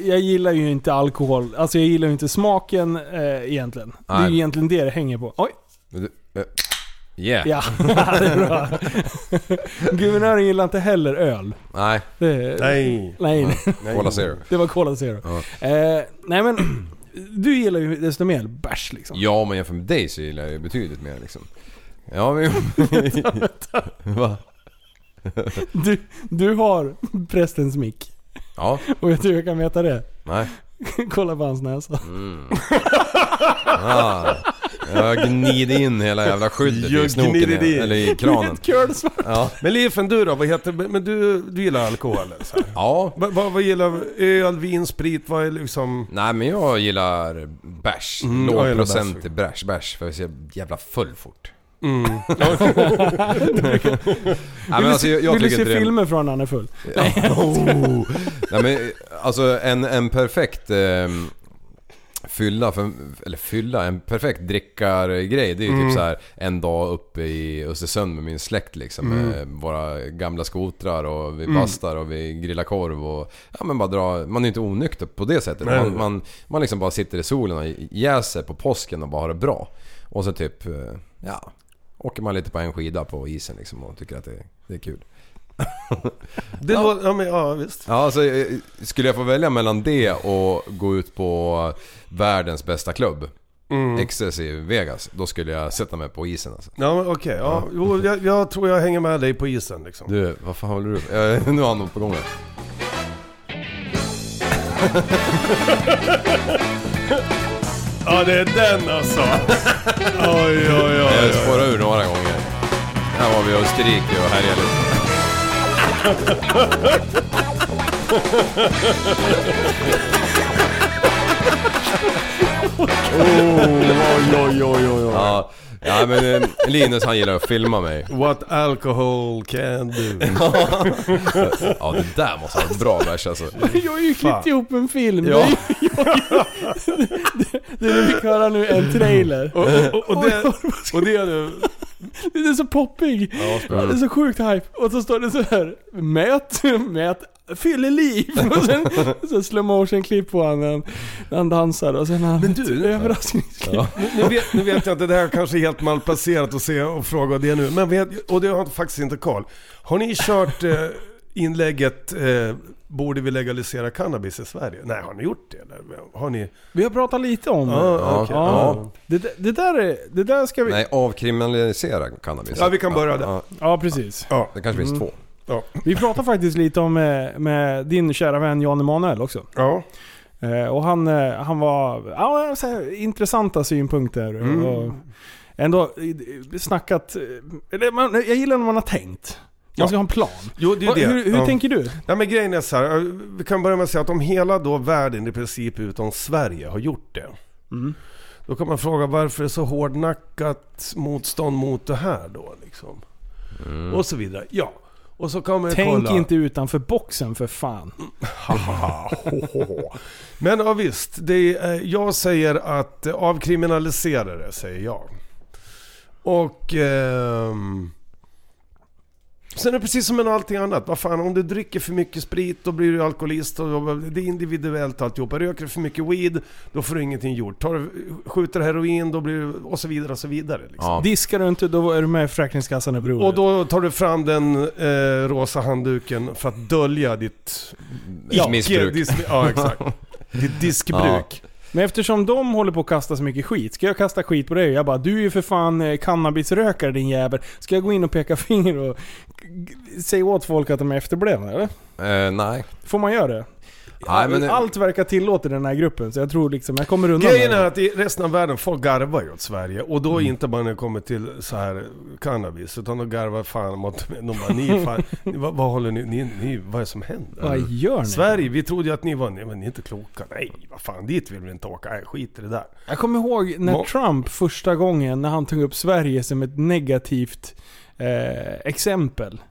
jag gillar ju inte alkohol, alltså jag gillar ju inte smaken eh, egentligen. Det är Nej. ju egentligen det det hänger på. Oj, men du, eh, yeah. ja. det är bra. Guvernören gillar inte heller öl. Nej, Det, Nej! nej. Cola Zero. Det var Cola Zero. Eh, nej men, du gillar ju desto mer bärs liksom. Ja, men jämfört med dig så gillar jag ju betydligt mer liksom. Ja, men... Va? Du, du har prästens mick. Ja, Och jag tror jag kan veta det. nej. Kolla på hans näsa. Ah, jag gnider in hela jävla skyddet i Jag snoken. gnider in. igen, Eller i Mm, kranen. Curlsvart. Ja, Men Lifen, du då? Vad heter... Men du, du gillar alkohol? eller Så här. ja. Vad, vad, vad gillar öl, vin, sprit? Vad är liksom... Nej men jag gillar bärs. Mm, jag gillar Lågprocentig bärs, bärs. För jag ser jävla full fort. Nej men alltså jag, jag Vill du tycker se inte det... filmer från när han är full? Oh. Nej men alltså en, en perfekt ehm, fylla, för, eller fylla, en perfekt drickargrej det är ju typ så här en dag uppe i Östersund med min släkt liksom. Med våra gamla skotrar och vi bastar och vi grillar korv och ja men bara dra, man är ju inte onykter på det sättet. Nej, Man, nej. man, man liksom bara sitter i solen och jäser på påsken och bara har det bra. Och så typ, eh, ja, åker man lite på en skida på isen liksom och tycker att det, det är kul. Det ja. Låter, ja, men, ja visst. Ja, alltså, eh, skulle jag få välja mellan det och gå ut på världens bästa klubb, XS i Vegas, då skulle jag sätta mig på isen alltså. Ja, men okej. ja. Jo, jag, jag tror jag hänger med dig på isen liksom. Du, vad fan håller du på eh, Nu har han något på gång här. Ja, det är den alltså! oj, oj, Jag oj. spårade ur några gånger. Här var vi i Österrike och härjade lite. oj, oj, oj, oj, oj. Ja, ja, men eh, Linus han gillar att filma mig. What alcohol can do. Ja, det där måste vara en bra vers alltså. Jag har ju klippt Fan. ihop en film. Ja. Det, är- det, det vi fick höra nu är en trailer. Och, och, och, det, och det är du. Det är så poppig. Det är så sjukt hype. Och så står det så här. Mät, mät, fylleliv. Och sen så slow motion klipp på honom när han dansar. Och sen han... Men du, Överraskningsklipp. nu vet, nu vet jag inte, det här kanske är helt malplacerat att se och fråga det nu. Men vet, och det har jag faktiskt inte koll. Har ni kört eh, inlägget eh, Borde vi legalisera cannabis i Sverige? Nej, har ni gjort det eller? Har ni? Vi har pratat lite om det. Ja, okej. Ja. Det, det, där är, det där ska vi... Nej, avkriminalisera cannabis. Ja, vi kan börja där. Ja, Ja, precis. Ja. det kanske finns två. Ja. Vi pratade faktiskt lite om eh, med din kära vän Jan Emanuel också. ja. Eh, Och han, eh, han var... Ja, så här, intressanta synpunkter. Och Mm. ändå eh, snackat... eh, Eller man, jag gillar när man har tänkt. Man ska ha en plan. Jo, det är Va, det. Hur, hur ja. tänker du? Ja, men grejen är så här, eh, vi kan börja med att säga att om hela då världen i princip utom Sverige har gjort det. Då kan man fråga varför det är så hårdnackat motstånd mot det här då liksom. Och så vidare. Ja. Och så kan man ju Tänk kolla. inte utanför boxen för fan. Haha, ho, ho, ho. Men ja, visst, det är, eh, jag säger att eh, avkriminalisera det, säger jag. Och... ehm, Sen är det precis som med allting annat. Vad fan, om du dricker för mycket sprit då blir du alkoholist. Och det är individuellt alltihopa. Röker du för mycket weed, då får du ingenting gjort. Tar du, skjuter heroin, då blir du... Och så vidare och så vidare. Liksom. Ja. Diskar du inte, då är du med i Försäkringskassan och broder. Och då tar du fram den eh, rosa handduken för att dölja ditt... Ett missbruk. Dis, ja, exakt. Ditt diskbruk. Men eftersom de håller på att kasta så mycket skit, ska jag kasta skit på dig? Jag bara, du är ju för fan eh, cannabisrökare din jävel. Ska jag gå in och peka finger och g- säga åt folk att de är efterblivna eller? Eh, nej. Får man göra det? Nej, men det- Allt verkar tillåtet i den här gruppen, så jag tror liksom jag kommer undan Grejen med är det. att i resten av världen, folk garvar ju åt Sverige. Och då inte bara när det kommer till så här cannabis, utan de garvar fan mot... De bara, ni är fan, vad, vad håller ni, ni, ni... Vad är det som händer? Vad gör ni? Sverige, vi trodde ju att ni var... Nej, men ni är inte kloka. Nej, vad fan, dit vill vi inte åka. Nej, skit i det där. Jag kommer ihåg när Må- Trump första gången, när han tog upp Sverige som ett negativt eh, exempel.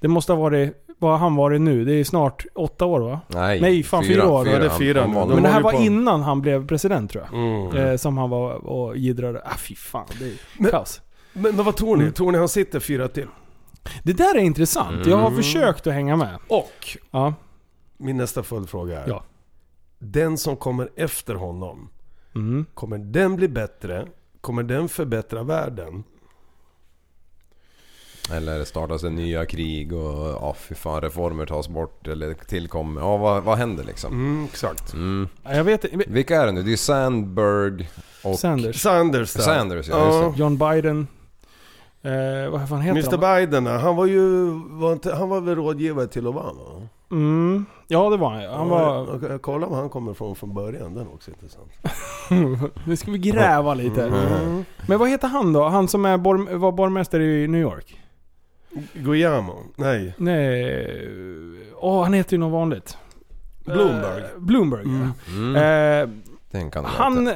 Det måste ha varit, vad har han varit nu? Det är snart åtta år va? Nej, Nej, fan, fyra år. Ja, det är fyra Han- nu. han De Men valde- det här håller var ju på- innan han blev president tror jag. Mm. Eh, som han var och jiddrade. Ah fy fan, det är Men- kaos. Men, men vad tror ni? Mm. Tror ni han sitter fyra till? Det där är intressant. Jag har Mm. försökt att hänga med. Och Ja. min nästa följdfråga är. Ja. Den som kommer efter honom, Mm. kommer den bli bättre? Kommer den förbättra världen? Eller startas det nya krig och ja, fy fan, reformer tas bort eller tillkommer. Ja, vad, vad händer liksom? Mm, exakt. Ja, Jag vet inte. Vilka är det nu? Det är Sandberg och... Sanders. Sanders där. Sanders, ja, Ja. just John Biden. Eh, vad fan heter Mr han? Biden, han var ju... Var inte, han var väl rådgivare till Obama? Mm. Ja det var han Han var... Ja, Kolla var han kommer från från början, den är också intressant. nu ska vi gräva lite. Mm. Men vad heter han då? Han som är borg- var borgmästare i New York? Guillermo? Nej. Nej... Åh, han heter ju något vanligt. Bloomberg. Eh, Bloomberg det. Mm, ja. eh, tänk han, Han,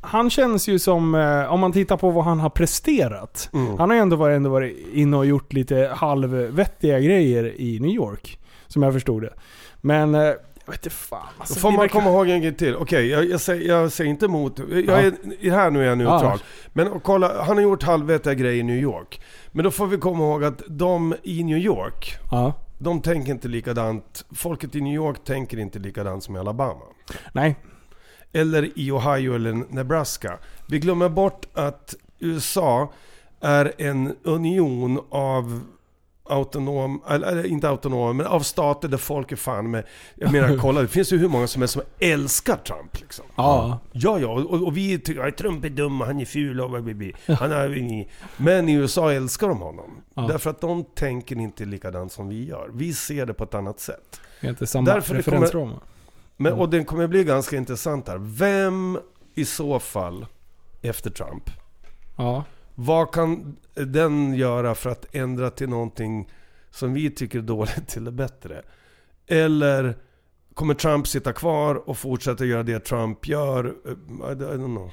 han känns ju som, eh, om man tittar på vad han har presterat. Mm. Han har ju ändå varit, ändå varit inne och gjort lite halvvettiga grejer i New York. Som jag förstod det. Men, eh, jag vet inte fan. Då Alltså, får det man verkar- komma ihåg en grej till. Okej, jag, jag, säger, jag säger inte emot. Jag Ja. är, här nu är jag neutral. Ja. Men och kolla, han har gjort halvvettiga grejer i New York. Men då får vi komma ihåg att de i New York, Ja. de tänker inte likadant. Folket i New York tänker inte likadant som i Alabama. Nej. Eller i Ohio eller Nebraska. Vi glömmer bort att USA är en union av autonom, eller eller inte autonoma, men av stater där folk är fan med. Jag menar kolla, det finns ju hur många som är som älskar Trump liksom. Ja. Ja, ja, och, och vi tycker att Trump är dum och han är ful och blablabla. Han har ju ingen... Men i USA älskar de honom. Ja. Därför att de tänker inte likadant som vi gör. Vi ser det på ett annat sätt. Det är inte samma Därför det referensram. Men, Mm. Och den kommer bli ganska intressant här. Vem i så fall, efter Trump, Ja. vad kan den göra för att ändra till någonting som vi tycker är dåligt till det bättre? Eller kommer Trump sitta kvar och fortsätta göra det Trump gör? Eh, I don't know.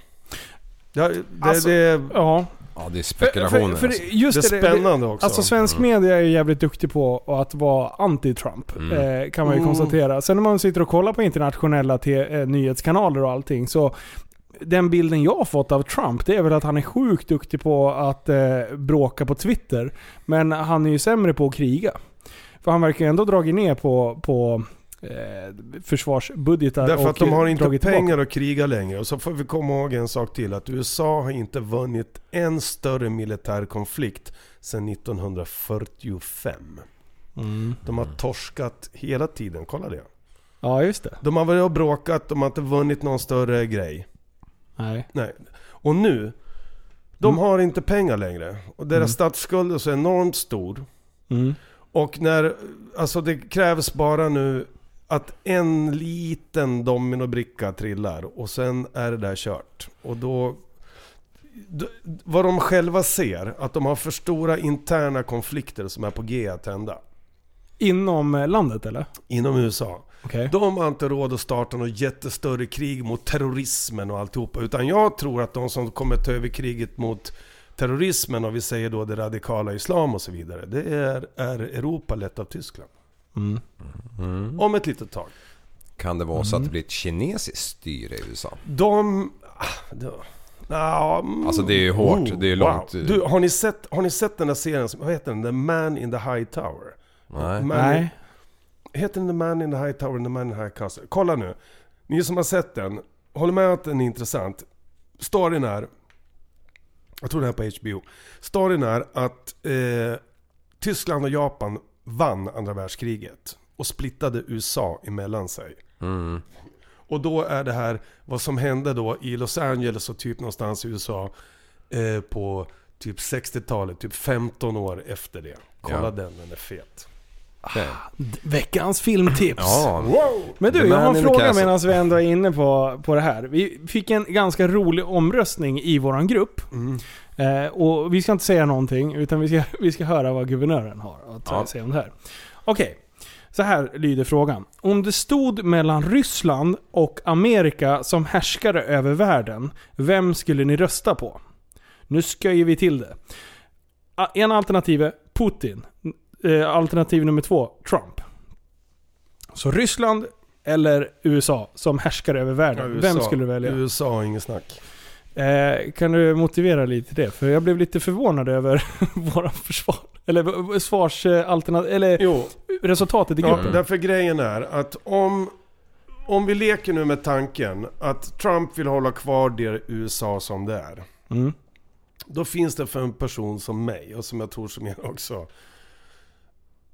Ja, det, Alltså, det, är- ja. Ja, det är För, för, spekulationer. för alltså. just det är spännande också. Mm. Alltså svensk media är ju jävligt duktig på att vara anti-Trump. Eh, kan man ju Mm. konstatera. Sen när man sitter och kollar på internationella te- eh, nyhetskanaler och allting så den bilden jag har fått av Trump, det är väl att han är sjukt duktig på att eh, bråka på Twitter. Men han är ju sämre på att kriga. För han verkar ju ändå dragit ner på, på eh, försvarsbudgetar Därför och att de har inte dragit tillbaka. pengar att kriga längre. Och så får vi komma ihåg en sak till. Att USA har inte vunnit en större militär konflikt sedan 1945. Mm. De har torskat hela tiden, kolla det. Ja, just det. De har varit och bråkat, de har inte vunnit någon större grej. Nej. Nej. Och nu, de Mm. har inte pengar längre. Och deras statsskuld är så enormt stor. Mm. Och när, alltså det krävs bara nu att en liten dominobricka trillar och sen är det där kört. Och då, d- vad de själva ser, att de har för stora interna konflikter som är på G att hända. Inom eh, landet eller? Inom USA. Okej. De har inte råd att starta något jättestörre krig mot terrorismen och alltihopa. Utan jag tror att de som kommer ta över kriget mot terrorismen, och vi säger då det radikala islam och så vidare. Det är, är Europa lett av Tyskland. Mm. Om ett litet tag. Kan det vara så att det blir ett kinesiskt styre i USA? De... ah, det- Ja, mm. Alltså, det är ju hårt, det är långt. Du, har ni, sett, har ni sett den där serien, som, vad heter den? The Man in the High Tower? Nej. Man, Nej. Heter den The Man in the High Tower and The Man in the High Castle? Kolla nu. Ni som har sett den, håller med att den är intressant. Storyn är... Jag tror den är på HBO. Storyn är att eh, Tyskland och Japan vann andra världskriget. Och splittade USA emellan sig. Mm. Och då är det här vad som hände då i Los Angeles och typ någonstans i USA eh, på typ 60-talet, typ 15 år efter det. Kolla Ja. den, den är fet. Okej. Veckans filmtips. Ja. Men The du, jag man har in en the fråga castle. medan vi ändå är inne på, på det här. Vi fick en ganska rolig omröstning i våran grupp. Mm. Eh, och vi ska inte säga någonting, utan vi ska, vi ska höra vad guvernören har att eh, Ja. säga om det här. Okej, så här lyder frågan. Om det stod mellan Ryssland och Amerika som härskare över världen, vem skulle ni rösta på? Nu sköjer vi till det. A- En alternativ är Putin. Eh, Alternativ nummer två, Trump. Så Ryssland eller USA som härskar över världen. Vem skulle du välja? USA, inget snack. Eh, kan du motivera lite det? För jag blev lite förvånad över våra försvar... Eller v- v- svarsalternativ... Eller Jo, resultatet i ja, gruppen. därför grejen är att om, om vi leker nu med tanken att Trump vill hålla kvar det USA som det är. Mm. Då finns det för en person som mig, och som jag tror som er också.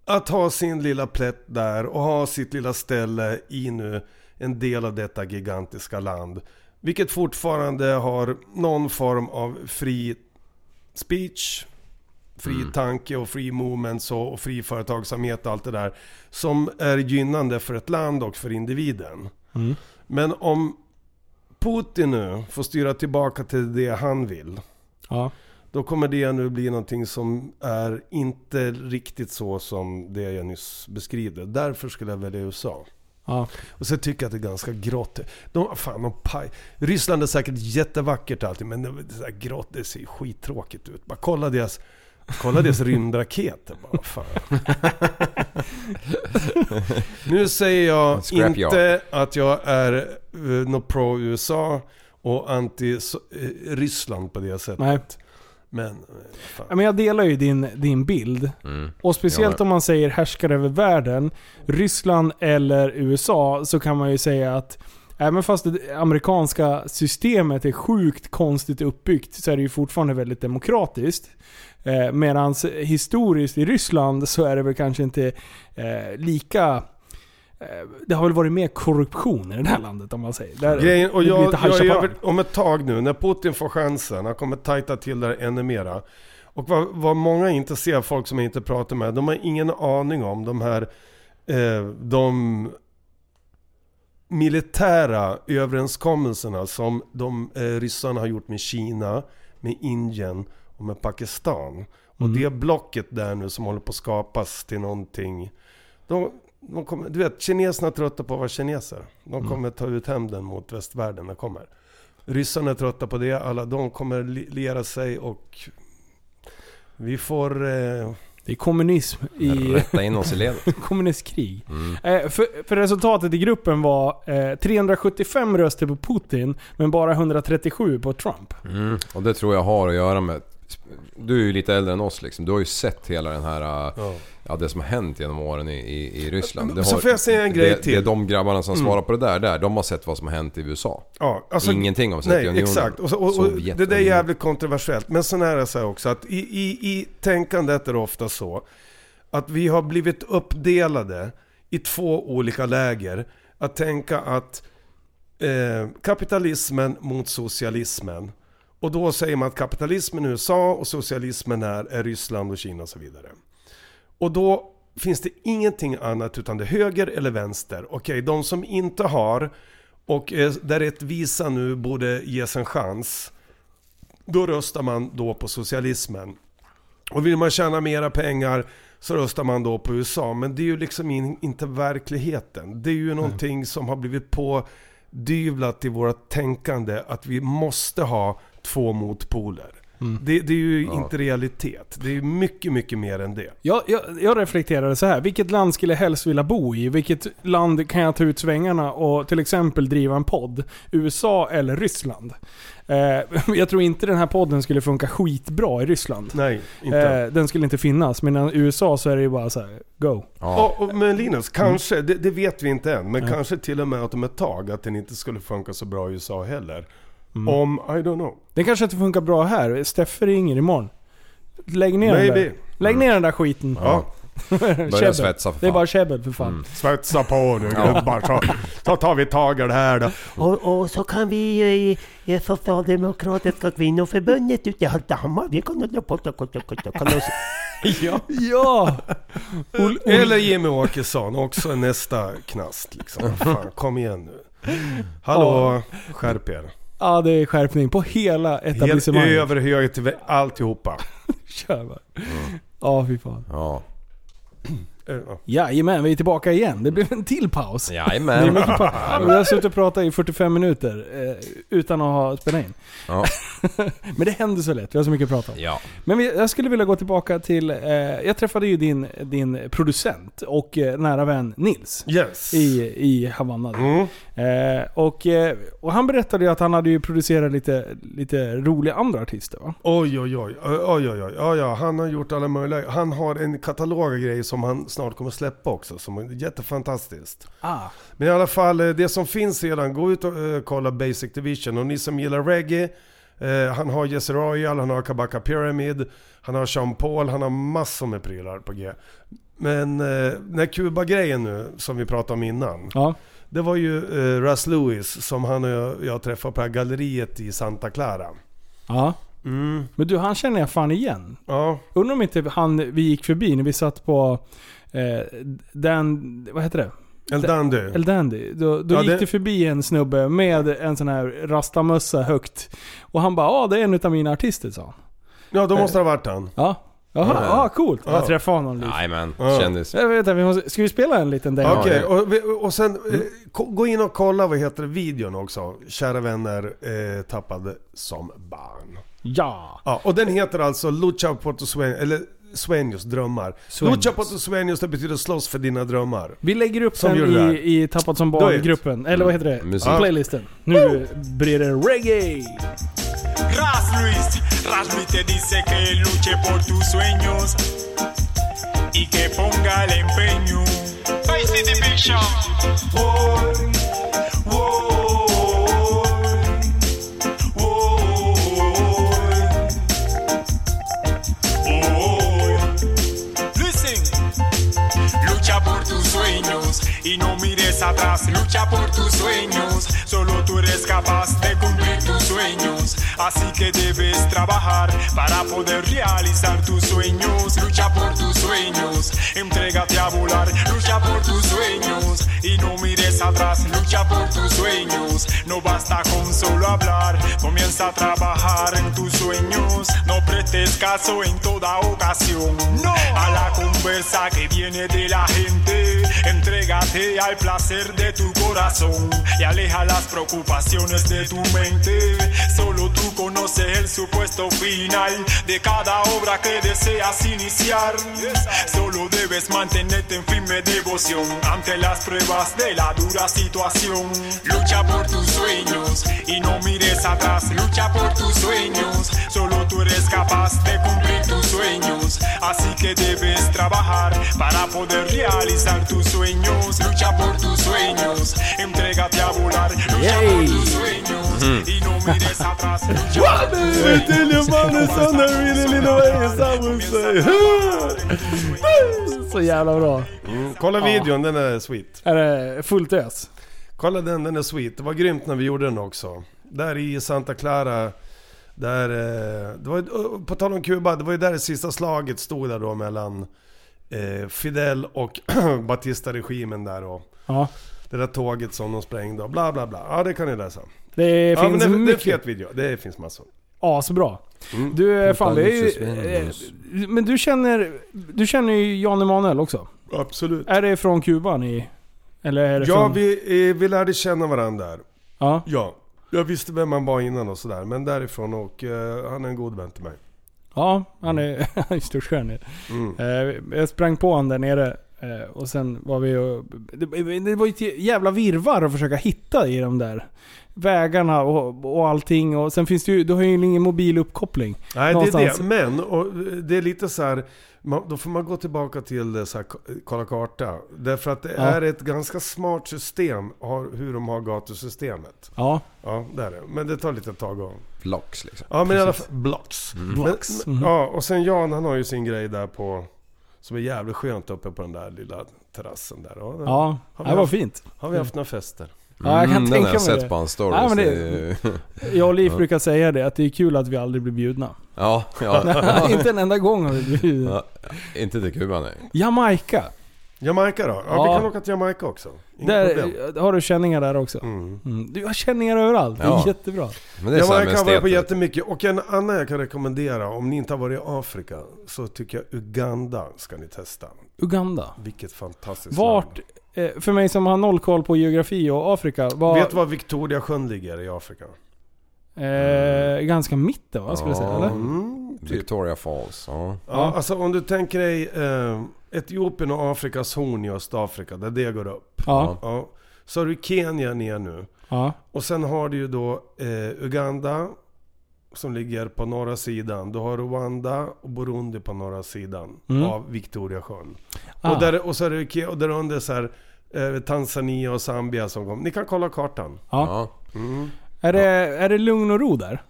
Att ha sin lilla plätt där och ha sitt lilla ställe i nu en del av detta gigantiska land. Vilket fortfarande har någon form av fri speech, fri tanke och fri movements och, och fri företagsamhet och allt det där. Som är gynnande för ett land och för individen. Men om Putin nu får styra tillbaka till det han vill. Ja. Då kommer det nu bli någonting som är inte riktigt så som det jag nyss beskriver. Därför skulle jag välja USA. Ja. Och så tycker jag att det är ganska grått. De, fan, de paj. Ryssland är säkert jättevackert alltid, men det är så här grått, det ser ju skittråkigt ut. Bara kolla deras, kolla deras rymdraketer bara. Fan. nu säger jag Scrap inte att jag är eh, något pro-USA och anti-Ryssland på det sättet. Nej. Men, eh, Ja, fan. Men jag delar ju din, din bild. Mm. Och speciellt om man säger härskar över världen, Ryssland eller USA, så kan man ju säga att även fast det amerikanska systemet är sjukt konstigt uppbyggt så är det ju fortfarande väldigt demokratiskt. Eh, Medan historiskt i Ryssland så är det väl kanske inte eh, lika... Eh, det har väl varit mer korruption i det här landet om man säger. Där, Grejen, och det blir jag, lite High jag är Chaparral. över, om ett tag nu, när Putin får chansen, han kommer tajta till det här ännu mera. Och vad, vad många inte ser, folk som jag inte pratar med, de har ingen aning om de här, eh, de militära överenskommelserna som de eh, ryssarna har gjort med Kina, med Indien och med Pakistan. Och Mm. det blocket där nu som håller på att skapas till någonting. De, de kommer, du vet, kineserna är trötta på att vara kineser. De kommer ta ut hämnden mot västvärlden när kommer. Ryssarna är trötta på det. Alla de kommer li- lera sig och vi får... Eh, Det är kommunism i... Rätta in oss i ledet. kommunistkrig. Eh, för, för resultatet i gruppen var eh, 375 röster på Putin, men bara 137 på Trump. Mm. Och det tror jag har att göra med... Du är ju lite äldre än oss liksom. Du har ju sett hela den här... äh, Ja. Ja, det som har hänt genom åren i, i, i Ryssland. Det Så har, får jag säga en grej det, Det är till. de grabbarna som svarar på det där, där. De har sett vad som har hänt i USA. ja, alltså, Ingenting om Nej, Sovjetunionen. exakt. Och, så- och, och, det Sovjetunionen. där är jävligt kontroversiellt. Men sen är det så här också att i, i, i tänkandet är det ofta så att vi har blivit uppdelade i två olika läger. Att tänka att eh, kapitalismen mot socialismen. Och då säger man att kapitalismen är USA och socialismen är, är Ryssland och Kina och så vidare. Och då finns det ingenting annat utan det är höger eller vänster. Okej, de som inte har och eh, där rättvisa nu borde ges en chans. Då röstar man då på socialismen. Och vill man tjäna mera pengar så röstar man då på USA. Men det är ju liksom in, inte verkligheten. Det är ju någonting som har blivit pådyvlat i vårt tänkande att vi måste ha två motpoler. Det, det är ju inte realitet. Det är mycket, mycket mer än det. Jag, jag, jag reflekterade så här. Vilket land skulle jag helst vilja bo i? Vilket land kan jag ta ut svängarna och till exempel driva en podd? USA eller Ryssland? Eh, jag tror inte den här podden skulle funka skitbra i Ryssland. Nej, inte. Eh, den skulle inte finnas. Men i USA så är det ju bara så här, go. Ja. Ja, Mm. och, men Linus, kanske, det, det vet vi inte än, men kanske till och med att om ett tag att den inte skulle funka så bra i USA heller. Om, I don't know. Den kanske inte funkar bra här. Steffe ringer imorgon. Lägg ner, den Maybe. där. Lägg ner den där skiten. Ja. Käbbel. svetsa för Det är fan. bara käbbel för fan. Svetsa på nu gubbar så, så tar vi tag i det här då. Och, och så kan vi ju i, i Socialdemokratiska kvinnoförbundet ute i Hallstahammar, vi kan hålla på och kolla oss. Ja! Ol- Ol- Eller Jimmy Åkesson, också nästa knast liksom. Fan, kom igen nu. Hallå, skärp er. Ja, det är skärpning på hela Helt etablissemanget. över höger till vä- alltihopa. Kör bara. Ja, fy fan. Ja. Eh, ja. Jajamän, vi är tillbaka igen. Det blev en till paus. Det är Jajamän. mycket paus. Vi har suttit och pratat i 45 minuter eh, utan att ha spelat in. Ja. Men det händer så lätt, vi har så mycket att prata om. Ja. Men vi, jag skulle vilja gå tillbaka till... Eh, jag träffade ju din, din producent och eh, nära vän Nils. Yes. I, i Havanna. Mm. Eh, och, eh, och han berättade ju att han hade ju producerat lite, lite roliga andra artister va? Oj, oj, oj. oj, oj, oj. Ja, ja, han har gjort alla möjliga. Han har en katalog av grejer som han snart kommer släppa också, som är jättefantastiskt. Ah. Men i alla fall, eh, det som finns redan, gå ut och eh, kolla Basic Division. Och ni som gillar reggae, eh, han har Jesse Royal, han har Kabaka Pyramid, han har Sean Paul, han har massor med prylar på G. Men eh, den här Kuba-grejen nu, som vi pratade om innan. Ja. Det var ju eh, Russ Lewis, som han och jag, jag träffade på det här galleriet i Santa Clara. Ja. Men du, han känner jag fan igen. Ja, Undrar om inte han vi gick förbi när vi satt på eh, Dan... Vad heter det? El Dandy. El Dandy. Då, då Ja, gick det- det... förbi en snubbe med en sån här rastamössa högt. Och han bara ja, det är en utav mina artister sa han. Ja, Eh. då måste det ha varit han. Ja. Jaha, Ja. ja, coolt. Ja. Jag träffade honom lite. Jajamän. Ja. Kändis. Jag vet inte, vi måste, ska vi spela en liten däng? Okej, Ja. Mm. ja. och, vi- och sen eh, ko- gå in och kolla vad heter det, videon också. Kära vänner, eh, tappade som barn. Ja, och den heter alltså Lucha por tus sueños, eller Sueños, drömmar. Sueños. Lucha por tus sueños, det betyder slåss för dina drömmar. Vi lägger upp Som den gjorde det här. i, i Tappat som Do it. barn-gruppen. Eller vad heter det? Mm, musik. Ja. Playlisten. Nu blir det reggae! Ras Luis, Ras Luis te dice que luche por tus sueños y que ponga el empeño. Face the Division. Listen. Lucha por tus sueños y no mires atrás, lucha por tus sueños. Solo tú eres capaz de cumplir tus sueños. Así que debes trabajar para poder realizar tus sueños. Lucha por tus sueños, entrégate a volar, lucha por tus sueños y no mires atrás, lucha por tus sueños. No basta con solo hablar, comienza a trabajar en tus sueños. No prestes caso en toda ocasión. No a la conversa que viene de la gente. Entrégate al placer de tu corazón y aleja las preocupaciones de tu mente. Solo tú conoces el supuesto final de cada obra que deseas iniciar. Solo debes mantenerte en firme devoción ante las pruebas de la dura situación. Lucha por tus sueños y no mires atrás. Lucha por tus sueños. Solo tú eres capaz de cumplir tus sueños. Así que debes trabajar para poder realizar tus sueños. Lucha por tus sueños. Entrégate a volar. Lucha por tus sueños y no mires atrás. Lucha por tus Så jävla bra. Mm, kolla videon, den är sweet. Är det fullt ös? Kolla den, den är sweet. Det var grymt när vi gjorde den också. Där i Santa Clara, där... eh, Det var, ju- på tal om Kuba, det var ju där det sista slaget stod där då mellan eh, Fidel och Batista-regimen där då. Ja. Det där tåget som de sprängde och bla bla bla. Ja det kan ni läsa. Det ja, men finns det, det är Mm. en mycket. fet video. Det finns massor. Asbra. Du, fan det är ju... eh, Men du känner, du känner ju Jan Emanuel också. Absolut. Är det från Kuba ni... Eller är det Ja från... vi, eh, vi lärde känna varandra där. Ja. Ja. Jag visste vem han var innan och sådär. Men därifrån och eh, han är en god vän till mig. Ja, han är han är en stor skönhet. Mm. Eh, jag sprang på honom där nere eh, och sen var vi och, det, det var ju ett jävla virrvarr att försöka hitta i de där vägarna och, och allting. Och sen finns det ju, du har ju ingen mobiluppkoppling. Nej, Någonstans. det är det. Men och, det är lite så här, man, då får man gå tillbaka till eh, så här, k- kolla karta. Därför att det Ja. är ett ganska smart system har, hur de har gatusystemet. Ja, Ja, det är det. Men det tar lite tag att... Blocks liksom. Ja, men i alla fall... Blocks. Mm. Blocks. Men, men, ja, och sen Jan han har ju sin grej där på... Som är jävligt skönt uppe på den där lilla terrassen där. Ja, där ja. Har vi det var haft- fint. Har vi haft några fester? Ja, jag kan Mm, tänka den har jag mig sett det. på hans stories. Nej, men det- Det är- Jag och Liv brukar säga det, att det är kul att vi aldrig blir bjudna. Ja, ja. Inte en enda gång har vi blivit bjudna. ja. Inte till Kuba nej. Jamaica. Jamaica då? Ja, vi Ja. kan åka till Jamaica också. Inga Där problem. har du känningar där också. Mm. Mm. Du har känningar överallt. Det är Ja. jättebra. Men det är så här Jamaica med har varit på esteter. jättemycket. Och en annan jag kan rekommendera, om ni inte har varit i Afrika, så tycker jag Uganda ska ni testa. Uganda. Vilket fantastiskt Vart, land. eh, för mig som har noll koll på geografi och Afrika, var Vet du var Victoria sjön ligger i Afrika? eh, ganska mitten va? Skulle jag säga, Ja. eller? Mm, typ. Victoria Falls, ja. Ja, alltså om du tänker dig eh, Etiopien och Afrikas horn i Östafrika, där det går upp. Ja. Ja. Så har du Kenya ner nu. ja. Och sen har du ju då eh, Uganda som ligger på norra sidan. Du har Rwanda och Burundi på norra sidan Mm. av Victoriasjön. Ah. Och, där, och så är det Ke- och där under så här, eh, Tanzania och Zambia som kom. Ni kan kolla kartan. ja. Är, det, är det lugn och ro där?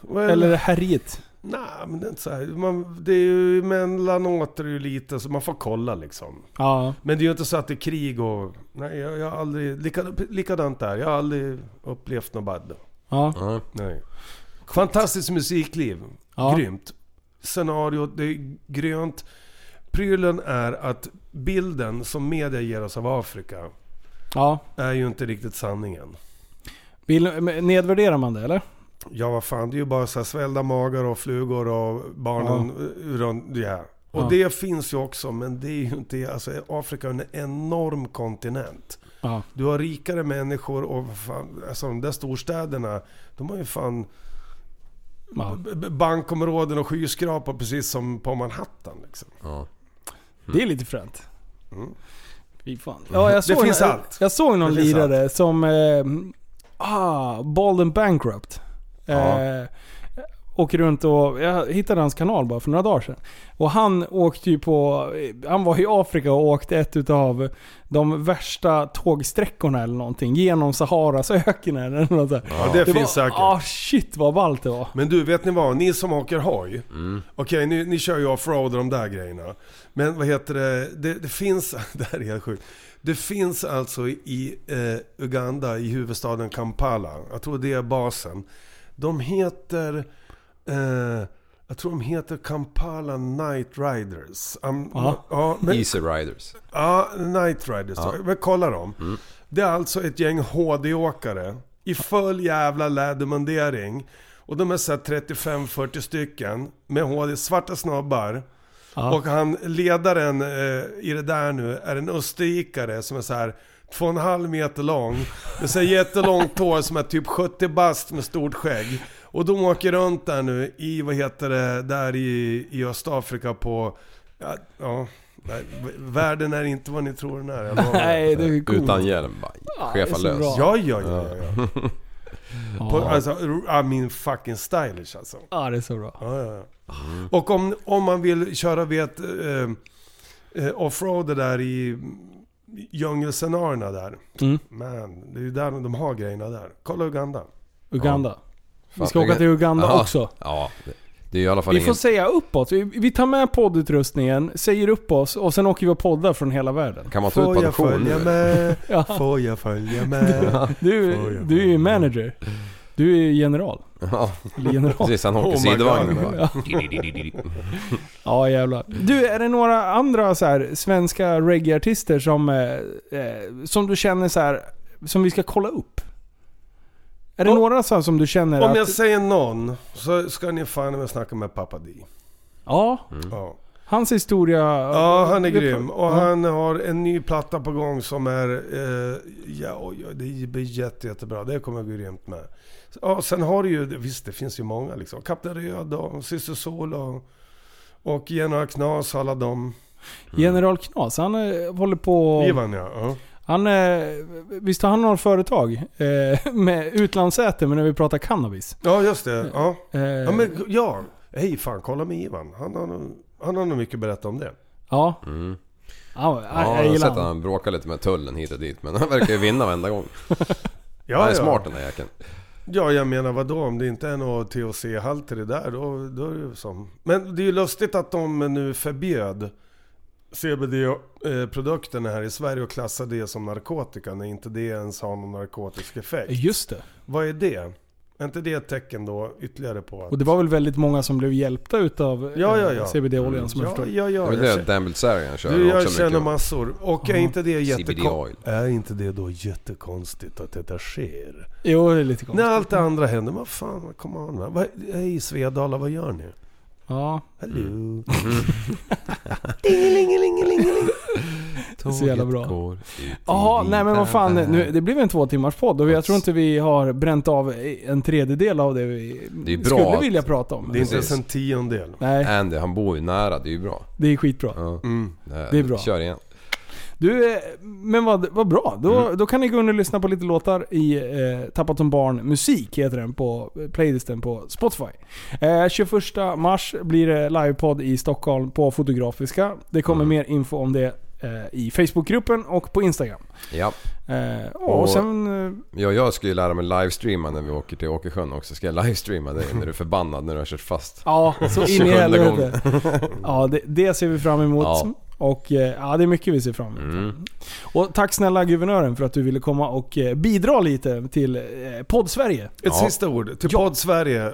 Well, Eller är det härjigt? Nej, men det är inte så här. Man, det är ju mellanåt är det ju lite så man får kolla liksom. Ja. Men det är ju inte så att det är krig och... Nej, jag, jag har aldrig... Lika, likadant där. Jag har aldrig upplevt något bad. ja. ja. Nej. Fantastiskt musikliv. Ja. Grymt. Scenariot, det är grönt. Prylen är att bilden som media ger oss av Afrika ja. är ju inte riktigt sanningen. Vill, men nedvärderar man det eller? Ja, vad fan. Det är ju bara så här svällda magar och flugor och barnen eh, runt... Ja. Och Ja. det finns ju också, men det är ju inte... Alltså, Afrika är en enorm kontinent. Ja. Du har rikare människor och vad fan, alltså de där storstäderna, de har ju fan ja. b- b- bankområden och skyskrapor precis som på Manhattan. Liksom. ja. Det är lite fränt. Fy fan. Mm. Ja, jag såg finns en, allt. Jag såg någon Det finns lirare som... Eh, ah, Bald and Bankrupt. Ja. Eh, åker runt och... Jag hittade hans kanal bara för några dagar sedan. Och han åkte ju på... Han var i Afrika och åkte ett utav de värsta tågsträckorna eller någonting. Genom Saharas öken eller något sånt. Ja, det, var, finns säkert. Ah shit vad ballt det var. Men du, vet ni vad? Ni som åker hoj. Okej, ni, ni kör ju offroad och de där grejerna. Men vad heter det? Det, det finns... Det här är helt sjukt. Det finns alltså i eh, Uganda, i huvudstaden Kampala. Jag tror det är basen. De heter... Eh, jag tror de heter Kampala Night Riders. Am- Ja. ja, men, Easy Riders. Ja, Night Riders. Men kolla dem. Det är alltså ett gäng HD-åkare i full jävla lädermundering. Och de är så här 35-40 stycken med HD, svarta snabbar. Ja. Och han, ledaren eh, i det där nu är en österrikare som är så här två och en halv meter lång. Med så här jättelångt hår som är typ 70 bast med stort skägg. Och de åker runt där nu i, vad heter det, där i, i Östafrika på, ja, ja nej, v- världen är inte vad ni tror den är. jag lovar. Nej, det är coolt. Utan hjälm bara. det är så Chefalös. bra. Ja, ja, ja. ja, ja. På, Ja. alltså, I mean fucking stylish alltså. Ja, det är så bra. Ja, ja, ja. Och om, om man vill köra vet, eh, eh, offroad där i djungelscenarierna där. Mm. Man, det är ju där de har grejerna där. Kolla Uganda. Uganda. Vi ska Fan, åka till Uganda Ja. också. Ja. det- Det är ju i alla fall Vi ingen... får säga uppåt. Vi, vi tar med poddutrustningen, säger upp oss och sen åker vi och poddar från hela världen. Kan man ta ut Får på jag adoption följa nu? med? Ja. Får jag följa med? Du, Får jag du är ju manager. Du är ju general. Ja, Eller general. precis. Han åker Oh my sidovagnen God. bara. Ja jävlar. Du, är det några andra så här, svenska reggae-artister som, eh, eh, som du känner så här, som vi ska kolla upp? Är det Om- några så här, som du känner Om att... jag säger någon så ska ni fan med snacka med pappa Di. Ja, Ja. Hans historia... Ja, han är grym. Och han har en ny platta på gång som är... Eh, ja, oj, oj, det blir jätte, jättebra. Det kommer bli grymt med. Ja, sen har du ju... Visst, det finns ju många liksom. Kapten Röd och Syster Sol och... Och Genoa Knas och alla dem. General Knas, han eh, håller på... Ivan ja. ja. Han, eh, visst har han några företag eh, med utlandssäte, men när vi pratar cannabis. Ja, just det. Ja. Eh, Ja, men ja. Hej fan, kolla med Ivan. Han har nog, han har nog mycket att berätta om det. ja. Ja, jag, Mm. Ja, jag jag har sett gillar att honom. han bråkar lite med tullen hit och dit. Men han verkar ju vinna varenda gång. Ja, Han är ja. smart den där jäkeln. Ja, jag menar vadå? Om det inte är någon THC-halt i det där, då, då är det ju som... Men det är ju lustigt att de nu förbjöd CBD-produkterna här i Sverige och klassade det som narkotika när inte det ens har någon narkotisk effekt. Just det. Vad är det? Är inte det ett tecken då ytterligare på att... Och det var väl väldigt många som blev hjälpta utav eh, Ja, ja, ja. CBD-oljan som jag ja, förstår. ja, Det är ja, väl jag det känner- Dan Bilzerian kör Du, jag också mycket. känner massor. Och är inte det CBD-oil. jättekonstigt? Är inte det då jättekonstigt att detta sker? Jo, det är lite konstigt. När allt det andra händer, vad fan, kom on. va? Vad, hej Svedala, vad gör ni? Ja, Hello. det är så jävla bra. Jaha, nej men vad fan. Nu, det blev en två timmars podd och jag tror inte vi har bränt av en tredjedel av det vi Det är bra skulle att- vilja prata om. Det är inte ens Precis. en tiondel. Nej, Andy, han bor ju nära. Det är ju bra. det är skitbra. Ja. Det är bra. Kör igen. Du, eh, men vad, vad bra. Då, då kan ni gå in och lyssna på lite låtar i eh, Tappat som barn musik, heter den på eh, playlisten på Spotify. Eh, 21 mars blir det livepodd i Stockholm på Fotografiska. Det kommer mer info om det eh, i Facebookgruppen och på Instagram. Ja. Eh, och, Och- sen... Eh, Ja, jag ska ju lära mig livestreama när vi åker till Åkersjön också. Ska jag livestreama dig när du är förbannad när du har kört fast? ja, så in i 27 helvete. ja, det, det ser vi fram emot. Ja. Och eh, ja, det är mycket vi ser fram emot. Och tack snälla guvernören för att du ville komma och eh, bidra lite till eh, Poddsverige. Ett Ja. sista ord till podd Sverige.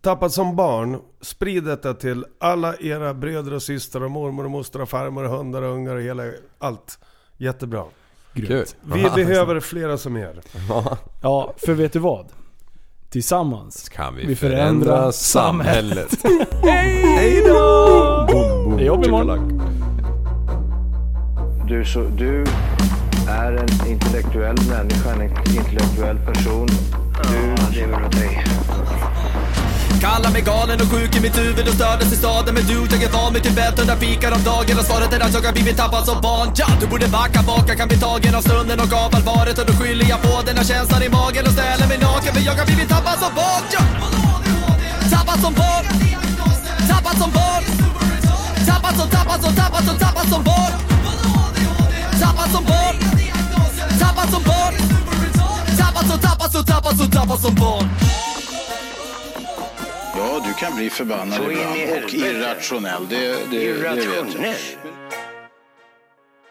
Tappat som barn, sprid detta till alla era bröder och systrar och mormor och mostrar och farmor och hundar och ungar och hela allt. Jättebra. Kul. Vi behöver flera som er. Ja, för vet du vad? Tillsammans. Kan vi, Vi förändrar förändra samhället? Det är jobb imorgon. Du, så, du är en intellektuell människa, en intellektuell person. Du lever av dig. Kallar mig galen och sjuk i mitt huvud och stördes i staden Men du, jag är van vid Tibet och där fikar om dagen Och svaret är att jag har blivit tappad som barn ja, Du borde backa bak, jag kan bli tagen av stunden och av allvaret Och då skyller jag på den här känslan i magen och ställer mig naken För jag har blivit tappad som barn ja. Tappad som barn Tappad som barn Tappad som, tappad som, tappad som, tappad som barn Tappad som barn Tappad som barn Tappad som, tappad som, tappad som, tappad som barn Ja, du kan bli förbannad Så in i ibland och helvete. irrationell. Det, det, det vet jag. Irrationell.